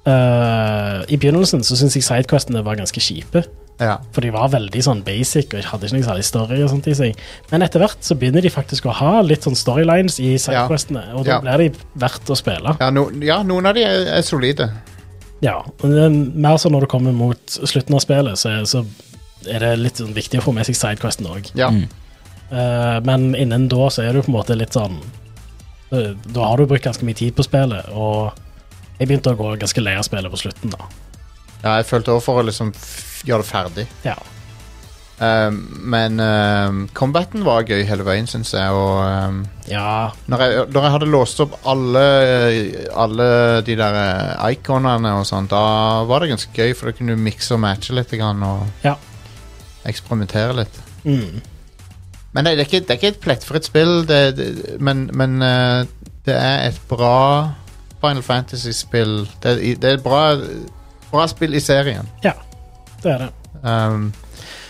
[SPEAKER 3] øh, I begynnelsen så syns jeg sidequestene var ganske kjipe.
[SPEAKER 1] Ja,
[SPEAKER 3] For de var veldig sånn basic og hadde ikke noe særlig story. og sånt i seg. Men etter hvert så begynner de faktisk å ha litt sånn storylines i sidequestene, og
[SPEAKER 1] Ja.
[SPEAKER 3] da blir de verdt å spille.
[SPEAKER 1] ja, no, ja noen av de er, er solide.
[SPEAKER 3] Ja, men det er mer så når du kommer mot slutten av spillet, så, så er det litt sånn viktig å få med seg sidequesten òg.
[SPEAKER 1] Ja,
[SPEAKER 3] men innen da så er du på en måte litt sånn eh, Da har du brukt ganske mye tid på spillet, og jeg begynte å gå ganske lei av spillet på slutten, da.
[SPEAKER 1] ja jeg følte over for å liksom f- gjøre det ferdig.
[SPEAKER 3] Ja.
[SPEAKER 1] Um, men um, combaten var gøy hele veien, syns jeg. Og um,
[SPEAKER 3] ja.
[SPEAKER 1] når, jeg, når jeg hadde låst opp alle, alle de der eh, iconene og sånn, da var det ganske gøy, for da kunne du mikse og matche litt grann, og
[SPEAKER 3] Ja.
[SPEAKER 1] eksperimentere litt.
[SPEAKER 3] Mm.
[SPEAKER 1] Men det, det, er ikke, det er ikke et plettfritt spill, det, det, men, men eh, det er et bra Final Fantasy-spill. Det, er- det er et bra, bra spill i serien.
[SPEAKER 3] ja. Det er det.
[SPEAKER 1] Um,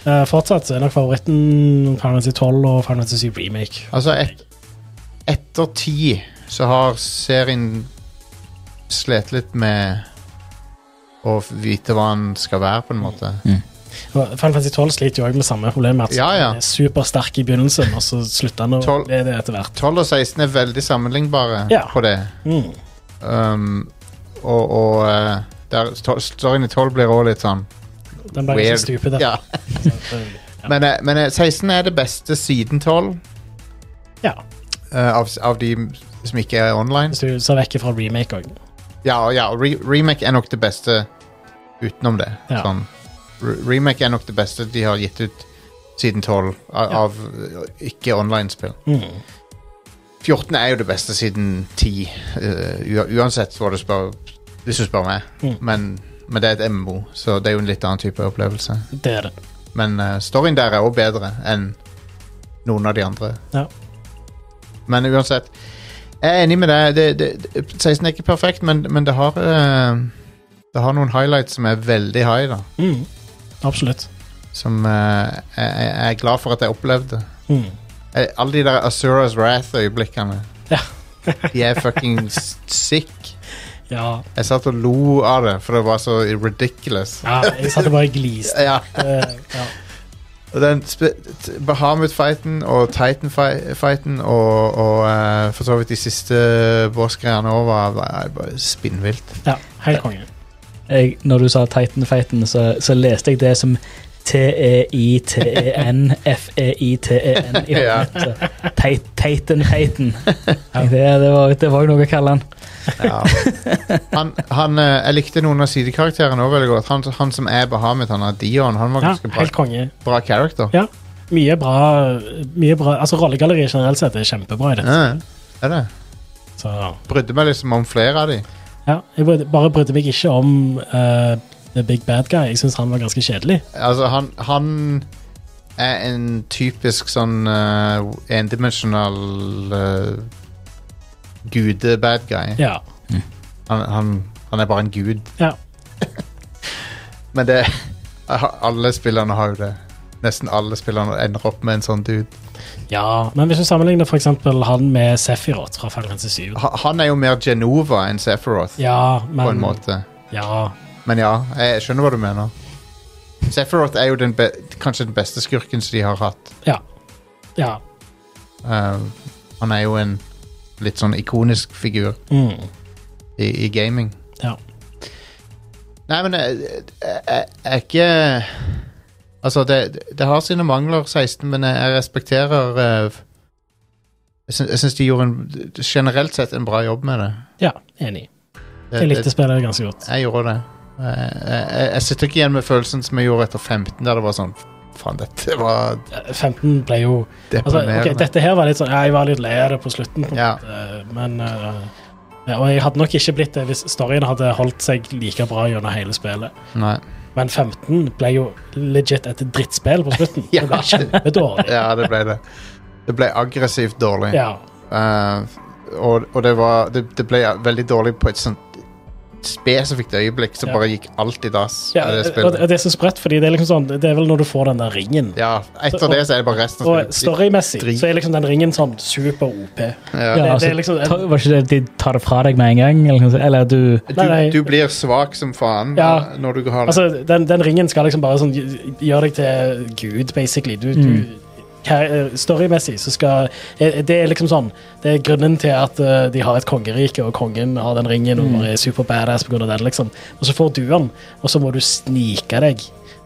[SPEAKER 3] Eh, fortsatt så er nok favoritten Fantasy 12 og Fantasy 7 Remake.
[SPEAKER 1] altså, et, etter ti så har serien slet litt med å vite hva den skal være, på en måte.
[SPEAKER 2] Mm.
[SPEAKER 3] Og Final Fantasy 12 sliter jo òg med samme problem. At
[SPEAKER 1] Ja, ja.
[SPEAKER 3] den er supersterk i begynnelsen, og så slutter han å
[SPEAKER 1] 12.
[SPEAKER 3] bli det etter hvert.
[SPEAKER 1] 12 og 16 er veldig sammenlignbare
[SPEAKER 3] Ja.
[SPEAKER 1] på det.
[SPEAKER 3] Mm.
[SPEAKER 1] Um, og og eh, der, to- storyen i 12 blir også litt sånn
[SPEAKER 3] Den ble
[SPEAKER 1] weird.
[SPEAKER 3] ikke stupid.
[SPEAKER 1] Ja. [laughs] Men, eh, men eh, 16 er det beste siden 12
[SPEAKER 3] ja.
[SPEAKER 1] eh, av, av de som ikke er online.
[SPEAKER 3] Hvis du ser vekk fra remake òg.
[SPEAKER 1] Ja, og ja og re remake er nok det beste utenom det.
[SPEAKER 3] Ja.
[SPEAKER 1] Sånn, re remake er nok det beste de har gitt ut siden 12 av,
[SPEAKER 3] Ja.
[SPEAKER 1] av eh, ikke-online-spill.
[SPEAKER 3] Mm.
[SPEAKER 1] 14 er jo det beste siden 10, eh, ua- uansett hva du spør, hvis du spør meg.
[SPEAKER 3] Mm.
[SPEAKER 1] Men, men det er et MMO, så det er jo en litt annen type opplevelse.
[SPEAKER 3] Det er det.
[SPEAKER 1] Men eh, storyen der er også bedre enn noen av de andre.
[SPEAKER 3] Ja.
[SPEAKER 1] Men uansett, jeg er enig med deg. Det, det, det, 16 er ikke perfekt, men, men det har eh, Det har noen highlights som er veldig high, da.
[SPEAKER 3] Mm. Absolutt.
[SPEAKER 1] Som eh, jeg, jeg jeg er glad for at jeg opplevde.
[SPEAKER 3] Mm.
[SPEAKER 1] Eh, Alle de der Asuras Wrath-øyeblikkene.
[SPEAKER 3] Ja.
[SPEAKER 1] de er fucking s- sick.
[SPEAKER 3] Ja.
[SPEAKER 1] Jeg satt og lo av det, for det var så ridiculous.
[SPEAKER 3] ja. Jeg satt og bare [laughs] gliste.
[SPEAKER 1] Ja,
[SPEAKER 3] Eh, Ja.
[SPEAKER 1] og den spe- t- Bahamut-fighten og Titan-fighten og, og eh, for så vidt de siste boss-greiene òg var var bare spinnvilt.
[SPEAKER 3] ja. Helt konge.
[SPEAKER 2] jeg, når du sa Titan-fighten, så, så leste jeg det som E T-E-I-T-E-N-F-E-I-T-E-N E i
[SPEAKER 1] Ja.
[SPEAKER 2] hodet. Så, Tit-
[SPEAKER 1] [laughs]
[SPEAKER 2] Titan-fighten. Det, det, var- det var jo noe å kalle han.
[SPEAKER 1] Ja. [laughs] Han, han, eh, jeg likte noen av sidekarakterene òg veldig godt. Han, han som er Bahamut, han er Dion. Han var
[SPEAKER 3] Ja,
[SPEAKER 1] ganske bra,
[SPEAKER 3] helt konge.
[SPEAKER 1] bra character.
[SPEAKER 3] Ja. Mye bra, mye bra Altså Rollegalleriet generelt sett er kjempebra i det.
[SPEAKER 1] Ja, er det?
[SPEAKER 3] Så,
[SPEAKER 1] Brydde meg liksom om flere av de.
[SPEAKER 3] ja. Jeg brydde- bare brydde meg ikke om eh, The Big Bad Guy. Jeg syns han var ganske kjedelig.
[SPEAKER 1] Altså, han, han er en typisk sånn uh, endimensjonal eh, gude-bad guy.
[SPEAKER 3] Ja.
[SPEAKER 1] Han, han, han er bare en gud.
[SPEAKER 3] ja.
[SPEAKER 1] Men det [laughs] Alle spillerne har jo det. Nesten alle spillerne ender opp med en sånn dude.
[SPEAKER 3] Ja, men hvis du sammenligner for eksempel han med Sephiroth fra Final Fantasy 7
[SPEAKER 1] Ha- Han er jo mer Genova enn Sephiroth,
[SPEAKER 3] Ja, men
[SPEAKER 1] på en måte.
[SPEAKER 3] Ja,
[SPEAKER 1] Men ja, jeg skjønner hva du mener. Sephiroth er jo den be kanskje den beste skurken som de har hatt.
[SPEAKER 3] ja. ja.
[SPEAKER 1] Eh, han er jo en litt sånn ikonisk figur
[SPEAKER 3] Mm.
[SPEAKER 1] i, i gaming.
[SPEAKER 3] ja.
[SPEAKER 1] Nei, men jeg, jeg, jeg er ikke Altså, det, det har sine mangler, 16, men jeg, jeg respekterer eh, Jeg syns, jeg syns de gjorde en, generelt sett en bra jobb med det.
[SPEAKER 3] Ja, enig.
[SPEAKER 1] det
[SPEAKER 3] Jeg likte spillet ganske godt.
[SPEAKER 1] det- jeg gjorde det. Jeg, jeg, jeg sitter ikke igjen med følelsen som jeg gjorde etter 15, der det var sånn Faen, dette var
[SPEAKER 3] Eh, 15 ble jo altså,
[SPEAKER 1] deprimerende.
[SPEAKER 3] ok, Dette her var litt sånn ja, Jeg var litt lei av det på slutten, på en
[SPEAKER 1] Ja.
[SPEAKER 3] måte, men eh, ja, Og jeg hadde nok ikke blitt det hvis storyen hadde holdt seg like bra gjennom hele spillet.
[SPEAKER 1] Nei.
[SPEAKER 3] Men 15 ble jo legit et drittspill på slutten.
[SPEAKER 1] [laughs] Ja.
[SPEAKER 3] Det ble kjempedårlig.
[SPEAKER 1] Ja, det ble det. Det ble aggressivt dårlig.
[SPEAKER 3] Ja.
[SPEAKER 1] Eh, og, og det var det, det ble veldig dårlig på et sånt spesifikt øyeblikk, så
[SPEAKER 3] Ja.
[SPEAKER 1] bare gikk alt i dass.
[SPEAKER 3] Ja, eh,
[SPEAKER 1] av det
[SPEAKER 3] og
[SPEAKER 1] spillet.
[SPEAKER 3] og det er så sprøtt, fordi det er liksom sånn Det er vel når du får den der ringen.
[SPEAKER 1] ja, etter
[SPEAKER 3] og-
[SPEAKER 1] det så er det bare resten av
[SPEAKER 3] Og storymessig
[SPEAKER 1] Drit.
[SPEAKER 3] så er liksom den ringen sånn super OP.
[SPEAKER 1] Ja.
[SPEAKER 2] Ja,
[SPEAKER 3] det er
[SPEAKER 2] altså,
[SPEAKER 3] liksom en-
[SPEAKER 2] ta, var ikke det de tar det fra deg med en gang? Eller, noe sånt? eller du
[SPEAKER 1] Du,
[SPEAKER 3] Nei, nei.
[SPEAKER 1] du blir svak som faen eh,
[SPEAKER 3] Ja.
[SPEAKER 1] når du har det.
[SPEAKER 3] Altså, den, den ringen skal liksom bare sånn gj- gjøre deg til gud, basically. Du, du, ka- storymessig så skal eh, Det er liksom sånn Det er grunnen til at eh, de har et kongerike, og kongen har den ringen og bare er super badass på grunn av den, liksom. Og så får du den, og så må du snike deg.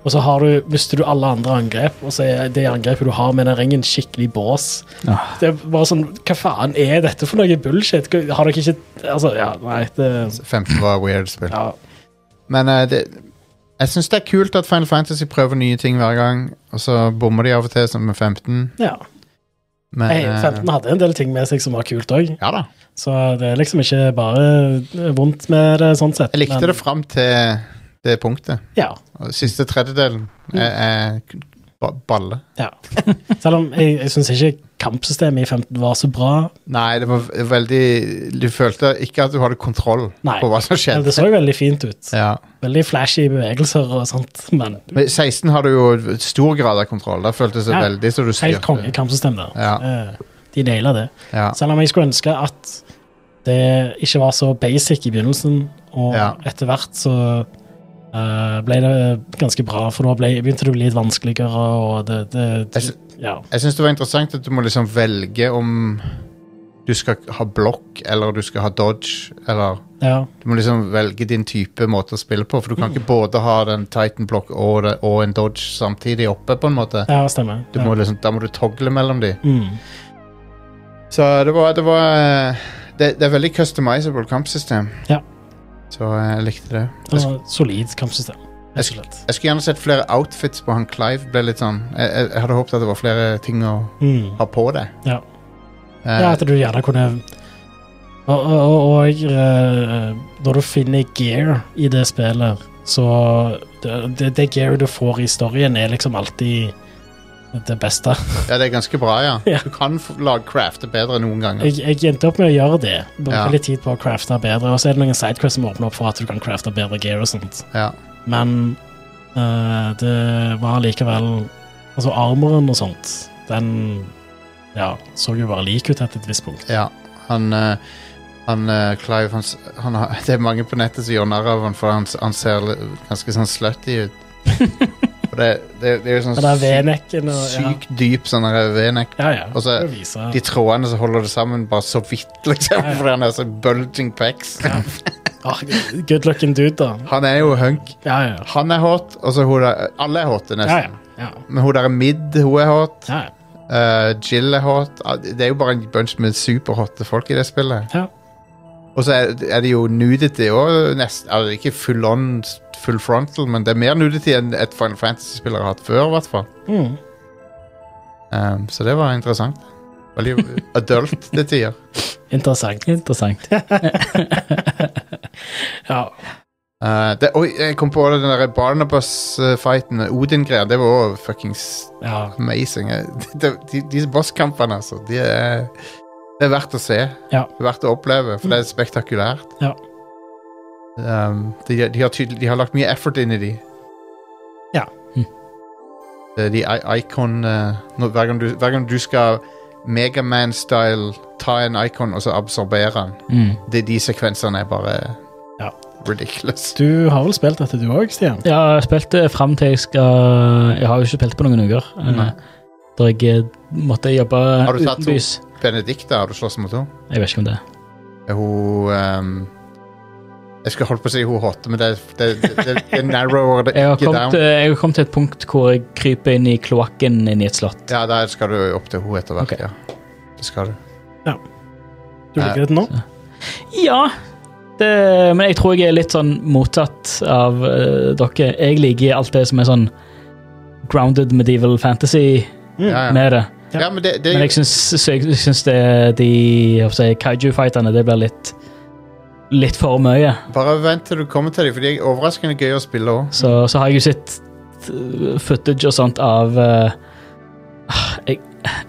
[SPEAKER 3] Og så har du, mister du alle andre angrep, og så er det angrepet du har med den ringen, skikkelig bås.
[SPEAKER 2] Ah.
[SPEAKER 3] Det er bare sånn Hva faen er dette for noe bullshit? Har dere ikke Altså, ja, nei, det
[SPEAKER 1] 15 var weird spill.
[SPEAKER 3] Ja.
[SPEAKER 1] Men eh, det, jeg syns det er kult at Final Fantasy prøver nye ting hver gang, og så bommer de av og til, som med 15.
[SPEAKER 3] ja.
[SPEAKER 1] Men
[SPEAKER 3] Nei,
[SPEAKER 1] eh,
[SPEAKER 3] 15 hadde en del ting med seg som var kult òg,
[SPEAKER 1] ja da.
[SPEAKER 3] så det er liksom ikke bare vondt med det sånn sett.
[SPEAKER 1] Jeg likte det fram til det punktet.
[SPEAKER 3] Ja,
[SPEAKER 1] Og Siste tredjedelen
[SPEAKER 3] Mm.
[SPEAKER 1] er, er ba- balle.
[SPEAKER 3] ja. Selv om jeg, jeg syns ikke kampsystemet i 15 var så bra.
[SPEAKER 1] Nei, det var v- veldig Du følte ikke at du hadde kontroll
[SPEAKER 3] Nei.
[SPEAKER 1] på hva som
[SPEAKER 3] Men
[SPEAKER 1] skjedde.
[SPEAKER 3] det så veldig fint ut.
[SPEAKER 1] Ja.
[SPEAKER 3] Veldig flashy bevegelser og sånt, men
[SPEAKER 1] Men 16 har du jo stor grad av kontroll. Der føltes det
[SPEAKER 3] Ja.
[SPEAKER 1] veldig så du
[SPEAKER 3] helt konge
[SPEAKER 1] styrte.
[SPEAKER 3] kampsystem der.
[SPEAKER 1] Ja.
[SPEAKER 3] Eh, De naila det.
[SPEAKER 1] Ja.
[SPEAKER 3] Selv om jeg skulle ønske at det ikke var så basic i begynnelsen, og
[SPEAKER 1] Ja.
[SPEAKER 3] etter hvert så eh, ble det ganske bra, for da ble, begynte det å bli litt vanskeligere. og det, det,
[SPEAKER 1] Jeg sy-
[SPEAKER 3] ja.
[SPEAKER 1] Jeg syns det var interessant at du må liksom velge om du skal ha blokk eller du skal ha dodge. Eller
[SPEAKER 3] ja.
[SPEAKER 1] du må liksom velge din type måte å spille på, for du kan
[SPEAKER 3] Mm.
[SPEAKER 1] ikke både ha den Titan-blokk og, det- og en dodge samtidig oppe, på en måte.
[SPEAKER 3] Ja, stemmer.
[SPEAKER 1] Du må liksom, da må du togle mellom de.
[SPEAKER 3] ja. Mm.
[SPEAKER 1] Så det var Det, var, eh, det, det er veldig customizable kampsystem.
[SPEAKER 3] Ja.
[SPEAKER 1] Så eh, jeg likte det.
[SPEAKER 3] Det var et solid kampsystem.
[SPEAKER 1] Jeg,
[SPEAKER 3] rett og
[SPEAKER 1] sk
[SPEAKER 3] slett.
[SPEAKER 1] jeg skulle gjerne sett flere outfits på han Clive. Ble litt sånn, jeg, jeg, jeg hadde håpet at det var flere ting å
[SPEAKER 3] Mm.
[SPEAKER 1] ha på deg.
[SPEAKER 3] Ja.
[SPEAKER 1] Eh,
[SPEAKER 3] Ja, at du gjerne kunne Og, og, og, og eh, når du finner gear i det spillet, så det, det, det gear du får i storyen, er liksom alltid det beste.
[SPEAKER 1] ja, det er ganske bra, ja.
[SPEAKER 3] Ja.
[SPEAKER 1] Du kan f- lage crafte bedre enn noen ganger.
[SPEAKER 3] Jeg, jeg endte opp med å gjøre det. Bruke
[SPEAKER 1] Ja.
[SPEAKER 3] litt tid på å crafte bedre, og så er det noen sidequests som åpner opp for at du kan crafte bedre gear og sånt.
[SPEAKER 1] Ja.
[SPEAKER 3] Men eh, det var likevel Altså, armoren og sånt, den ja, så jo bare lik ut til et visst punkt.
[SPEAKER 1] ja. Han, eh, han eh, Clive han, s- han, har- [laughs] Det er mange på nettet som gjør narr av han for han, s- han ser li- ganske sånn slutty
[SPEAKER 3] [laughs]
[SPEAKER 1] ut. Og det, det, det er jo sånn
[SPEAKER 3] Og det er
[SPEAKER 1] sykt
[SPEAKER 3] V-nekken og ja.
[SPEAKER 1] sykt dyp sånn der V-neck.
[SPEAKER 3] Ja, ja.
[SPEAKER 1] Og så-
[SPEAKER 3] det viser.
[SPEAKER 1] De trådene som holder det sammen, bare så vidt, liksom.
[SPEAKER 3] Ja, ja.
[SPEAKER 1] Fordi han er så bulging pecs.
[SPEAKER 3] Ah, good looking dude, da.
[SPEAKER 1] Han er jo hunk.
[SPEAKER 3] Ja, ja.
[SPEAKER 1] Han er hot, og så hun der Alle er hote,
[SPEAKER 3] Ja,
[SPEAKER 1] nesten.
[SPEAKER 3] ja. ja,
[SPEAKER 1] Men hun der er mid, hun er hot.
[SPEAKER 3] ja.
[SPEAKER 1] Eh, Jill er hot. Ah, Det er jo bare en bunch med superhotte folk i det spillet.
[SPEAKER 3] Ja.
[SPEAKER 1] Og så er, er det jo nudity òg. Altså, ikke full on, full frontal, men det er mer nudity enn et Final Fantasy-spiller har hatt før, i hvert fall.
[SPEAKER 3] Mm.
[SPEAKER 1] Ehm, så det var interessant.
[SPEAKER 3] [laughs]
[SPEAKER 1] Veldig adult til tider.
[SPEAKER 3] Interessant. [laughs]
[SPEAKER 2] Interessant.
[SPEAKER 3] Ja.
[SPEAKER 1] Eh, det, oi, jeg kom på den der Barnabas-fighten, Odin-greia. Det var òg fuckings
[SPEAKER 3] ja.
[SPEAKER 1] amazing. [laughs] Eh, De, de, de bosskampene, altså. De er, det er verdt å se.
[SPEAKER 3] Ja.
[SPEAKER 1] Det er verdt å oppleve, for det er spektakulært.
[SPEAKER 3] Ja.
[SPEAKER 1] Um, de, de, har tydelig, de har lagt mye effort inn i de. Mm.
[SPEAKER 3] Ja.
[SPEAKER 2] Hm.
[SPEAKER 1] Det er De i- icon eh, når, hver, gang du, hver gang du skal Megaman-style ta en icon og så absorbere den,
[SPEAKER 2] Mm.
[SPEAKER 1] de, de sekvensene er bare
[SPEAKER 3] Ja.
[SPEAKER 1] ridiculous.
[SPEAKER 3] Du har vel spilt dette, du òg, Stian?
[SPEAKER 2] Ja, jeg spilte fram til jeg skal Jeg har jo ikke spilt på noen uker. eh,
[SPEAKER 1] Nei.
[SPEAKER 2] Da jeg eh, måtte jobbe
[SPEAKER 1] Har du tatt to?
[SPEAKER 2] utenbys.
[SPEAKER 1] Benedicte har du slåss mot henne.
[SPEAKER 2] Jeg vet ikke om det.
[SPEAKER 1] Hun ehm, Jeg skulle holdt på å si hun hotte, men det, det, det, det narrower
[SPEAKER 3] [laughs]
[SPEAKER 1] det
[SPEAKER 2] Jeg har,
[SPEAKER 1] ikke
[SPEAKER 2] kommet,
[SPEAKER 1] down.
[SPEAKER 2] jeg har kommet til et punkt hvor jeg kryper inn i kloakken inn i et slott.
[SPEAKER 1] Ja, der skal du opp til hun etter hvert,
[SPEAKER 2] Ok.
[SPEAKER 1] ja. Det skal
[SPEAKER 3] Mm.
[SPEAKER 1] du.
[SPEAKER 3] Du liker det nå?
[SPEAKER 2] Ja, det, men jeg tror jeg er litt sånn motsatt av eh, dere. Jeg liker alt det som er sånn grounded medieval fantasy
[SPEAKER 1] Ja, ja.
[SPEAKER 2] med det.
[SPEAKER 3] Ja.
[SPEAKER 1] ja men det, det
[SPEAKER 2] Men jeg syns, så jeg syns det de hva skal jeg si, kaiju-fighterne det blir litt litt for mye.
[SPEAKER 1] Bare vent til du kommer til dem, for de er overraskende gøy å spille òg.
[SPEAKER 2] Så, så har jeg jo sett eh, footage og sånt av eh, ah, jeg-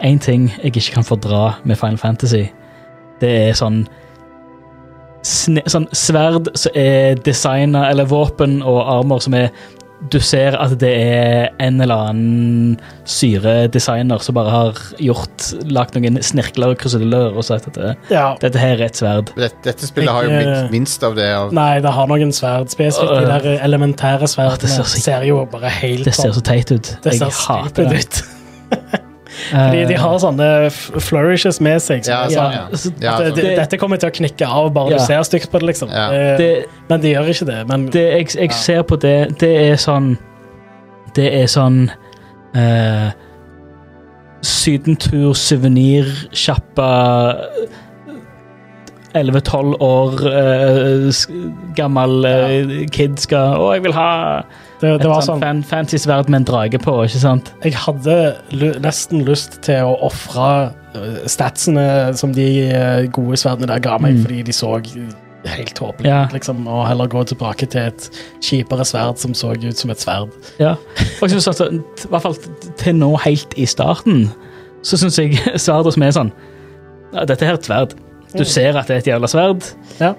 [SPEAKER 2] En ting jeg ikke kan fordra med Final Fantasy, det er sånn sne, Sånn sverd som er designa, eller våpen og armer som er Du ser at det er en eller annen syredesigner som bare har gjort lagd noen snirkler og kruseduller og sagt at eh,
[SPEAKER 3] Ja.
[SPEAKER 2] dette her er et sverd.
[SPEAKER 1] Dette, dette spillet har jo
[SPEAKER 3] Jeg, eh,
[SPEAKER 1] minst, minst av det. Av,
[SPEAKER 3] Nei, det har noen sverd spesifikt. De der elementære
[SPEAKER 2] Åh, det
[SPEAKER 3] sverdene
[SPEAKER 2] ser
[SPEAKER 3] ser,
[SPEAKER 2] så-
[SPEAKER 3] jo bare helt
[SPEAKER 2] Det ser så
[SPEAKER 3] sånn
[SPEAKER 2] teit ut.
[SPEAKER 3] Det
[SPEAKER 2] Jeg
[SPEAKER 3] ser
[SPEAKER 2] hater
[SPEAKER 3] stupid
[SPEAKER 2] det.
[SPEAKER 3] ut. De, de har sånne f- flourishes med seg.
[SPEAKER 1] ja,
[SPEAKER 3] så-
[SPEAKER 1] sånn, ja.
[SPEAKER 2] ja.
[SPEAKER 1] ja
[SPEAKER 3] At det-
[SPEAKER 1] sånn.
[SPEAKER 3] det- Dette kommer til å knikke av bare
[SPEAKER 2] Ja.
[SPEAKER 3] du ser stygt på det, liksom.
[SPEAKER 1] Ja.
[SPEAKER 3] Eh,
[SPEAKER 2] det,
[SPEAKER 3] men de gjør ikke det. Men
[SPEAKER 2] det jeg, jeg ser på det, det er sånn Det er sånn eh, Sydentur, suvenirsjappa 11-12 år eh, sk- gammel eh, kid skal Å, jeg vil ha
[SPEAKER 3] det,
[SPEAKER 2] et
[SPEAKER 3] det var
[SPEAKER 2] sånn
[SPEAKER 3] sånn
[SPEAKER 2] fan, fancy sverd med en drage på, ikke sant?
[SPEAKER 3] Jeg hadde lu- nesten lyst til å ofre øh, statsene som de øh, gode sverdene der ga meg,
[SPEAKER 2] Mm.
[SPEAKER 3] fordi de så helt tåpelige
[SPEAKER 2] Ja.
[SPEAKER 3] ut, liksom, og heller gå tilbake til et kjipere sverd som så ut som et sverd.
[SPEAKER 2] Ja. Og jeg synes altså, t- i hvert fall t- til nå, helt i starten, så syns jeg [laughs] sverdet som er sånn ja, Dette her er et sverd.
[SPEAKER 3] Mm.
[SPEAKER 2] Du ser at det er et jævla sverd.
[SPEAKER 3] Ja.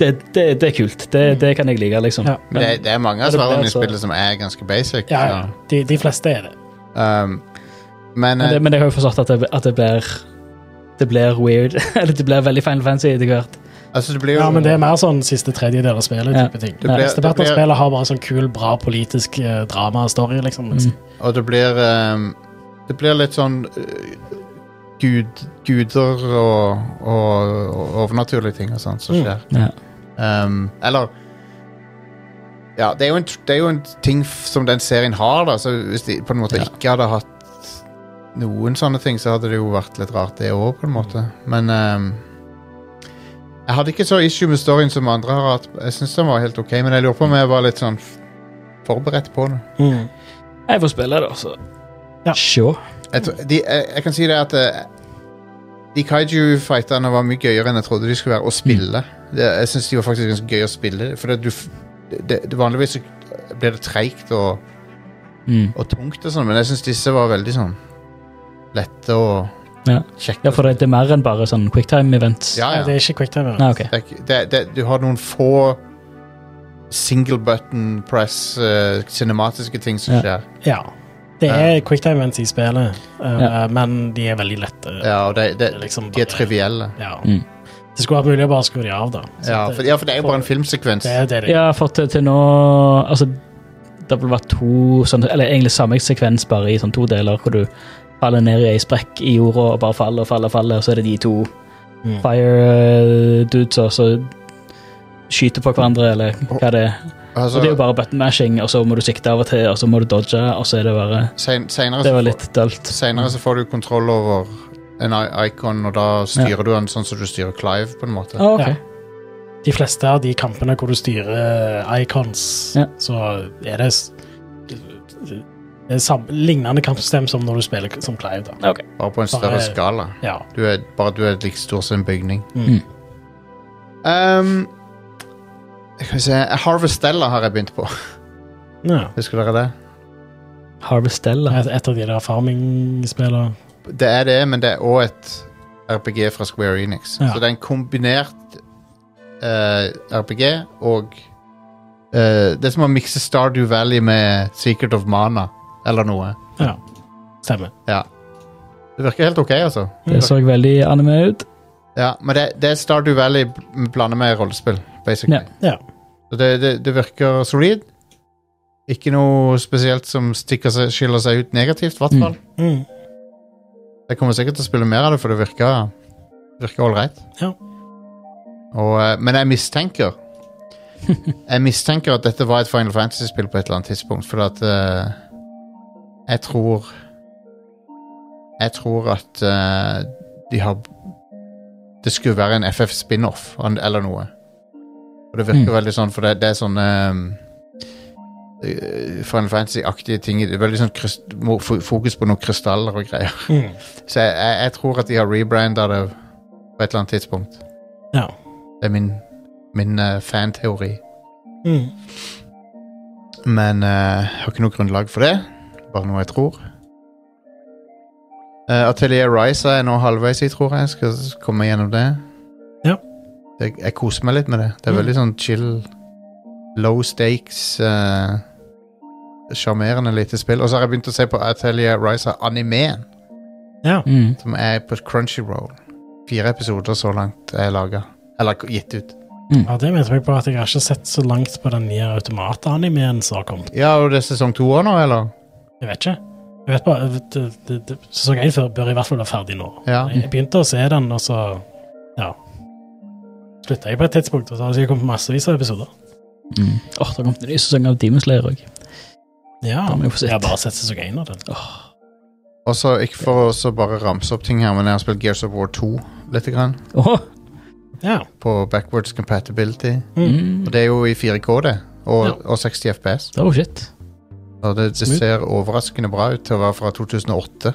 [SPEAKER 2] Det, det, det er kult. Det, det kan jeg like, liksom.
[SPEAKER 3] Ja.
[SPEAKER 1] Men det, det er mange av
[SPEAKER 2] det ble
[SPEAKER 1] svarene i
[SPEAKER 2] altså-
[SPEAKER 1] spillet som er ganske basic.
[SPEAKER 3] Ja, ja. De, de fleste er det.
[SPEAKER 1] så, Um, men
[SPEAKER 2] Men,
[SPEAKER 1] eh,
[SPEAKER 2] det, men jeg [laughs] har jo forstått at det, at det blir Det blir weird. Eller det blir veldig Final Fantasy etter hvert.
[SPEAKER 1] Altså, det blir jo
[SPEAKER 3] Ja, men det er mer sånn siste tredjedel av spillet.
[SPEAKER 2] Ja.
[SPEAKER 3] type ting.
[SPEAKER 1] Det blir-
[SPEAKER 3] Mesteparten
[SPEAKER 1] det
[SPEAKER 3] av
[SPEAKER 1] blir-
[SPEAKER 3] spillet har bare sånn kul, bra politisk eh, drama-story, liksom.
[SPEAKER 2] Mm.
[SPEAKER 1] Og det blir ehm, Det blir litt sånn eh, gud, Guder og, og, og overnaturlige ting og sånt som
[SPEAKER 3] Mm.
[SPEAKER 1] skjer.
[SPEAKER 2] Ja.
[SPEAKER 1] Ehm, eller Ja, det er, jo en, det er jo en ting f- som den serien har, da. Så hvis de på en måte
[SPEAKER 2] Ja.
[SPEAKER 1] ikke hadde hatt noen sånne ting, så hadde det jo vært litt rart, det òg, på en måte. Men ehm, jeg hadde ikke så issue med storyen som andre har hatt. Jeg synes den var helt ok, men jeg lurer på om jeg var litt sånn f- forberedt på det.
[SPEAKER 3] Mm.
[SPEAKER 2] Jeg får spille det, altså.
[SPEAKER 3] Ja.
[SPEAKER 2] Sure.
[SPEAKER 1] jeg, tro- de, jeg, jeg kan si det at eh, De kaiju-fighterne var mye gøyere enn jeg trodde de skulle være å spille. Det, jeg synes de var faktisk ganske gøy å spille. For det, du, f- det, det, vanligvis så blir det treigt og,
[SPEAKER 2] Mm.
[SPEAKER 1] og tungt, og sånn, men jeg syns disse var veldig sånn lette og
[SPEAKER 2] Ja.
[SPEAKER 1] kjekke.
[SPEAKER 2] ja, for det, det er mer enn bare sånn quicktime-events?
[SPEAKER 1] ja, ja.
[SPEAKER 3] Eh, Det er ikke quicktime.
[SPEAKER 2] Nei, ok.
[SPEAKER 1] Det, er ikke- det, det, du har noen få single button press, eh, cinematiske ting som
[SPEAKER 2] Ja.
[SPEAKER 1] skjer.
[SPEAKER 3] Ja. Det er quicktime-events i spillet, eh,
[SPEAKER 2] Ja.
[SPEAKER 3] men de er veldig lette.
[SPEAKER 1] Ja, og det, det,
[SPEAKER 3] Det er liksom
[SPEAKER 1] de er
[SPEAKER 3] bare-
[SPEAKER 1] trivielle.
[SPEAKER 3] Ja.
[SPEAKER 2] Mm.
[SPEAKER 3] Det skulle vært mulig å bare skru de av, da. Så
[SPEAKER 1] Ja
[SPEAKER 3] det-
[SPEAKER 1] for, ja, for det er jo bare en filmsekvens.
[SPEAKER 3] Det er det. det.
[SPEAKER 2] Ja, for til, til nå Altså, det har vel vært to sånn, Eller egentlig samme sekvens, bare i sånn to deler, hvor du faller ned i ei sprekk i jorda og bare faller og faller, og faller, og så er det de to
[SPEAKER 3] Mm.
[SPEAKER 2] fire eh, dudes og så skyter på hverandre, eller hva det er.
[SPEAKER 1] Altså,
[SPEAKER 2] Og det er jo bare button mashing, og så må du sikte av og til, og så må du dodge, og så er det bare
[SPEAKER 1] sen, senere
[SPEAKER 2] Det
[SPEAKER 1] så
[SPEAKER 2] var
[SPEAKER 1] får-
[SPEAKER 2] litt dølt.
[SPEAKER 1] Senere så får du kontroll over en i- icon, og da styrer du den sånn som du styrer Clive, på en måte.
[SPEAKER 2] Ah, ok.
[SPEAKER 3] Ja. De fleste av de kampene hvor du styrer eh, icons,
[SPEAKER 2] Ja.
[SPEAKER 3] så er det s- det er sam lignende kampsystem som når du spiller som Clive, da.
[SPEAKER 2] Ok.
[SPEAKER 1] Bare på en større
[SPEAKER 3] Bare-
[SPEAKER 1] skala.
[SPEAKER 3] Ja.
[SPEAKER 1] Du er, bare du er like stor som en bygning.
[SPEAKER 3] Mm.
[SPEAKER 1] Um, jeg kan se, Harvestella har jeg begynt på. [laughs]
[SPEAKER 2] Mm.
[SPEAKER 3] ja.
[SPEAKER 1] Husker dere det?
[SPEAKER 2] Harvestella.
[SPEAKER 3] Et, et av de der farming-spillene.
[SPEAKER 1] Det er det, men det er òg et RPG fra Square Enix.
[SPEAKER 3] Ja.
[SPEAKER 1] Så det er en kombinert eh, RPG og eh, Det er som å mikse Stardew Valley med Secret of Mana eller noe.
[SPEAKER 3] Ja. Stemmer.
[SPEAKER 1] Det virker helt OK, altså.
[SPEAKER 2] Det så veldig anime ut.
[SPEAKER 1] Ja, men det, det er Stardew Valley bl- blander med rollespill, basically.
[SPEAKER 3] Ja. Ja.
[SPEAKER 1] Så det, det, det virker solid. Ikke noe spesielt som stikker seg, skiller seg ut negativt, i hvert fall.
[SPEAKER 3] Mm.
[SPEAKER 1] Jeg kommer sikkert til å spille mer av det, for det virker virker ålreit.
[SPEAKER 3] Ja.
[SPEAKER 1] Og, eh, Men jeg mistenker Jeg mistenker at dette var et Final Fantasy-spill på et eller annet tidspunkt, fordi at eh, Jeg tror Jeg tror at eh, de har Det skulle være en FF spin-off an- eller noe. Og det virker
[SPEAKER 2] Mm.
[SPEAKER 1] veldig sånn, for det, det er sånne eh, eh, Final Fantasy-aktige ting. i det. Veldig sånn kryst, mo- fo- fokus på noen krystaller og greier. [laughs]
[SPEAKER 3] Mm.
[SPEAKER 1] Så jeg, jeg, jeg tror at de har rebranda det på et eller annet tidspunkt.
[SPEAKER 3] Ja.
[SPEAKER 1] Det er min, min eh, fanteori.
[SPEAKER 3] Mm.
[SPEAKER 1] Men eh, jeg har ikke noe grunnlag for det. Bare noe jeg tror. Eh, Atelier Rise er jeg nå halvveis i, tror jeg. Skal s- komme gjennom det.
[SPEAKER 3] Ja.
[SPEAKER 1] Det, jeg koser meg litt med det. Det er
[SPEAKER 3] Mm.
[SPEAKER 1] veldig sånn chill, low stakes eh, Sjarmerende lite spill. Og så har jeg begynt å se på Atelier Rise av animeen.
[SPEAKER 3] ja.
[SPEAKER 2] Mm.
[SPEAKER 1] som er på Crunchyroll. Fire episoder så langt er laga. Eller gitt ut.
[SPEAKER 3] Ja, det mente jeg på at jeg har ikke sett så langt på den nye automatanimeen som har kommet.
[SPEAKER 1] Ja, og det er sesong to òg nå, eller?
[SPEAKER 3] Jeg vet ikke. Jeg vet bare, det, det, det, Sesong én før bør i hvert fall være ferdig nå.
[SPEAKER 1] Ja.
[SPEAKER 3] Jeg begynte å se den, og så ja. slutta jeg på et tidspunkt. Og så har det sikkert kommet massevis av episoder.
[SPEAKER 2] Mm. Åh, det kom en ny sesong av Demon Slayer òg.
[SPEAKER 3] Ja,
[SPEAKER 2] Da må jeg få sett.
[SPEAKER 3] Jeg har bare sett sesong én av den.
[SPEAKER 1] Og så, ikke for å så bare ramse opp ting her, men jeg har spilt Gears of War 2 lite grann.
[SPEAKER 2] Åh.
[SPEAKER 3] Ja.
[SPEAKER 1] På backwards compatibility.
[SPEAKER 2] Mm.
[SPEAKER 1] Og det er jo i 4K, det. Og,
[SPEAKER 3] Ja.
[SPEAKER 1] og 60 FPS.
[SPEAKER 2] Oh, shit.
[SPEAKER 1] Og det, det
[SPEAKER 2] Smooth.
[SPEAKER 1] ser overraskende bra ut til å være fra 2008.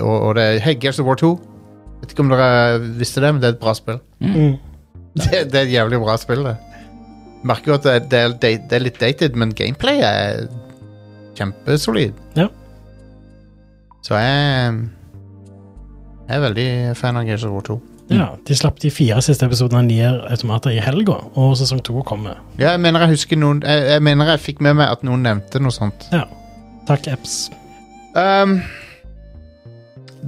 [SPEAKER 1] Og, og det er Hei, Gears of War 2. Vet ikke om dere visste det, men det er et bra spill.
[SPEAKER 3] Mm.
[SPEAKER 1] Det, det er et jævlig bra spill, det. Merker jo at det, det, er, da- det er litt dated, men gameplay er kjempesolid.
[SPEAKER 3] Ja.
[SPEAKER 1] Så jeg ehm, Jeg er veldig fan av Gears of War 2.
[SPEAKER 3] ja. De slapp de fire siste episodene av Nier Automater i helga, og sesong to kommer.
[SPEAKER 1] Ja, jeg mener jeg husker noen jeg, jeg mener jeg fikk med meg at noen nevnte noe sånt.
[SPEAKER 3] Ja. Takk, Epps.
[SPEAKER 1] Ehm,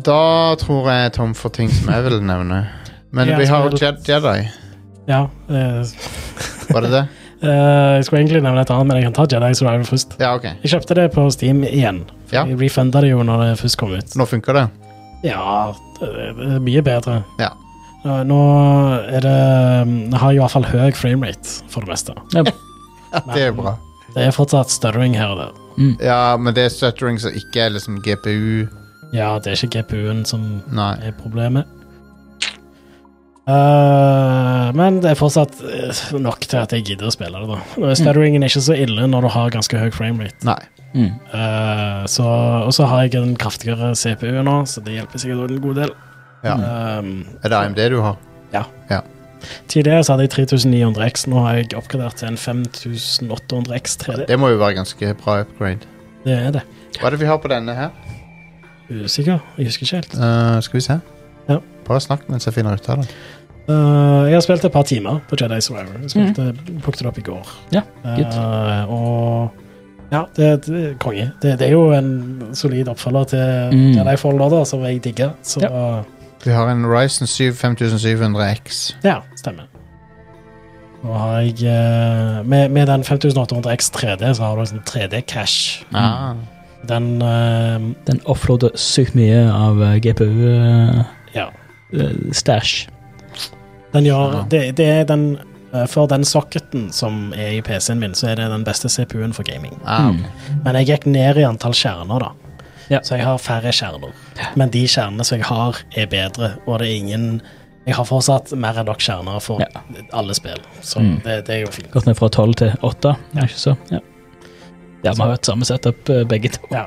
[SPEAKER 1] da tror jeg jeg er tom for ting som jeg vil nevne. Men
[SPEAKER 3] Ja,
[SPEAKER 1] vi har
[SPEAKER 3] skal
[SPEAKER 1] Jed Jedi.
[SPEAKER 3] Ja. eh,
[SPEAKER 1] Var det det?
[SPEAKER 3] eh, jeg skulle egentlig nevne et annet, men jeg kan ta Jedi Survivor først.
[SPEAKER 1] Ja, ok.
[SPEAKER 3] Jeg kjøpte det på Steam igjen. for
[SPEAKER 1] Ja.
[SPEAKER 3] Jeg refunda det jo når det først kom ut.
[SPEAKER 1] Nå funker det.
[SPEAKER 3] Ja, det det er mye bedre.
[SPEAKER 1] Ja.
[SPEAKER 3] Eh, Nå er det Jeg har i hvert fall høy framerate, for det meste.
[SPEAKER 1] Ja, det er bra.
[SPEAKER 3] Det er fortsatt stuttering her og der.
[SPEAKER 1] Ja, men det er stuttering som ikke er liksom GPU.
[SPEAKER 3] Ja, det er ikke GPU-en som
[SPEAKER 1] Nei.
[SPEAKER 3] er problemet. Eh, men det er fortsatt eh, nok til at jeg gidder å spille det. da Stutteringen er ikke så ille når du har ganske høy framerate.
[SPEAKER 1] Nei.
[SPEAKER 2] Mm.
[SPEAKER 3] Eh, så- Og så har jeg en kraftigere CPU nå, så det hjelper sikkert en god del.
[SPEAKER 1] Ja.
[SPEAKER 3] Eh,
[SPEAKER 1] Mm. Er det AMD du har?
[SPEAKER 3] tidligere så hadde jeg 3900 X, nå har jeg oppgradert til en 5800 X 3D.
[SPEAKER 1] Det må jo være ganske bra upgrade.
[SPEAKER 3] Det er det.
[SPEAKER 1] Hva er det vi har på denne her?
[SPEAKER 3] Usikker. Jeg husker ikke helt.
[SPEAKER 1] Eh, skal vi se.
[SPEAKER 3] Ja.
[SPEAKER 1] Bare snakk mens jeg finner ut av det.
[SPEAKER 3] Eh, jeg har spilt et par timer på Jedi Survivor. Jeg spilte, plukket det opp i går.
[SPEAKER 2] Mhm. Ja,
[SPEAKER 3] Eh,
[SPEAKER 2] good.
[SPEAKER 3] og ja, det, det er konge. Det, det er jo en solid oppfølger til
[SPEAKER 2] Mm.
[SPEAKER 3] Jedi Fall Order, som jeg digger. Så
[SPEAKER 1] Vi har en Ryzen 7 5700X.
[SPEAKER 3] ja, stemmer. Nå har jeg eh, med, med den 5800 X 3D, så har du en 3D-cash.
[SPEAKER 1] Ah.
[SPEAKER 3] Den eh,
[SPEAKER 2] Den offloader sykt mye av eh, GPU-stæsj.
[SPEAKER 3] Ja.
[SPEAKER 2] eh,
[SPEAKER 3] Den gjør, det, det er den eh, For den socketen som er i PC-en min, så er det den beste CPU-en for gaming.
[SPEAKER 1] Ah, ok.
[SPEAKER 3] Men jeg gikk ned i antall kjerner, da.
[SPEAKER 2] Ja.
[SPEAKER 3] Så jeg har færre kjerner. Men de kjernene som jeg har, er bedre, og det er ingen Jeg har fortsatt mer enn nok kjerner for
[SPEAKER 2] Ja.
[SPEAKER 3] alle spill, så
[SPEAKER 2] Mm.
[SPEAKER 3] det, det er jo fint.
[SPEAKER 2] Gått ned fra 12 til 8, er ikke så? Ja. ja, vi har hatt samme setup eh, begge to.
[SPEAKER 3] Ja.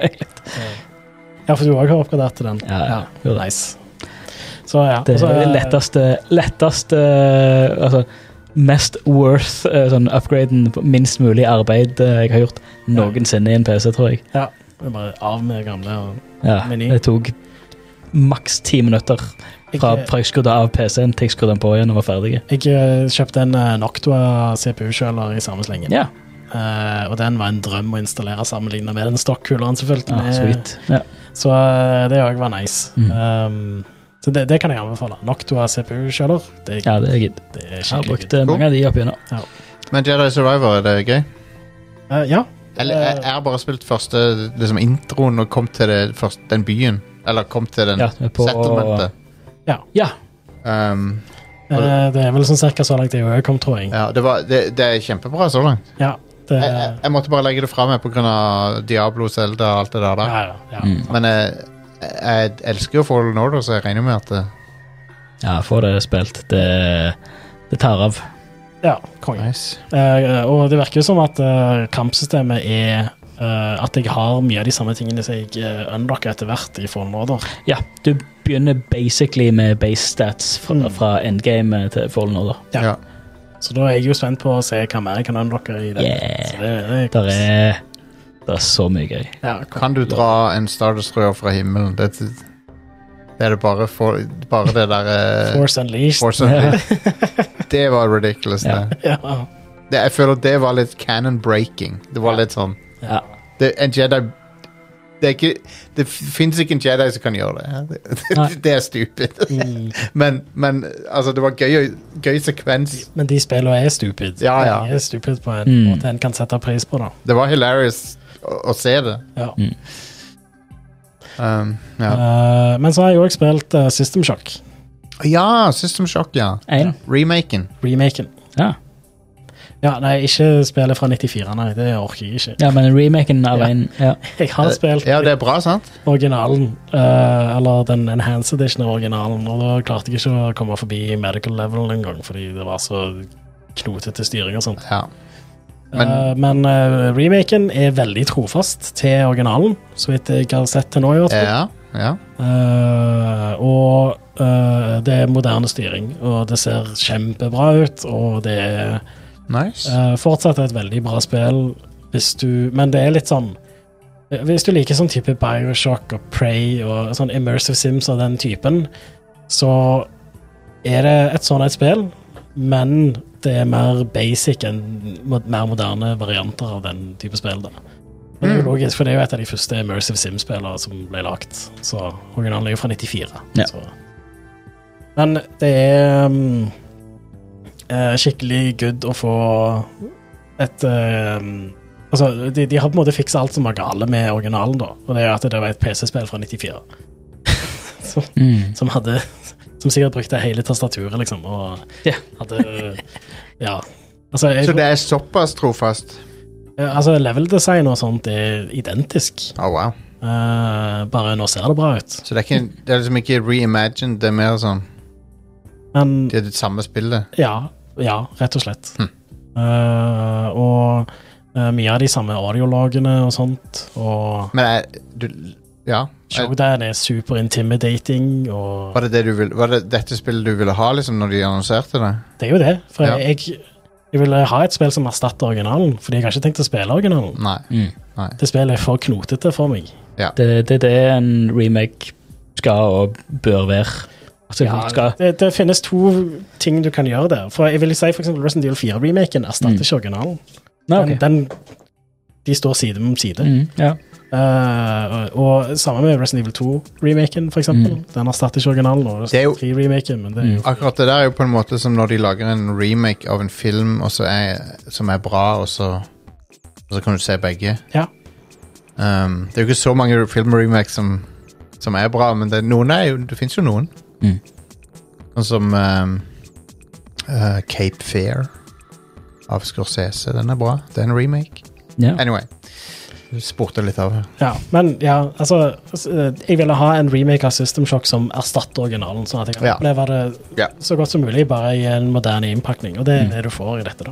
[SPEAKER 3] Ja, for du òg har oppgradert til den.
[SPEAKER 2] Ja, ja. Jo, det.
[SPEAKER 3] Nice. Så ja.
[SPEAKER 2] Det
[SPEAKER 3] og så,
[SPEAKER 2] er det
[SPEAKER 3] eh,
[SPEAKER 2] letteste, letteste altså, Mest worth eh, sånn upgraden, på minst mulig arbeid eh, jeg har gjort noensinne i en PC, tror jeg.
[SPEAKER 3] Ja, det er bare av med det gamle. Og
[SPEAKER 2] Ja,
[SPEAKER 3] Meny.
[SPEAKER 2] det tok maks ti minutter fra,
[SPEAKER 3] jeg, eh,
[SPEAKER 2] fra jeg skrudde av PC-en til jeg skrudde den på igjen og var ferdig.
[SPEAKER 3] jeg eh, kjøpte en eh, Noctua CPU-kjøler i samme slengen.
[SPEAKER 2] Ja,
[SPEAKER 3] Eh, og den var en drøm å installere sammenligna med den stokkuleren som fulgte
[SPEAKER 2] ah,
[SPEAKER 3] med.
[SPEAKER 2] sweet. Ja.
[SPEAKER 3] Så eh, det òg var nice.
[SPEAKER 2] Mm.
[SPEAKER 3] Um, så det, det kan jeg anbefale. Noctua CPU-kjøler. Det,
[SPEAKER 2] ja, det er gitt.
[SPEAKER 3] det er
[SPEAKER 2] Jeg har
[SPEAKER 3] skikkelig
[SPEAKER 2] brukt
[SPEAKER 3] good.
[SPEAKER 2] eh, mange av de opp igjennom.
[SPEAKER 1] Men Jedi Survivor, er det gøy?
[SPEAKER 3] Eh, ja.
[SPEAKER 1] Eller jeg, jeg har bare spilt første liksom, introen og kom til det, først, den byen. Eller kom til den
[SPEAKER 2] Ja, på,
[SPEAKER 1] settlementet.
[SPEAKER 2] ja,
[SPEAKER 1] Um,
[SPEAKER 3] eh, det er vel sånn cirka så langt jeg har kommet, tror jeg.
[SPEAKER 1] ja, det, var, det, det er kjempebra så langt.
[SPEAKER 3] Ja, det,
[SPEAKER 1] Jeg, jeg, jeg måtte bare legge det fra meg pga. Diablo, Zelda og alt det der.
[SPEAKER 3] ja,
[SPEAKER 1] der.
[SPEAKER 3] ja, ja.
[SPEAKER 2] Mm.
[SPEAKER 1] Men jeg, jeg elsker jo Fallen Order, så jeg regner med at eh, det,
[SPEAKER 2] ja, få det spilt. Det, det tar av.
[SPEAKER 3] ja konge.
[SPEAKER 1] Nice.
[SPEAKER 3] Eh, og det virker jo som at eh, kampsystemet er eh, at jeg har mye av de samme tingene som jeg uh, unlocker etter hvert i Fallen Order.
[SPEAKER 2] Ja, du begynner basically med base stats fra,
[SPEAKER 3] Mm.
[SPEAKER 2] fra endgame til Fallen Order.
[SPEAKER 3] Ja.
[SPEAKER 1] Ja.
[SPEAKER 3] Så da er jeg jo spent på å se hva mer jeg kan unlocke i det.
[SPEAKER 2] Yeah.
[SPEAKER 3] Så det, det er,
[SPEAKER 2] Der er, der er så mye gøy.
[SPEAKER 3] ja, konge.
[SPEAKER 1] Kan du dra en Star Destroyer fra himmelen? Det, det er det bare, for, bare det der eh,
[SPEAKER 3] Force Unleashed.
[SPEAKER 1] Force Unleashed. Det var ridiculous.
[SPEAKER 2] Ja.
[SPEAKER 1] Det.
[SPEAKER 3] [laughs] Ja.
[SPEAKER 1] Det, jeg føler det var litt canon breaking. Det var litt sånn
[SPEAKER 2] Ja.
[SPEAKER 1] det, En Jedi Det, er ikke- det fins ikke en Jedi som kan gjøre det.
[SPEAKER 2] Nei.
[SPEAKER 1] Det, det er stupid.
[SPEAKER 3] Mm.
[SPEAKER 1] Men, men altså, det var gøy, gøy sekvens.
[SPEAKER 3] Men de spillene er stupid.
[SPEAKER 1] Ja, ja.
[SPEAKER 3] De er stupid på en
[SPEAKER 2] Mm.
[SPEAKER 3] måte en kan sette pris på, da.
[SPEAKER 1] Det var hilarious å, å se det.
[SPEAKER 3] Ja.
[SPEAKER 2] Mm.
[SPEAKER 1] Um, ja.
[SPEAKER 3] Eh, men så har jeg òg spilt eh, System Shock,
[SPEAKER 1] ja, System Shock, ja.
[SPEAKER 2] En?
[SPEAKER 1] Remaken.
[SPEAKER 3] remaken.
[SPEAKER 2] Ja.
[SPEAKER 3] Ja, nei, ikke spillet fra 94, nei, det orker jeg ikke.
[SPEAKER 2] ja, men remaken av
[SPEAKER 3] Ja.
[SPEAKER 2] en ja.
[SPEAKER 3] Jeg har spilt
[SPEAKER 1] Eh, Ja, det er bra, sant?
[SPEAKER 3] originalen, eh, eller den enhanced edition av originalen, og da klarte jeg ikke å komme forbi medical level engang, fordi det var så knotete styring og sånt.
[SPEAKER 1] Ja. Men-
[SPEAKER 3] Men, men eh, remaken er veldig trofast til originalen, så vidt jeg har sett til nå. i hvert fall.
[SPEAKER 1] Ja, ja.
[SPEAKER 3] Eh, og eh, det er moderne styring, og det ser kjempebra ut. Og det er
[SPEAKER 1] Nice.
[SPEAKER 3] eh, fortsatt et veldig bra spill, hvis du Men det er litt sånn Hvis du liker sånn type Bioshock og Prey og sånn Immersive Sims og den typen, så er det et sånn et spill, men det er mer basic enn mo- mer moderne varianter av den type spill. da. Men det er jo logisk, for det er jo et av de første Immersive Sims-spillene som ble lagt. Så originalen er jo fra 94.
[SPEAKER 2] Ja.
[SPEAKER 3] mm, Så. Men det er um, eh, skikkelig good å få et eh, Altså, de, de har på en måte fiksa alt som var gale med originalen, da. Og det er jo at det var et PC-spill fra 94 som,
[SPEAKER 2] Mm.
[SPEAKER 3] som hadde Som sikkert brukte hele tastaturet, liksom, og
[SPEAKER 2] Ja.
[SPEAKER 3] hadde Ja. Altså, jeg,
[SPEAKER 1] Så det er såpass trofast.
[SPEAKER 3] altså, level design og sånt er identisk.
[SPEAKER 1] Å, wow.
[SPEAKER 3] Eh, bare nå ser det bra ut.
[SPEAKER 1] Så det er, ikke, det er liksom ikke reimagined, det er mer sånn
[SPEAKER 3] Men
[SPEAKER 1] Det er det samme spillet.
[SPEAKER 3] Ja, ja rett og slett.
[SPEAKER 1] Hm.
[SPEAKER 3] Eh, og eh, mye av de samme audiologene og sånt. Og
[SPEAKER 1] Men jeg, du Ja. Jeg,
[SPEAKER 3] showdown er super intimidating, og
[SPEAKER 1] var det, det, du ville, var det dette spillet du ville ha liksom når de annonserte det?
[SPEAKER 3] det er jo det. For
[SPEAKER 1] Ja.
[SPEAKER 3] jeg, jeg ville ha et spill som erstatter originalen, fordi jeg har ikke tenkt å spille originalen.
[SPEAKER 1] Nei.
[SPEAKER 2] Mm.
[SPEAKER 3] Det spillet er for knotete for meg.
[SPEAKER 2] Det er det, det er en remake skal og bør være. Altså,
[SPEAKER 3] Ja,
[SPEAKER 2] skal,
[SPEAKER 3] det, det finnes to ting du kan gjøre der. For jeg vil si for eksempel Resident Evil 4-remaken erstatter
[SPEAKER 2] Mm.
[SPEAKER 3] ikke originalen.
[SPEAKER 2] Nei, ok.
[SPEAKER 3] Den, den, de står side om side.
[SPEAKER 2] Mm, ja.
[SPEAKER 3] Eh, og og samme med Resident Evil 2-remaken, for eksempel.
[SPEAKER 2] Mm.
[SPEAKER 3] Den erstatter ikke originalen. Og
[SPEAKER 1] Det er jo-
[SPEAKER 3] 3-remaken, men det er jo
[SPEAKER 1] Akkurat det der er jo på en måte som når de lager en remake av en film og så er, som er bra, og så, og så kan du se begge.
[SPEAKER 2] Mm.
[SPEAKER 3] Ja.
[SPEAKER 1] Um, det er jo ikke så mange filmremakes som, som er bra, men det, noen er jo, det fins jo noen.
[SPEAKER 2] Mm.
[SPEAKER 1] Sånn som um, uh, Cape Fear av Scorsese. Den er bra. Det er en remake.
[SPEAKER 2] Ja.
[SPEAKER 1] Anyway. Du spurte litt av her.
[SPEAKER 3] ja, Men ja, altså s- eh, Jeg ville ha en remake av System Shock som erstatter originalen, sånn at jeg kan
[SPEAKER 1] Ja.
[SPEAKER 3] oppleve det
[SPEAKER 1] Ja.
[SPEAKER 3] så godt som mulig, bare i en moderne innpakning. Og det er det du får i dette, da.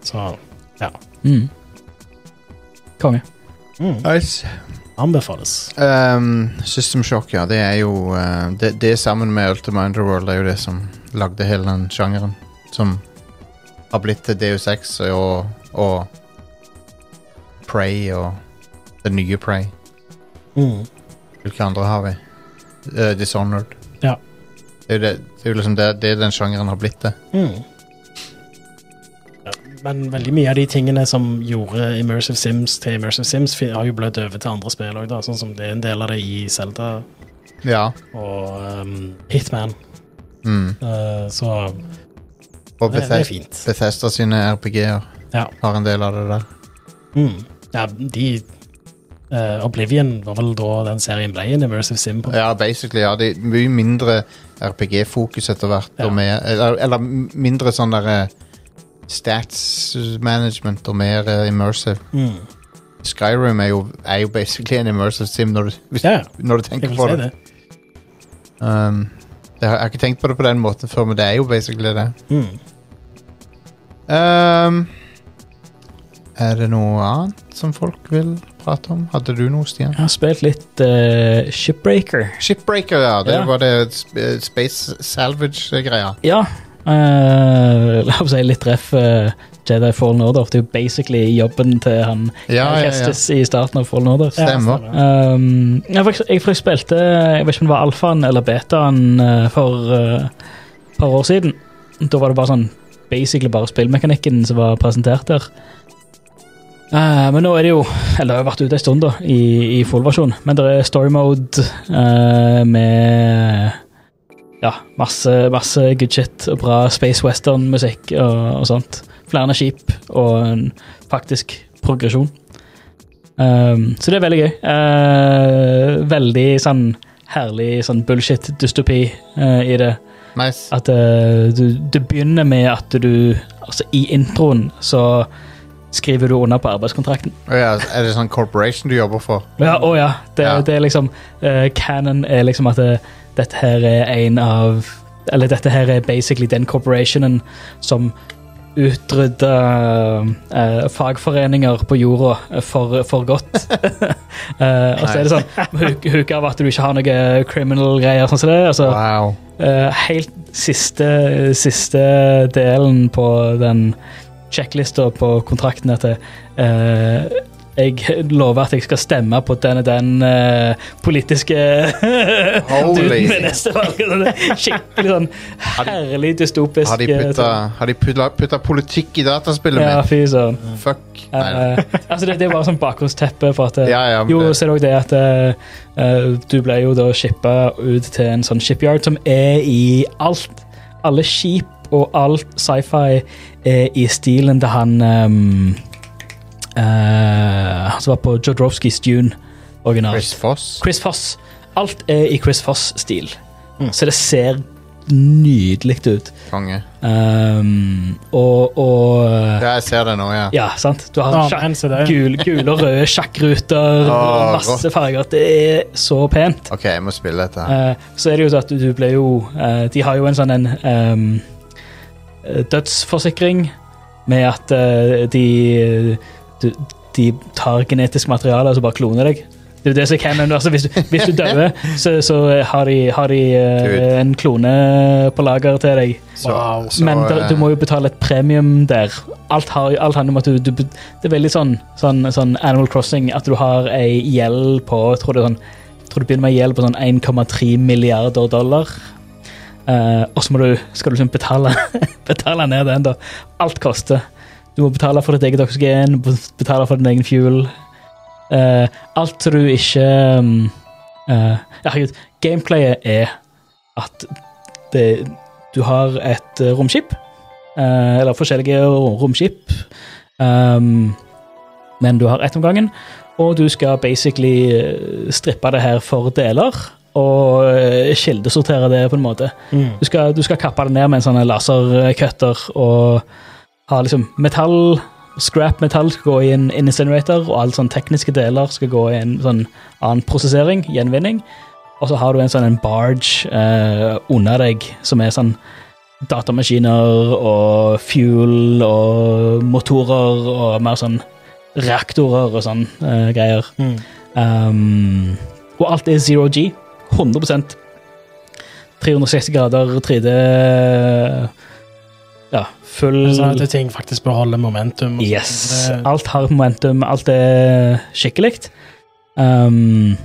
[SPEAKER 3] Så ja.
[SPEAKER 2] Mm. Konge.
[SPEAKER 1] Nice.
[SPEAKER 3] mm, Anbefales.
[SPEAKER 1] Um, System Shock, ja. Det er jo eh, det, det sammen med Ultima Underworld er jo det som lagde hele den sjangeren. Som har blitt til DU6 og, og Prey og det nye Prey.
[SPEAKER 3] Mm.
[SPEAKER 1] Hvilke andre har vi? Eh, Dishonored.
[SPEAKER 3] Ja.
[SPEAKER 1] Det er jo, det, det er jo liksom det, det den sjangeren har blitt til.
[SPEAKER 3] Mm. Ja, Men veldig mye av de tingene som gjorde Immersive Sims til Immersive Sims, fi- har jo blødd over til andre spill òg, sånn som det er en del av det i Zelda
[SPEAKER 1] Ja.
[SPEAKER 3] og ehm, Hitman.
[SPEAKER 1] Mm.
[SPEAKER 3] Eh, så
[SPEAKER 1] Og
[SPEAKER 3] det, det er
[SPEAKER 1] Bethesda,
[SPEAKER 3] fint.
[SPEAKER 1] Bethesda sine RPG-er
[SPEAKER 3] Ja.
[SPEAKER 1] har en del av det der.
[SPEAKER 3] Mm. ja de eh, Oblivion var vel da den serien ble en Immersive Sim på.
[SPEAKER 1] Ja, basically, ja. Det er mye mindre RPG-fokus etter hvert.
[SPEAKER 3] Ja.
[SPEAKER 1] Og mer, eller, eller m- mindre sånn der eh, stats management og mer eh, immersive.
[SPEAKER 3] Mm.
[SPEAKER 1] Skyrim er jo, er jo basically en immersive sim når du, hvis,
[SPEAKER 3] Ja,
[SPEAKER 1] når du
[SPEAKER 3] jeg
[SPEAKER 1] tenker
[SPEAKER 3] vil
[SPEAKER 1] på
[SPEAKER 3] si
[SPEAKER 1] det.
[SPEAKER 3] det.
[SPEAKER 1] Um, det har, jeg har ikke tenkt på det på den måten før, men det er jo basically det.
[SPEAKER 3] Mm.
[SPEAKER 1] Um, er det noe annet som folk vil prate om? Hadde du noe, Stian?
[SPEAKER 2] Jeg har spilt litt eh, Shipbreaker.
[SPEAKER 1] Shipbreaker, ja. Det
[SPEAKER 2] Ja.
[SPEAKER 1] var det sp- eh, Space Salvage-greia.
[SPEAKER 2] Ja. eh, la oss si litt treff eh, Jedi Fallen Order. Det er jo basically jobben til han
[SPEAKER 1] Ja, ja, ja.
[SPEAKER 2] Kestis i starten av Fallen Order.
[SPEAKER 3] Ja,
[SPEAKER 1] Stemmer.
[SPEAKER 2] Um, jeg, faktisk, jeg faktisk spilte Jeg vet ikke om det var alfaen eller betaen eh, for eh, et par år siden. Da var det bare sånn basically bare spillmekanikken som var presentert der. Eh, men nå er det jo Eller det har jo vært ute en stund, da, i, i full versjon. Men det er story mode eh, med Ja, masse, masse good shit og bra space western-musikk og, og sånt. Flere skip og en faktisk progresjon. Um, så det er veldig gøy. Eh, veldig sånn herlig sånn bullshit-dystopi eh, i det.
[SPEAKER 1] Nice.
[SPEAKER 2] At eh, du, du begynner med at du Altså, i introen så skriver du under på arbeidskontrakten.
[SPEAKER 1] Å ja, er det sånn corporation du jobber for?
[SPEAKER 2] Ja, å ja. Det,
[SPEAKER 1] Ja.
[SPEAKER 2] det er liksom eh, Canon er liksom at eh, dette her er en av Eller dette her er basically den corporationen som utrydda eh, fagforeninger på jorda eh, for, for godt. Eh, og så er det sånn huk, huk av at du ikke har noe criminal-greier. sånn som det, altså,
[SPEAKER 1] Wow.
[SPEAKER 2] Eh, helt siste, siste delen på den sjekklista på kontrakten at eh, jeg lover at jeg skal stemme på den og den eh, politiske [laughs]
[SPEAKER 1] Holy.
[SPEAKER 2] duden ved neste valg. Sånn Skikkelig sånn herlig dystopisk.
[SPEAKER 1] Har de
[SPEAKER 2] eh,
[SPEAKER 1] putta,
[SPEAKER 2] sånn-
[SPEAKER 1] har de putta, putta politikk i dataspillet
[SPEAKER 2] Ja,
[SPEAKER 1] mitt?
[SPEAKER 2] fy søren.
[SPEAKER 1] Fuck.
[SPEAKER 2] Eh,
[SPEAKER 1] Nei.
[SPEAKER 2] eh, altså det, det er bare sånn bakgrunnsteppe for at eh,
[SPEAKER 1] Ja, ja, men
[SPEAKER 2] Jo,
[SPEAKER 1] det-
[SPEAKER 2] så er det også det at eh, eh, du ble jo da shippa ut til en sånn shipyard som er i alt. Alle skip og alt sci-fi er i stilen til han ehm, eh, Han som var på Jodorowskys Dune
[SPEAKER 1] Chris
[SPEAKER 2] originalt.
[SPEAKER 1] Foss.
[SPEAKER 2] Chris Foss. Alt er i Chris Foss-stil,
[SPEAKER 1] Mm.
[SPEAKER 2] så det ser nydelig ut.
[SPEAKER 1] Konge.
[SPEAKER 2] Ehm, og, og
[SPEAKER 1] Ja, jeg ser det nå, ja.
[SPEAKER 2] Ja, sant? Du har
[SPEAKER 3] Ah,
[SPEAKER 2] sjakk-
[SPEAKER 3] men, så det er- Ah,
[SPEAKER 2] gul, gule og røde sjakkruter og
[SPEAKER 1] Åh,
[SPEAKER 2] masse farger. Det er så pent.
[SPEAKER 1] Ok, jeg må spille dette. her.
[SPEAKER 2] Eh, så er det jo sånn at du, du blir jo eh, De har jo en sånn en ehm, eh, dødsforsikring med at eh, de, du, de tar genetisk materiale og så bare kloner deg. Det er jo det som er canon. Altså, hvis, du, hvis du dør, så, så har de, har de eh,
[SPEAKER 1] Dude.
[SPEAKER 2] en klone på lager til deg.
[SPEAKER 1] Så,
[SPEAKER 3] Wow.
[SPEAKER 1] så,
[SPEAKER 2] Men da,
[SPEAKER 1] eh,
[SPEAKER 2] du må jo betale et premium der. Alt, har, alt handler om at du, du bet- Det er veldig sånn, sånn, sånn Animal Crossing at du har ei gjeld på jeg tror, det er sånn, jeg tror du begynner med ei gjeld på sånn 1,3 milliarder dollar. Eh, og så må du, skal du liksom betale, [laughs] betale ned den, da. Alt koster. Du må betale for ditt eget oksygen, b- betale for din egen fuel. Eh, alt som du ikke um, eh, ja, Herregud, gameplayet er at det du har et eh, romskip, eh, eller forskjellige ro- romskip, ehm, men du har ett om gangen, og du skal basically eh, strippe det her for deler, og eh, kildesortere det på en måte.
[SPEAKER 3] Mm.
[SPEAKER 2] Du skal, du skal kappe det ned med en sånn lasercutter, og ha liksom metall, scrap metall skal gå i en en incinerator, og alle sånne tekniske deler skal gå i en sånn annen prosessering, gjenvinning. Og så har du en sånn en barge eh, under deg, som er sånn datamaskiner og fuel og motorer og mer sånn reaktorer og sånn eh, greier.
[SPEAKER 3] Mm.
[SPEAKER 2] Um, og alt er zero G. 100 360 grader 3D Ja, full
[SPEAKER 3] Sånn at ting faktisk beholder momentum. og sånt.
[SPEAKER 2] Mm. Yes.
[SPEAKER 3] Det-
[SPEAKER 2] Alt har momentum, alt er skikkelig. Um,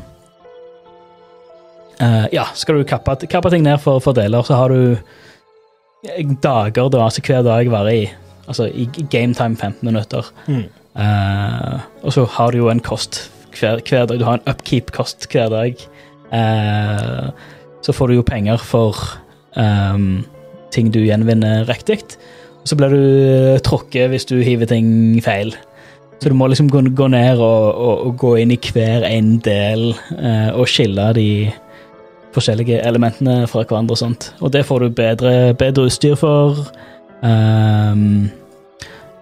[SPEAKER 2] eh, ja, skal du kappe, kappe ting ned for, for deler, så har du eh, dager, da, altså hver dag varer i altså i gametime 15 minutter.
[SPEAKER 3] Mm.
[SPEAKER 2] Eh, og så har du jo en kost hver, hver dag. Du har en upkeep-kost hver dag. Eh, så får du jo penger for ehm, ting du gjenvinner riktig. Og så blir du eh, tråkket hvis du hiver ting feil. Så du må liksom gå, gå ned og, og, og gå inn i hver en del eh, og skille de forskjellige elementene fra hverandre og sånt. Og det får du bedre, bedre utstyr for. Ehm,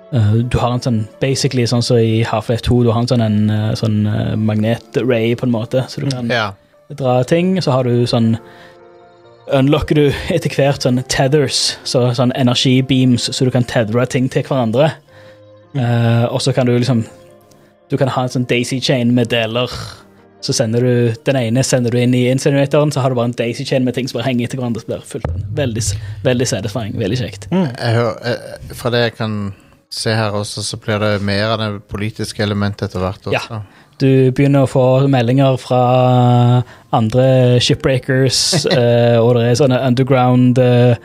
[SPEAKER 2] eh, du har en sånn basically sånn som i Half-Life 2, du har en sånn, en, eh, sånn eh, magnet-ray på en måte, så du kan
[SPEAKER 1] eh, Ja.
[SPEAKER 2] dra ting, så har du sånn Unlocker du etter hvert sånn tethers, så sånn energibeams, så du kan tethre ting til hverandre. Eh, og så kan du liksom Du kan ha en sånn daisy chain med deler. Så sender du den ene sender du inn i insinuatoren, så har du bare en daisy chain med ting som bare henger etter hverandre. Så blir det fullt. Veldig, s- veldig satisfying. Veldig kjekt.
[SPEAKER 1] Jeg hører, eh, fra det jeg kan se her også, så blir det mer av det politiske elementet etter hvert
[SPEAKER 2] Ja.
[SPEAKER 1] også.
[SPEAKER 2] Du begynner å få meldinger fra andre shipbreakers, eh, og det er sånne underground eh,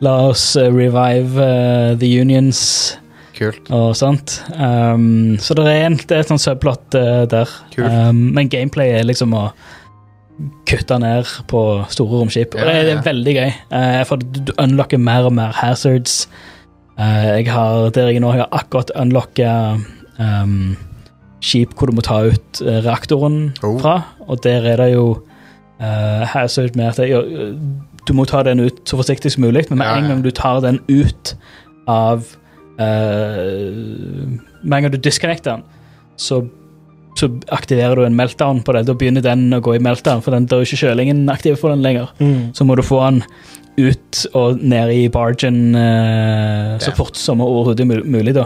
[SPEAKER 2] La oss eh, revive eh, the unions
[SPEAKER 1] Kult.
[SPEAKER 2] og sånt. Um, så det er, en, det er et sånt subplot eh, der.
[SPEAKER 1] Kult.
[SPEAKER 2] Um, men gameplay er liksom å kutte ned på store romskip. Og
[SPEAKER 1] Ja,
[SPEAKER 2] det er, det
[SPEAKER 1] ja.
[SPEAKER 2] er veldig gøy, eh, for du, du unlocker mer og mer hazards. Eh, jeg har der jeg nå jeg har akkurat unlocka um, skip hvor du må ta ut eh, reaktoren
[SPEAKER 1] Oh.
[SPEAKER 2] fra, og der er det jo eh, hazard med at det, ja, du må ta den ut så forsiktig som mulig, men med
[SPEAKER 1] Ja,
[SPEAKER 2] en
[SPEAKER 1] ja.
[SPEAKER 2] gang du tar den ut av eh, Med en gang du disconnecter den, så, så aktiverer du en meltdown på det. Da begynner den å gå i meltdown, for den, da er ikke kjølingen aktiv for den lenger.
[SPEAKER 3] Mm.
[SPEAKER 2] Så må du få den ut og ned i bargen eh, så
[SPEAKER 1] Ja.
[SPEAKER 2] fort som overhodet mul- mulig, da.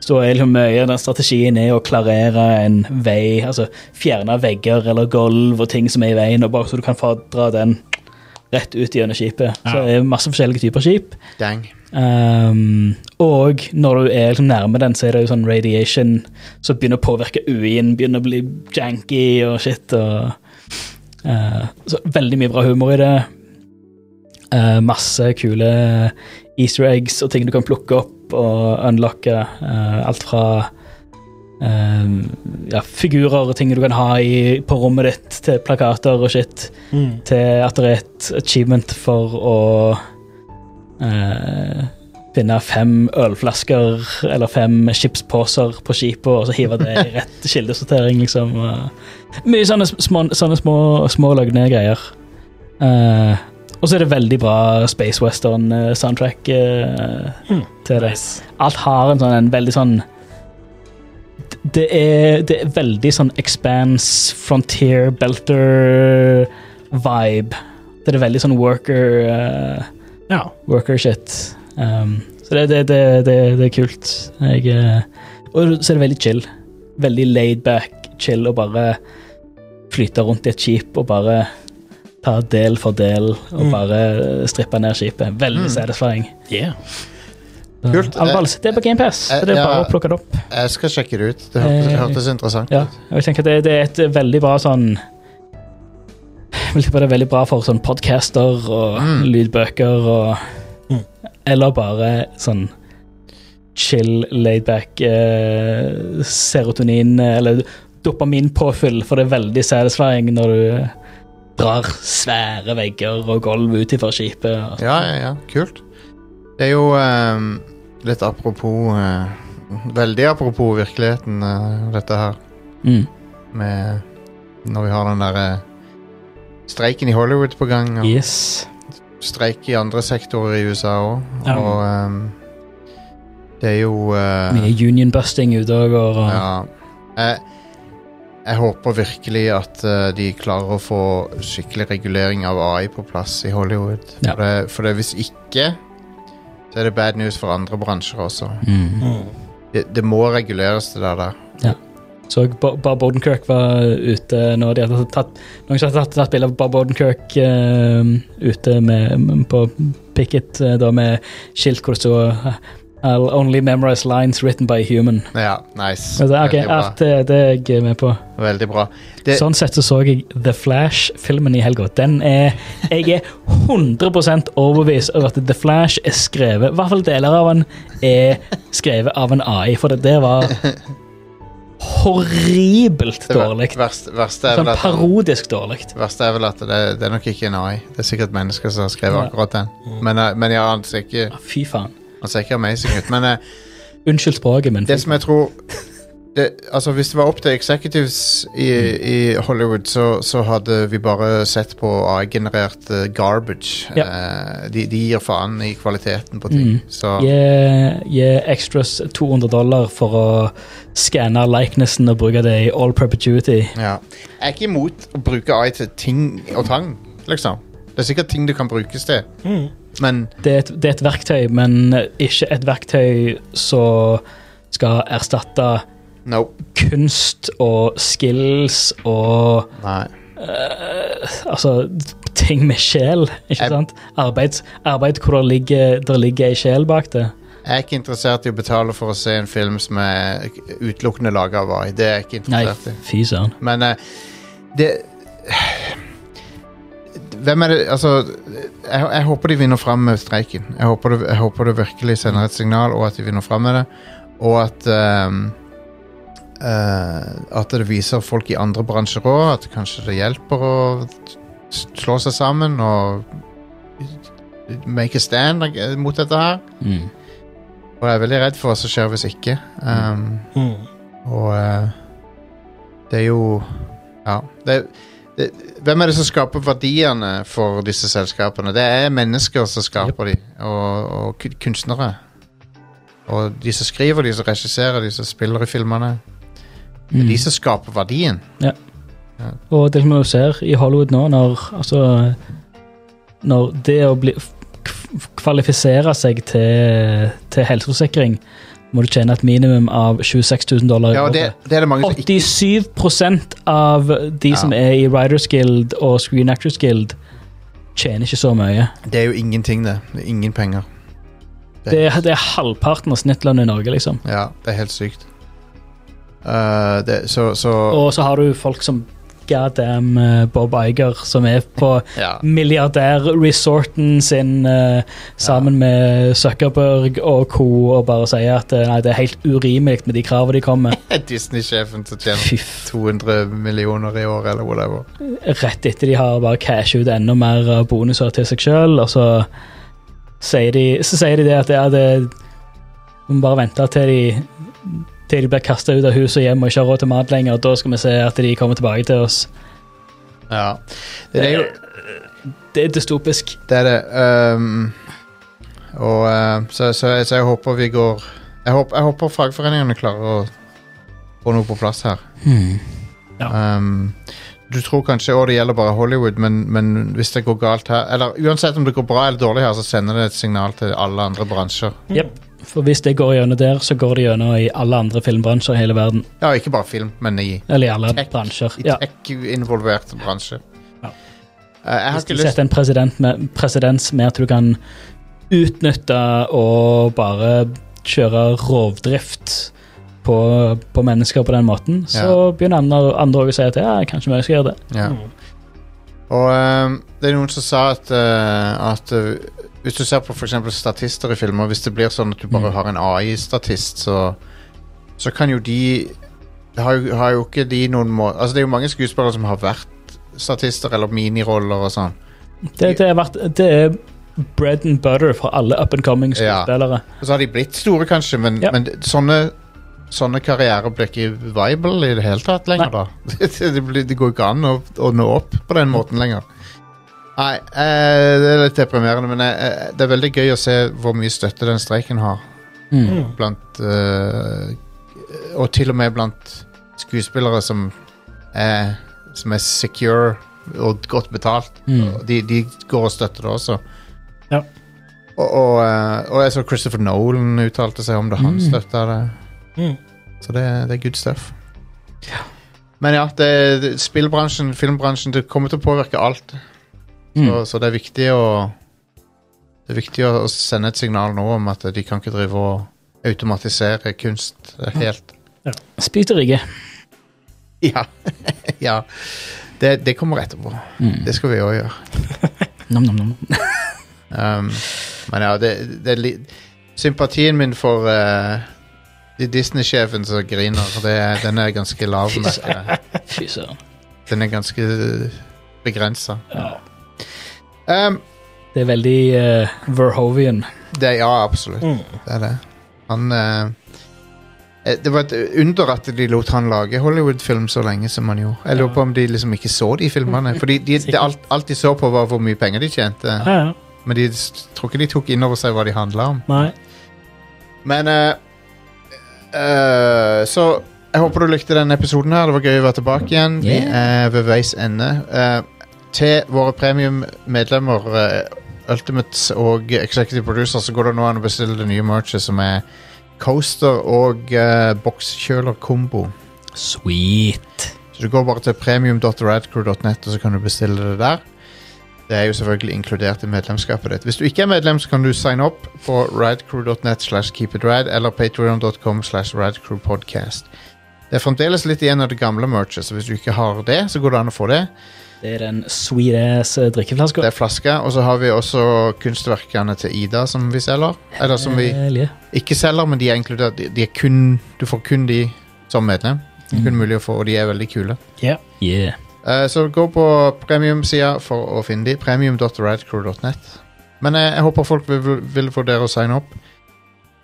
[SPEAKER 2] Så da er liksom mye av den strategien er å klarere en vei, altså fjerne vegger eller gulv og ting som er i veien, og bare så du kan få dra den rett ut gjennom skipet. Så det er masse forskjellige typer skip.
[SPEAKER 1] Dang.
[SPEAKER 2] Um, og når du er liksom nærme den, så er det jo sånn radiation som begynner å påvirke UI-en, begynner å bli janky og shit. Og, uh, så veldig mye bra humor i det. Uh, masse kule easter eggs og ting du kan plukke opp og unlocke. Uh, alt fra uh, ja, figurer og ting du kan ha i, på rommet ditt, til plakater og shit
[SPEAKER 3] Mm.
[SPEAKER 2] til at det er et achievement for å eh, finne fem ølflasker eller fem chipsposer på skipet og så hive det i rett kildesortering, liksom. eh. Mye sånne, sm- små, sånne små, små løgne greier. Eh, og så er det veldig bra Space eh, Western-soundtrack eh, til det. Alt har en sånn en veldig sånn det er, det er veldig sånn Expanse, Frontier, Belter-vibe. Det er veldig sånn worker eh,
[SPEAKER 3] Ja.
[SPEAKER 2] worker shit. Um, så det, det, det, det, det er kult. Jeg, eh, og så er det veldig chill. Veldig laid back, chill, og bare flyte rundt i et skip og bare ta del for del og
[SPEAKER 3] Mm.
[SPEAKER 2] bare strippe ned skipet. Veldig satisfying.
[SPEAKER 3] Yeah.
[SPEAKER 2] Så,
[SPEAKER 1] Kult.
[SPEAKER 2] Alvorlig, det er på GamePass, så det er
[SPEAKER 1] Ja.
[SPEAKER 2] bare å plukke det opp.
[SPEAKER 1] Jeg skal sjekke det ut. Det hørtes, det
[SPEAKER 2] Eh,
[SPEAKER 1] hørtes interessant
[SPEAKER 2] Ja,
[SPEAKER 1] ut.
[SPEAKER 2] og jeg tenker at det, det er et veldig bra sånn Jeg vil tippe det er veldig bra for sånn podcaster og
[SPEAKER 1] Mm.
[SPEAKER 2] lydbøker og
[SPEAKER 3] Mm.
[SPEAKER 2] Eller bare sånn chill, laidback eh, serotonin eller dopaminpåfyll, for det er veldig satisfying når du drar svære vegger og gulv ut ifra skipet. og-
[SPEAKER 1] Ja, ja, ja. Kult. Det er jo ehm, litt apropos eh, Veldig apropos virkeligheten, eh, dette her.
[SPEAKER 2] Mm.
[SPEAKER 1] Med Når vi har den derre streiken i Hollywood på gang. Og
[SPEAKER 2] Yes.
[SPEAKER 1] Streik i andre sektorer i USA òg.
[SPEAKER 3] Ja.
[SPEAKER 1] Og ehm, det er jo eh,
[SPEAKER 2] Mye union busting ute og går. og-
[SPEAKER 1] Ja. Jeg, jeg håper virkelig at eh, de klarer å få skikkelig regulering av AI på plass i Hollywood.
[SPEAKER 2] Ja.
[SPEAKER 1] For, det, for det, hvis ikke, så er det bad news for andre bransjer også.
[SPEAKER 2] Mm.
[SPEAKER 1] Det, det må reguleres, det der. der.
[SPEAKER 2] Så Bo- Bob Odenkirk var eh, ute når de hadde tatt noen som hadde tatt, tatt bilde av Bob Odenkirk eh, ute med, på picket eh, da med skilt hvor det stod eh, I'll only memorize lines written by a human.
[SPEAKER 1] Ja, nice.
[SPEAKER 2] Og det, ok,
[SPEAKER 1] Veldig bra.
[SPEAKER 2] alt eh, det, det er jeg med på.
[SPEAKER 1] Veldig bra. Det-
[SPEAKER 2] Sånn sett så så jeg The Flash-filmen i helga. Den er Jeg er 100 overbevist over at The Flash er skrevet I hvert fall deler av den er skrevet av en AI, for det der
[SPEAKER 1] [laughs]
[SPEAKER 2] var horribelt
[SPEAKER 1] Det ver-
[SPEAKER 2] dårlig.
[SPEAKER 1] verste, verste, er
[SPEAKER 2] Sånn
[SPEAKER 1] vel at,
[SPEAKER 2] parodisk dårlig.
[SPEAKER 1] verste er vel at det, det er nok ikke en AI. Det er sikkert mennesker som har skrevet
[SPEAKER 2] Ja.
[SPEAKER 1] akkurat den. Men, eh, men ja, han ser ikke,
[SPEAKER 2] Ah, Fy faen.
[SPEAKER 1] han ser ikke amazing ut. Men eh,
[SPEAKER 2] Unnskyld språket, men
[SPEAKER 1] Det som jeg tror det, Altså Hvis det var opp til executives i, i Hollywood, så, så hadde vi bare sett på AI-generert eh, garbage.
[SPEAKER 2] Ja.
[SPEAKER 1] Eh, de, de gir faen i kvaliteten på ting.
[SPEAKER 2] Mm.
[SPEAKER 1] Så
[SPEAKER 2] gi, gi extras 200 dollar for å skanne likenessen og bruke det i all perpetuity.
[SPEAKER 1] ja. Jeg er ikke imot å bruke AI til ting og tang, liksom. Det er sikkert ting du kan brukes til,
[SPEAKER 3] Mm.
[SPEAKER 1] men
[SPEAKER 2] Det er, et, det er et verktøy, men ikke et verktøy som skal erstatte
[SPEAKER 1] nope.
[SPEAKER 2] kunst og skills og
[SPEAKER 1] Nei.
[SPEAKER 2] eh, Altså ting med sjel, ikke
[SPEAKER 1] Jeg-
[SPEAKER 2] sant? Arbeids, arbeid hvor det ligger, der ligger ei sjel bak det.
[SPEAKER 1] Jeg er ikke interessert i å betale for å se en film som er utelukkende laga av AI. Det er jeg ikke
[SPEAKER 2] Nei,
[SPEAKER 1] interessert i.
[SPEAKER 2] fy søren.
[SPEAKER 1] Men eh, det Hvem er det Altså, jeg, jeg håper de vinner fram med streiken. Jeg håper, det, jeg håper det virkelig sender et signal, og at de vinner fram med det. Og at ehm, eh, At det viser folk i andre bransjer òg at kanskje det hjelper å s- slå seg sammen og make a stand eh, mot dette her.
[SPEAKER 2] Mm.
[SPEAKER 1] Og jeg er veldig redd for hva som skjer hvis ikke. Um,
[SPEAKER 3] Mm.
[SPEAKER 1] og eh, det er jo Ja. Det, det, hvem er det som skaper verdiene for disse selskapene? Det er mennesker som skaper de, og, og kun- kunstnere. Og de som skriver, de som regisserer, de som spiller i filmene. Det er
[SPEAKER 2] Mm.
[SPEAKER 1] de som skaper verdien.
[SPEAKER 2] Og det som vi jo ser i Hollywood nå, når, altså, når det å bli, kv- kvalifisere seg til, til helseforsikring, må du tjene et minimum av 26 000 dollar i
[SPEAKER 1] Ja, og det,
[SPEAKER 2] året.
[SPEAKER 1] det er det mange som ikke
[SPEAKER 2] 87 av de som
[SPEAKER 1] Ja.
[SPEAKER 2] er i Writers Guild og Screen Actors Guild, tjener ikke så mye.
[SPEAKER 1] Det er jo ingenting, det. det er ingen penger.
[SPEAKER 2] Det, er- det er halvparten av snittlønnen i Norge, liksom.
[SPEAKER 1] Ja, det er helt sykt. Eh, det, så, så
[SPEAKER 2] Og så har du folk som goddamn eh, Bob Iger, som er på
[SPEAKER 1] ja.
[SPEAKER 2] milliardærresorten sin eh, sammen med Zuckerberg og co. og bare sier at eh, nei, det er helt urimelig med de kravene de kommer med.
[SPEAKER 1] Disney-sjefen som tjener
[SPEAKER 2] Fy f-
[SPEAKER 1] 200 millioner i år, eller whatever.
[SPEAKER 2] Rett etter de har bare cashet ut enda mer av bonuser til seg sjøl, og så sier de, så sier de det at ja, det vi må bare vente til de, til de blir kasta ut av hus og hjem og ikke har råd til mat lenger. og Da skal vi se at de kommer tilbake til oss.
[SPEAKER 1] Ja. Det er jo
[SPEAKER 2] Det er dystopisk.
[SPEAKER 1] Det er det. ehm, og eh, så, så, jeg- så jeg håper vi går Jeg håper, jeg håper fagforeningene klarer å få noe på plass her. Ehm, du tror kanskje også det gjelder bare Hollywood, men, men hvis det går galt her Eller uansett om det går bra eller dårlig her, så sender det et signal til alle andre bransjer.
[SPEAKER 2] Jep. For hvis det går gjennom der, så går det gjennom i alle andre filmbransjer i hele verden.
[SPEAKER 1] Ja, ikke bare film, men i,
[SPEAKER 2] Eller i alle
[SPEAKER 1] Tech.
[SPEAKER 2] bransjer.
[SPEAKER 1] i
[SPEAKER 2] Ja.
[SPEAKER 1] tech-involverte bransjer. Eh,
[SPEAKER 2] Ja.
[SPEAKER 1] jeg har
[SPEAKER 2] Hvis
[SPEAKER 1] ikke
[SPEAKER 2] du
[SPEAKER 1] lyst
[SPEAKER 2] setter en president med, presedens med at du kan utnytte og bare kjøre rovdrift på, på mennesker på den måten, så begynner andre andre også å si at ja, kanskje vi også skal gjøre det.
[SPEAKER 1] Ja.
[SPEAKER 3] Mm.
[SPEAKER 1] Og ehm, det er noen som sa at, eh, at eh, hvis du ser på f.eks. statister i filmer, hvis det blir sånn at du bare
[SPEAKER 2] Mm.
[SPEAKER 1] har en AI-statist, så, så kan jo de har, jo- har jo ikke de noen må Altså Det er jo mange skuespillere som har vært statister eller miniroller og sånn.
[SPEAKER 2] Det, det, har vært, det er bread and butter for alle up and coming
[SPEAKER 1] Ja.
[SPEAKER 2] skuespillere.
[SPEAKER 1] Og så har de blitt store, kanskje, men,
[SPEAKER 2] Ja.
[SPEAKER 1] men sånne Sånne karrierer blir ikke viable i det hele tatt lenger, da. [laughs] Det- det, blir, det går ikke an å, å nå opp på den måten lenger. Nei, eh, det er litt deprimerende, men eh, eh, det er veldig gøy å se hvor mye støtte den streiken har.
[SPEAKER 2] Mm.
[SPEAKER 1] Blant eh, Og til og med blant skuespillere som er, som er secure og godt betalt.
[SPEAKER 2] Mm.
[SPEAKER 1] De, de går og støtter det også.
[SPEAKER 3] Ja.
[SPEAKER 1] Og, og, eh, og jeg så Christopher Nolan uttalte seg om det. Han
[SPEAKER 2] Mm.
[SPEAKER 1] støtta det.
[SPEAKER 3] Mm.
[SPEAKER 1] Så det, det er good stuff. Men ja, det, det, spillbransjen, filmbransjen, det kommer til å påvirke alt.
[SPEAKER 2] Mm.
[SPEAKER 1] Så, så det er viktig å Det er viktig å å sende et signal nå om at de kan ikke drive og automatisere kunst helt. [laughs]
[SPEAKER 2] Spis det rike.
[SPEAKER 1] Ja. ja. Det, det kommer etterpå.
[SPEAKER 2] Mm.
[SPEAKER 1] Det skal vi òg gjøre.
[SPEAKER 2] Nom, nom, nom.
[SPEAKER 1] Um, men ja, det, det er li Sympatien min for eh, de Disney-sjefen som griner, det, er- den er ganske lav. merker
[SPEAKER 2] [laughs]
[SPEAKER 1] jeg.
[SPEAKER 2] Fy søren.
[SPEAKER 1] Den er ganske begrensa.
[SPEAKER 2] Ja.
[SPEAKER 1] Um,
[SPEAKER 2] Det er veldig eh, Verhoeven.
[SPEAKER 1] det er ja, absolutt.
[SPEAKER 3] [laughs] Mm.
[SPEAKER 1] Det er det. Han eh, eh, Det var et under at de lot han lage Hollywood-film så lenge som han gjorde. Jeg lurer på om de liksom ikke så de filmene. Fordi de, det, alt, alt de så på, var hvor mye penger de tjente.
[SPEAKER 3] Ja, ja.
[SPEAKER 1] Men de s- tror ikke de tok inn over seg hva de handla om.
[SPEAKER 3] Nei.
[SPEAKER 1] Men eh, eh, Så jeg håper du likte denne episoden her. Det var gøy å være tilbake igjen. Vi
[SPEAKER 2] Yeah.
[SPEAKER 1] er ved veis ende. Eh, til våre premiummedlemmer, eh, Ultimates og Executive Producer, så går det nå an å bestille det nye merchet, som er coaster og eh, bokskjøler-kombo.
[SPEAKER 2] Sweet.
[SPEAKER 1] Så du går bare til premium.radcrew.net, og så kan du bestille det der. Det er jo selvfølgelig inkludert i medlemskapet ditt. Hvis du ikke er medlem, så kan du signe opp på radcrew.net slash keepitrad eller patreon.com slash radcrewpodcast. Det er fremdeles litt igjen av det gamle merchet, så hvis du ikke har det, så går det an å få det.
[SPEAKER 2] Det er den sweet ass eh,
[SPEAKER 1] Det
[SPEAKER 2] drikkeflaska.
[SPEAKER 1] er flaska, og så har vi også kunstverkene til Ida som vi selger. Eller sånn som vi
[SPEAKER 2] Herlig.
[SPEAKER 1] ikke selger, men de er inkludert. De de er kun, du får kun de som medlem. Det er kun mulig å få, og de er veldig kule.
[SPEAKER 3] Ja.
[SPEAKER 2] Yeah.
[SPEAKER 1] Eh, Så gå på premium-sida for å finne de. Premium.radcrew.net. Men eh, jeg, jeg håper folk vil, vil vurdere å signe opp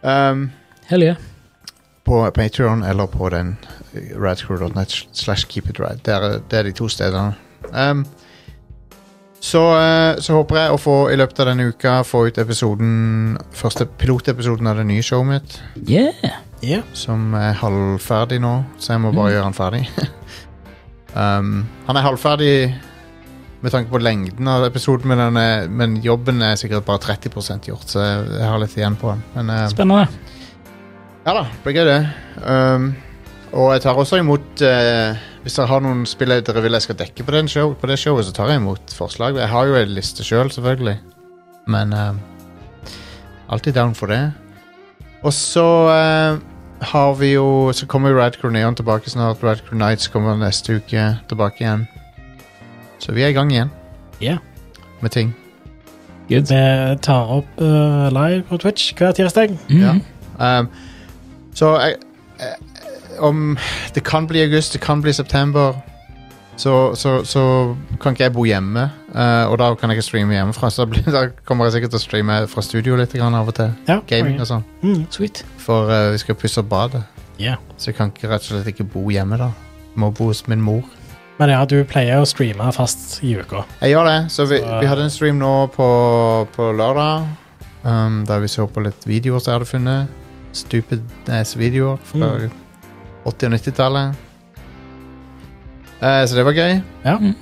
[SPEAKER 1] um,
[SPEAKER 2] Hell yeah.
[SPEAKER 1] på Patreon eller på den eh, radcrew.net slash keepitrad. Det, er- det er de to stedene. Um, så, eh, så håper jeg å få i løpet av denne uka få ut episoden første pilotepisoden av det nye showet mitt,
[SPEAKER 2] Yeah.
[SPEAKER 3] Ja.
[SPEAKER 1] som er halvferdig nå, så jeg må bare gjøre han ferdig. [laughs] Um, han er halvferdig med tanke på lengden av episoden, men, han er, men jobben er sikkert bare 30 gjort, så jeg, jeg har litt igjen på den. Men eh,
[SPEAKER 2] Spennende.
[SPEAKER 1] ja da, det blir gøy, det. Um, og jeg tar også imot eh, Hvis dere har noen spill dere vil jeg skal dekke på, den show, på det showet, så tar jeg imot forslag. Jeg har jo en liste sjøl, selv, selvfølgelig, men eh, alltid down for det. Og så eh, har vi jo Så kommer jo Radcrew Neon tilbake snart. Radcrew Nights kommer neste uke tilbake igjen. Så vi er i gang igjen
[SPEAKER 3] Ja.
[SPEAKER 1] med ting.
[SPEAKER 2] Good.
[SPEAKER 3] Vi tar opp eh, live på Twitch hver tirsdag.
[SPEAKER 2] Mm.
[SPEAKER 1] Ja. Um, så jeg, eh, om Det kan bli august, det kan bli september. så, så, så kan ikke jeg bo hjemme, eh, og da kan jeg ikke streame hjemmefra. Så da, blir, da kommer jeg sikkert til å streame fra studio litt grann av og til.
[SPEAKER 3] Ja,
[SPEAKER 1] Gaming
[SPEAKER 3] konge.
[SPEAKER 1] og sånn.
[SPEAKER 3] Mm.
[SPEAKER 2] Sweet.
[SPEAKER 1] For eh, vi skal pusse opp badet,
[SPEAKER 3] Ja.
[SPEAKER 1] så jeg kan ikke, rett og slett ikke bo hjemme da. Må bo hos min mor.
[SPEAKER 3] Men ja, du pleier å streame fast i uka.
[SPEAKER 1] Jeg gjør det. Så eh, vi,
[SPEAKER 3] Så-
[SPEAKER 1] vi hadde en stream nå på, på lørdag. Um, der vi så på litt videoer som jeg hadde funnet. Stupid ass-videoer fra 80- og 90-tallet. Eh, så det var gøy.
[SPEAKER 3] Ja.
[SPEAKER 2] Mm.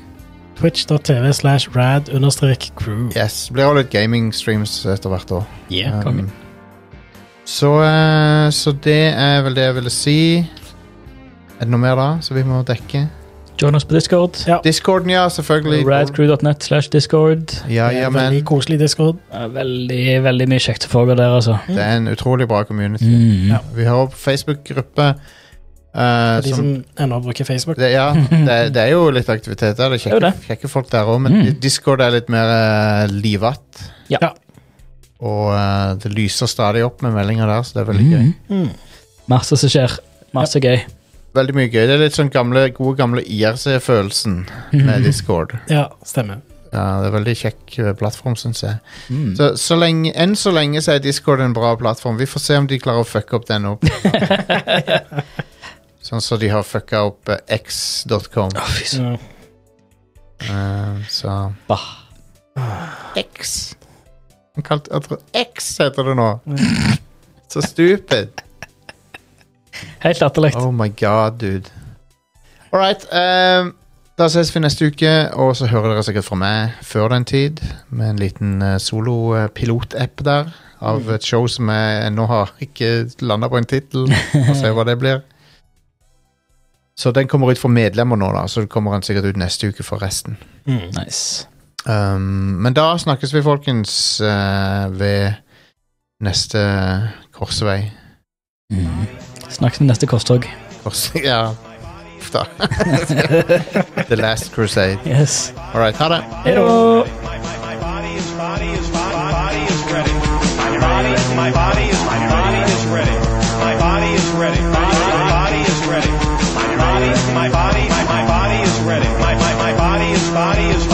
[SPEAKER 3] Twitch.tv slash rad understrek crew.
[SPEAKER 1] Yes, Det blir også litt gaming-streams etter hvert år.
[SPEAKER 3] Yeah.
[SPEAKER 2] konge.
[SPEAKER 1] så, eh, så det er vel det jeg ville si. Er det noe mer da som vi må dekke?
[SPEAKER 2] Join oss på Discord.
[SPEAKER 3] Ja.
[SPEAKER 1] Discorden, ja, selvfølgelig.
[SPEAKER 2] Radcrew.net slash discord.
[SPEAKER 1] Ja, ja, men
[SPEAKER 3] Veldig koselig Discord.
[SPEAKER 2] Ja, Veldig, veldig mye kjekt som foregår der, altså.
[SPEAKER 3] Mm.
[SPEAKER 1] det er en utrolig bra community.
[SPEAKER 2] Mm.
[SPEAKER 3] Ja.
[SPEAKER 1] Vi har også Facebook-gruppe. eh,
[SPEAKER 3] For de som ennå bruker Facebook.
[SPEAKER 1] Det,
[SPEAKER 3] [laughs]
[SPEAKER 1] ja, det, det er jo litt aktivitet der. Det er
[SPEAKER 2] Det er jo
[SPEAKER 1] kjekke, kjekke folk der òg, men
[SPEAKER 2] Mm.
[SPEAKER 1] Discord er litt mer eh, livatt.
[SPEAKER 2] Ja.
[SPEAKER 3] Ja.
[SPEAKER 1] Og eh, det lyser stadig opp med meldinger der, så det er veldig gøy.
[SPEAKER 2] Mm.
[SPEAKER 3] Mm.
[SPEAKER 2] Masse som skjer. Masse gøy.
[SPEAKER 1] Veldig mye gøy. Det er litt sånn gamle, gode gamle IRC-følelsen
[SPEAKER 2] [laughs]
[SPEAKER 1] med Discord.
[SPEAKER 3] Ja, stemmer.
[SPEAKER 1] Ja, det er veldig kjekk eh, plattform, syns jeg.
[SPEAKER 2] Mm.
[SPEAKER 1] Så, så lenge, enn så lenge så er Discord en bra plattform. Vi får se om de klarer å fucke opp den opp. sånn som de har fucka opp eh, x.com.
[SPEAKER 2] [laughs] Å, fy søren.
[SPEAKER 3] Ja.
[SPEAKER 1] Eh, så
[SPEAKER 2] Bah.
[SPEAKER 1] X. Han kalte jeg tror X heter det nå. [laughs] Så stupid.
[SPEAKER 2] Helt latterlig.
[SPEAKER 1] Oh my god, dude. All right. ehm, da ses vi neste uke, og så hører dere sikkert fra meg før den tid med en liten eh, solo solopilotapp der av et show som jeg ennå har ikke landa på en tittel. Får se hva det [laughs] blir. Så den kommer ut for medlemmer nå, da, så kommer den sikkert ut neste uke for resten.
[SPEAKER 3] Mm.
[SPEAKER 2] Nice.
[SPEAKER 1] Um, men da snakkes vi, folkens, eh, ved neste korsvei.
[SPEAKER 2] Mm. Snakkes om neste korstog.
[SPEAKER 1] Kors, [laughs] ja. Uff da. [laughs] The Last Crusade.
[SPEAKER 2] Yes.
[SPEAKER 1] All right, ha det.
[SPEAKER 2] Hei da.
[SPEAKER 6] My body is body is body is ready. My body, my body is my body is ready. My body is ready. My body is ready. My body, my body, my body is ready. My my my body is body is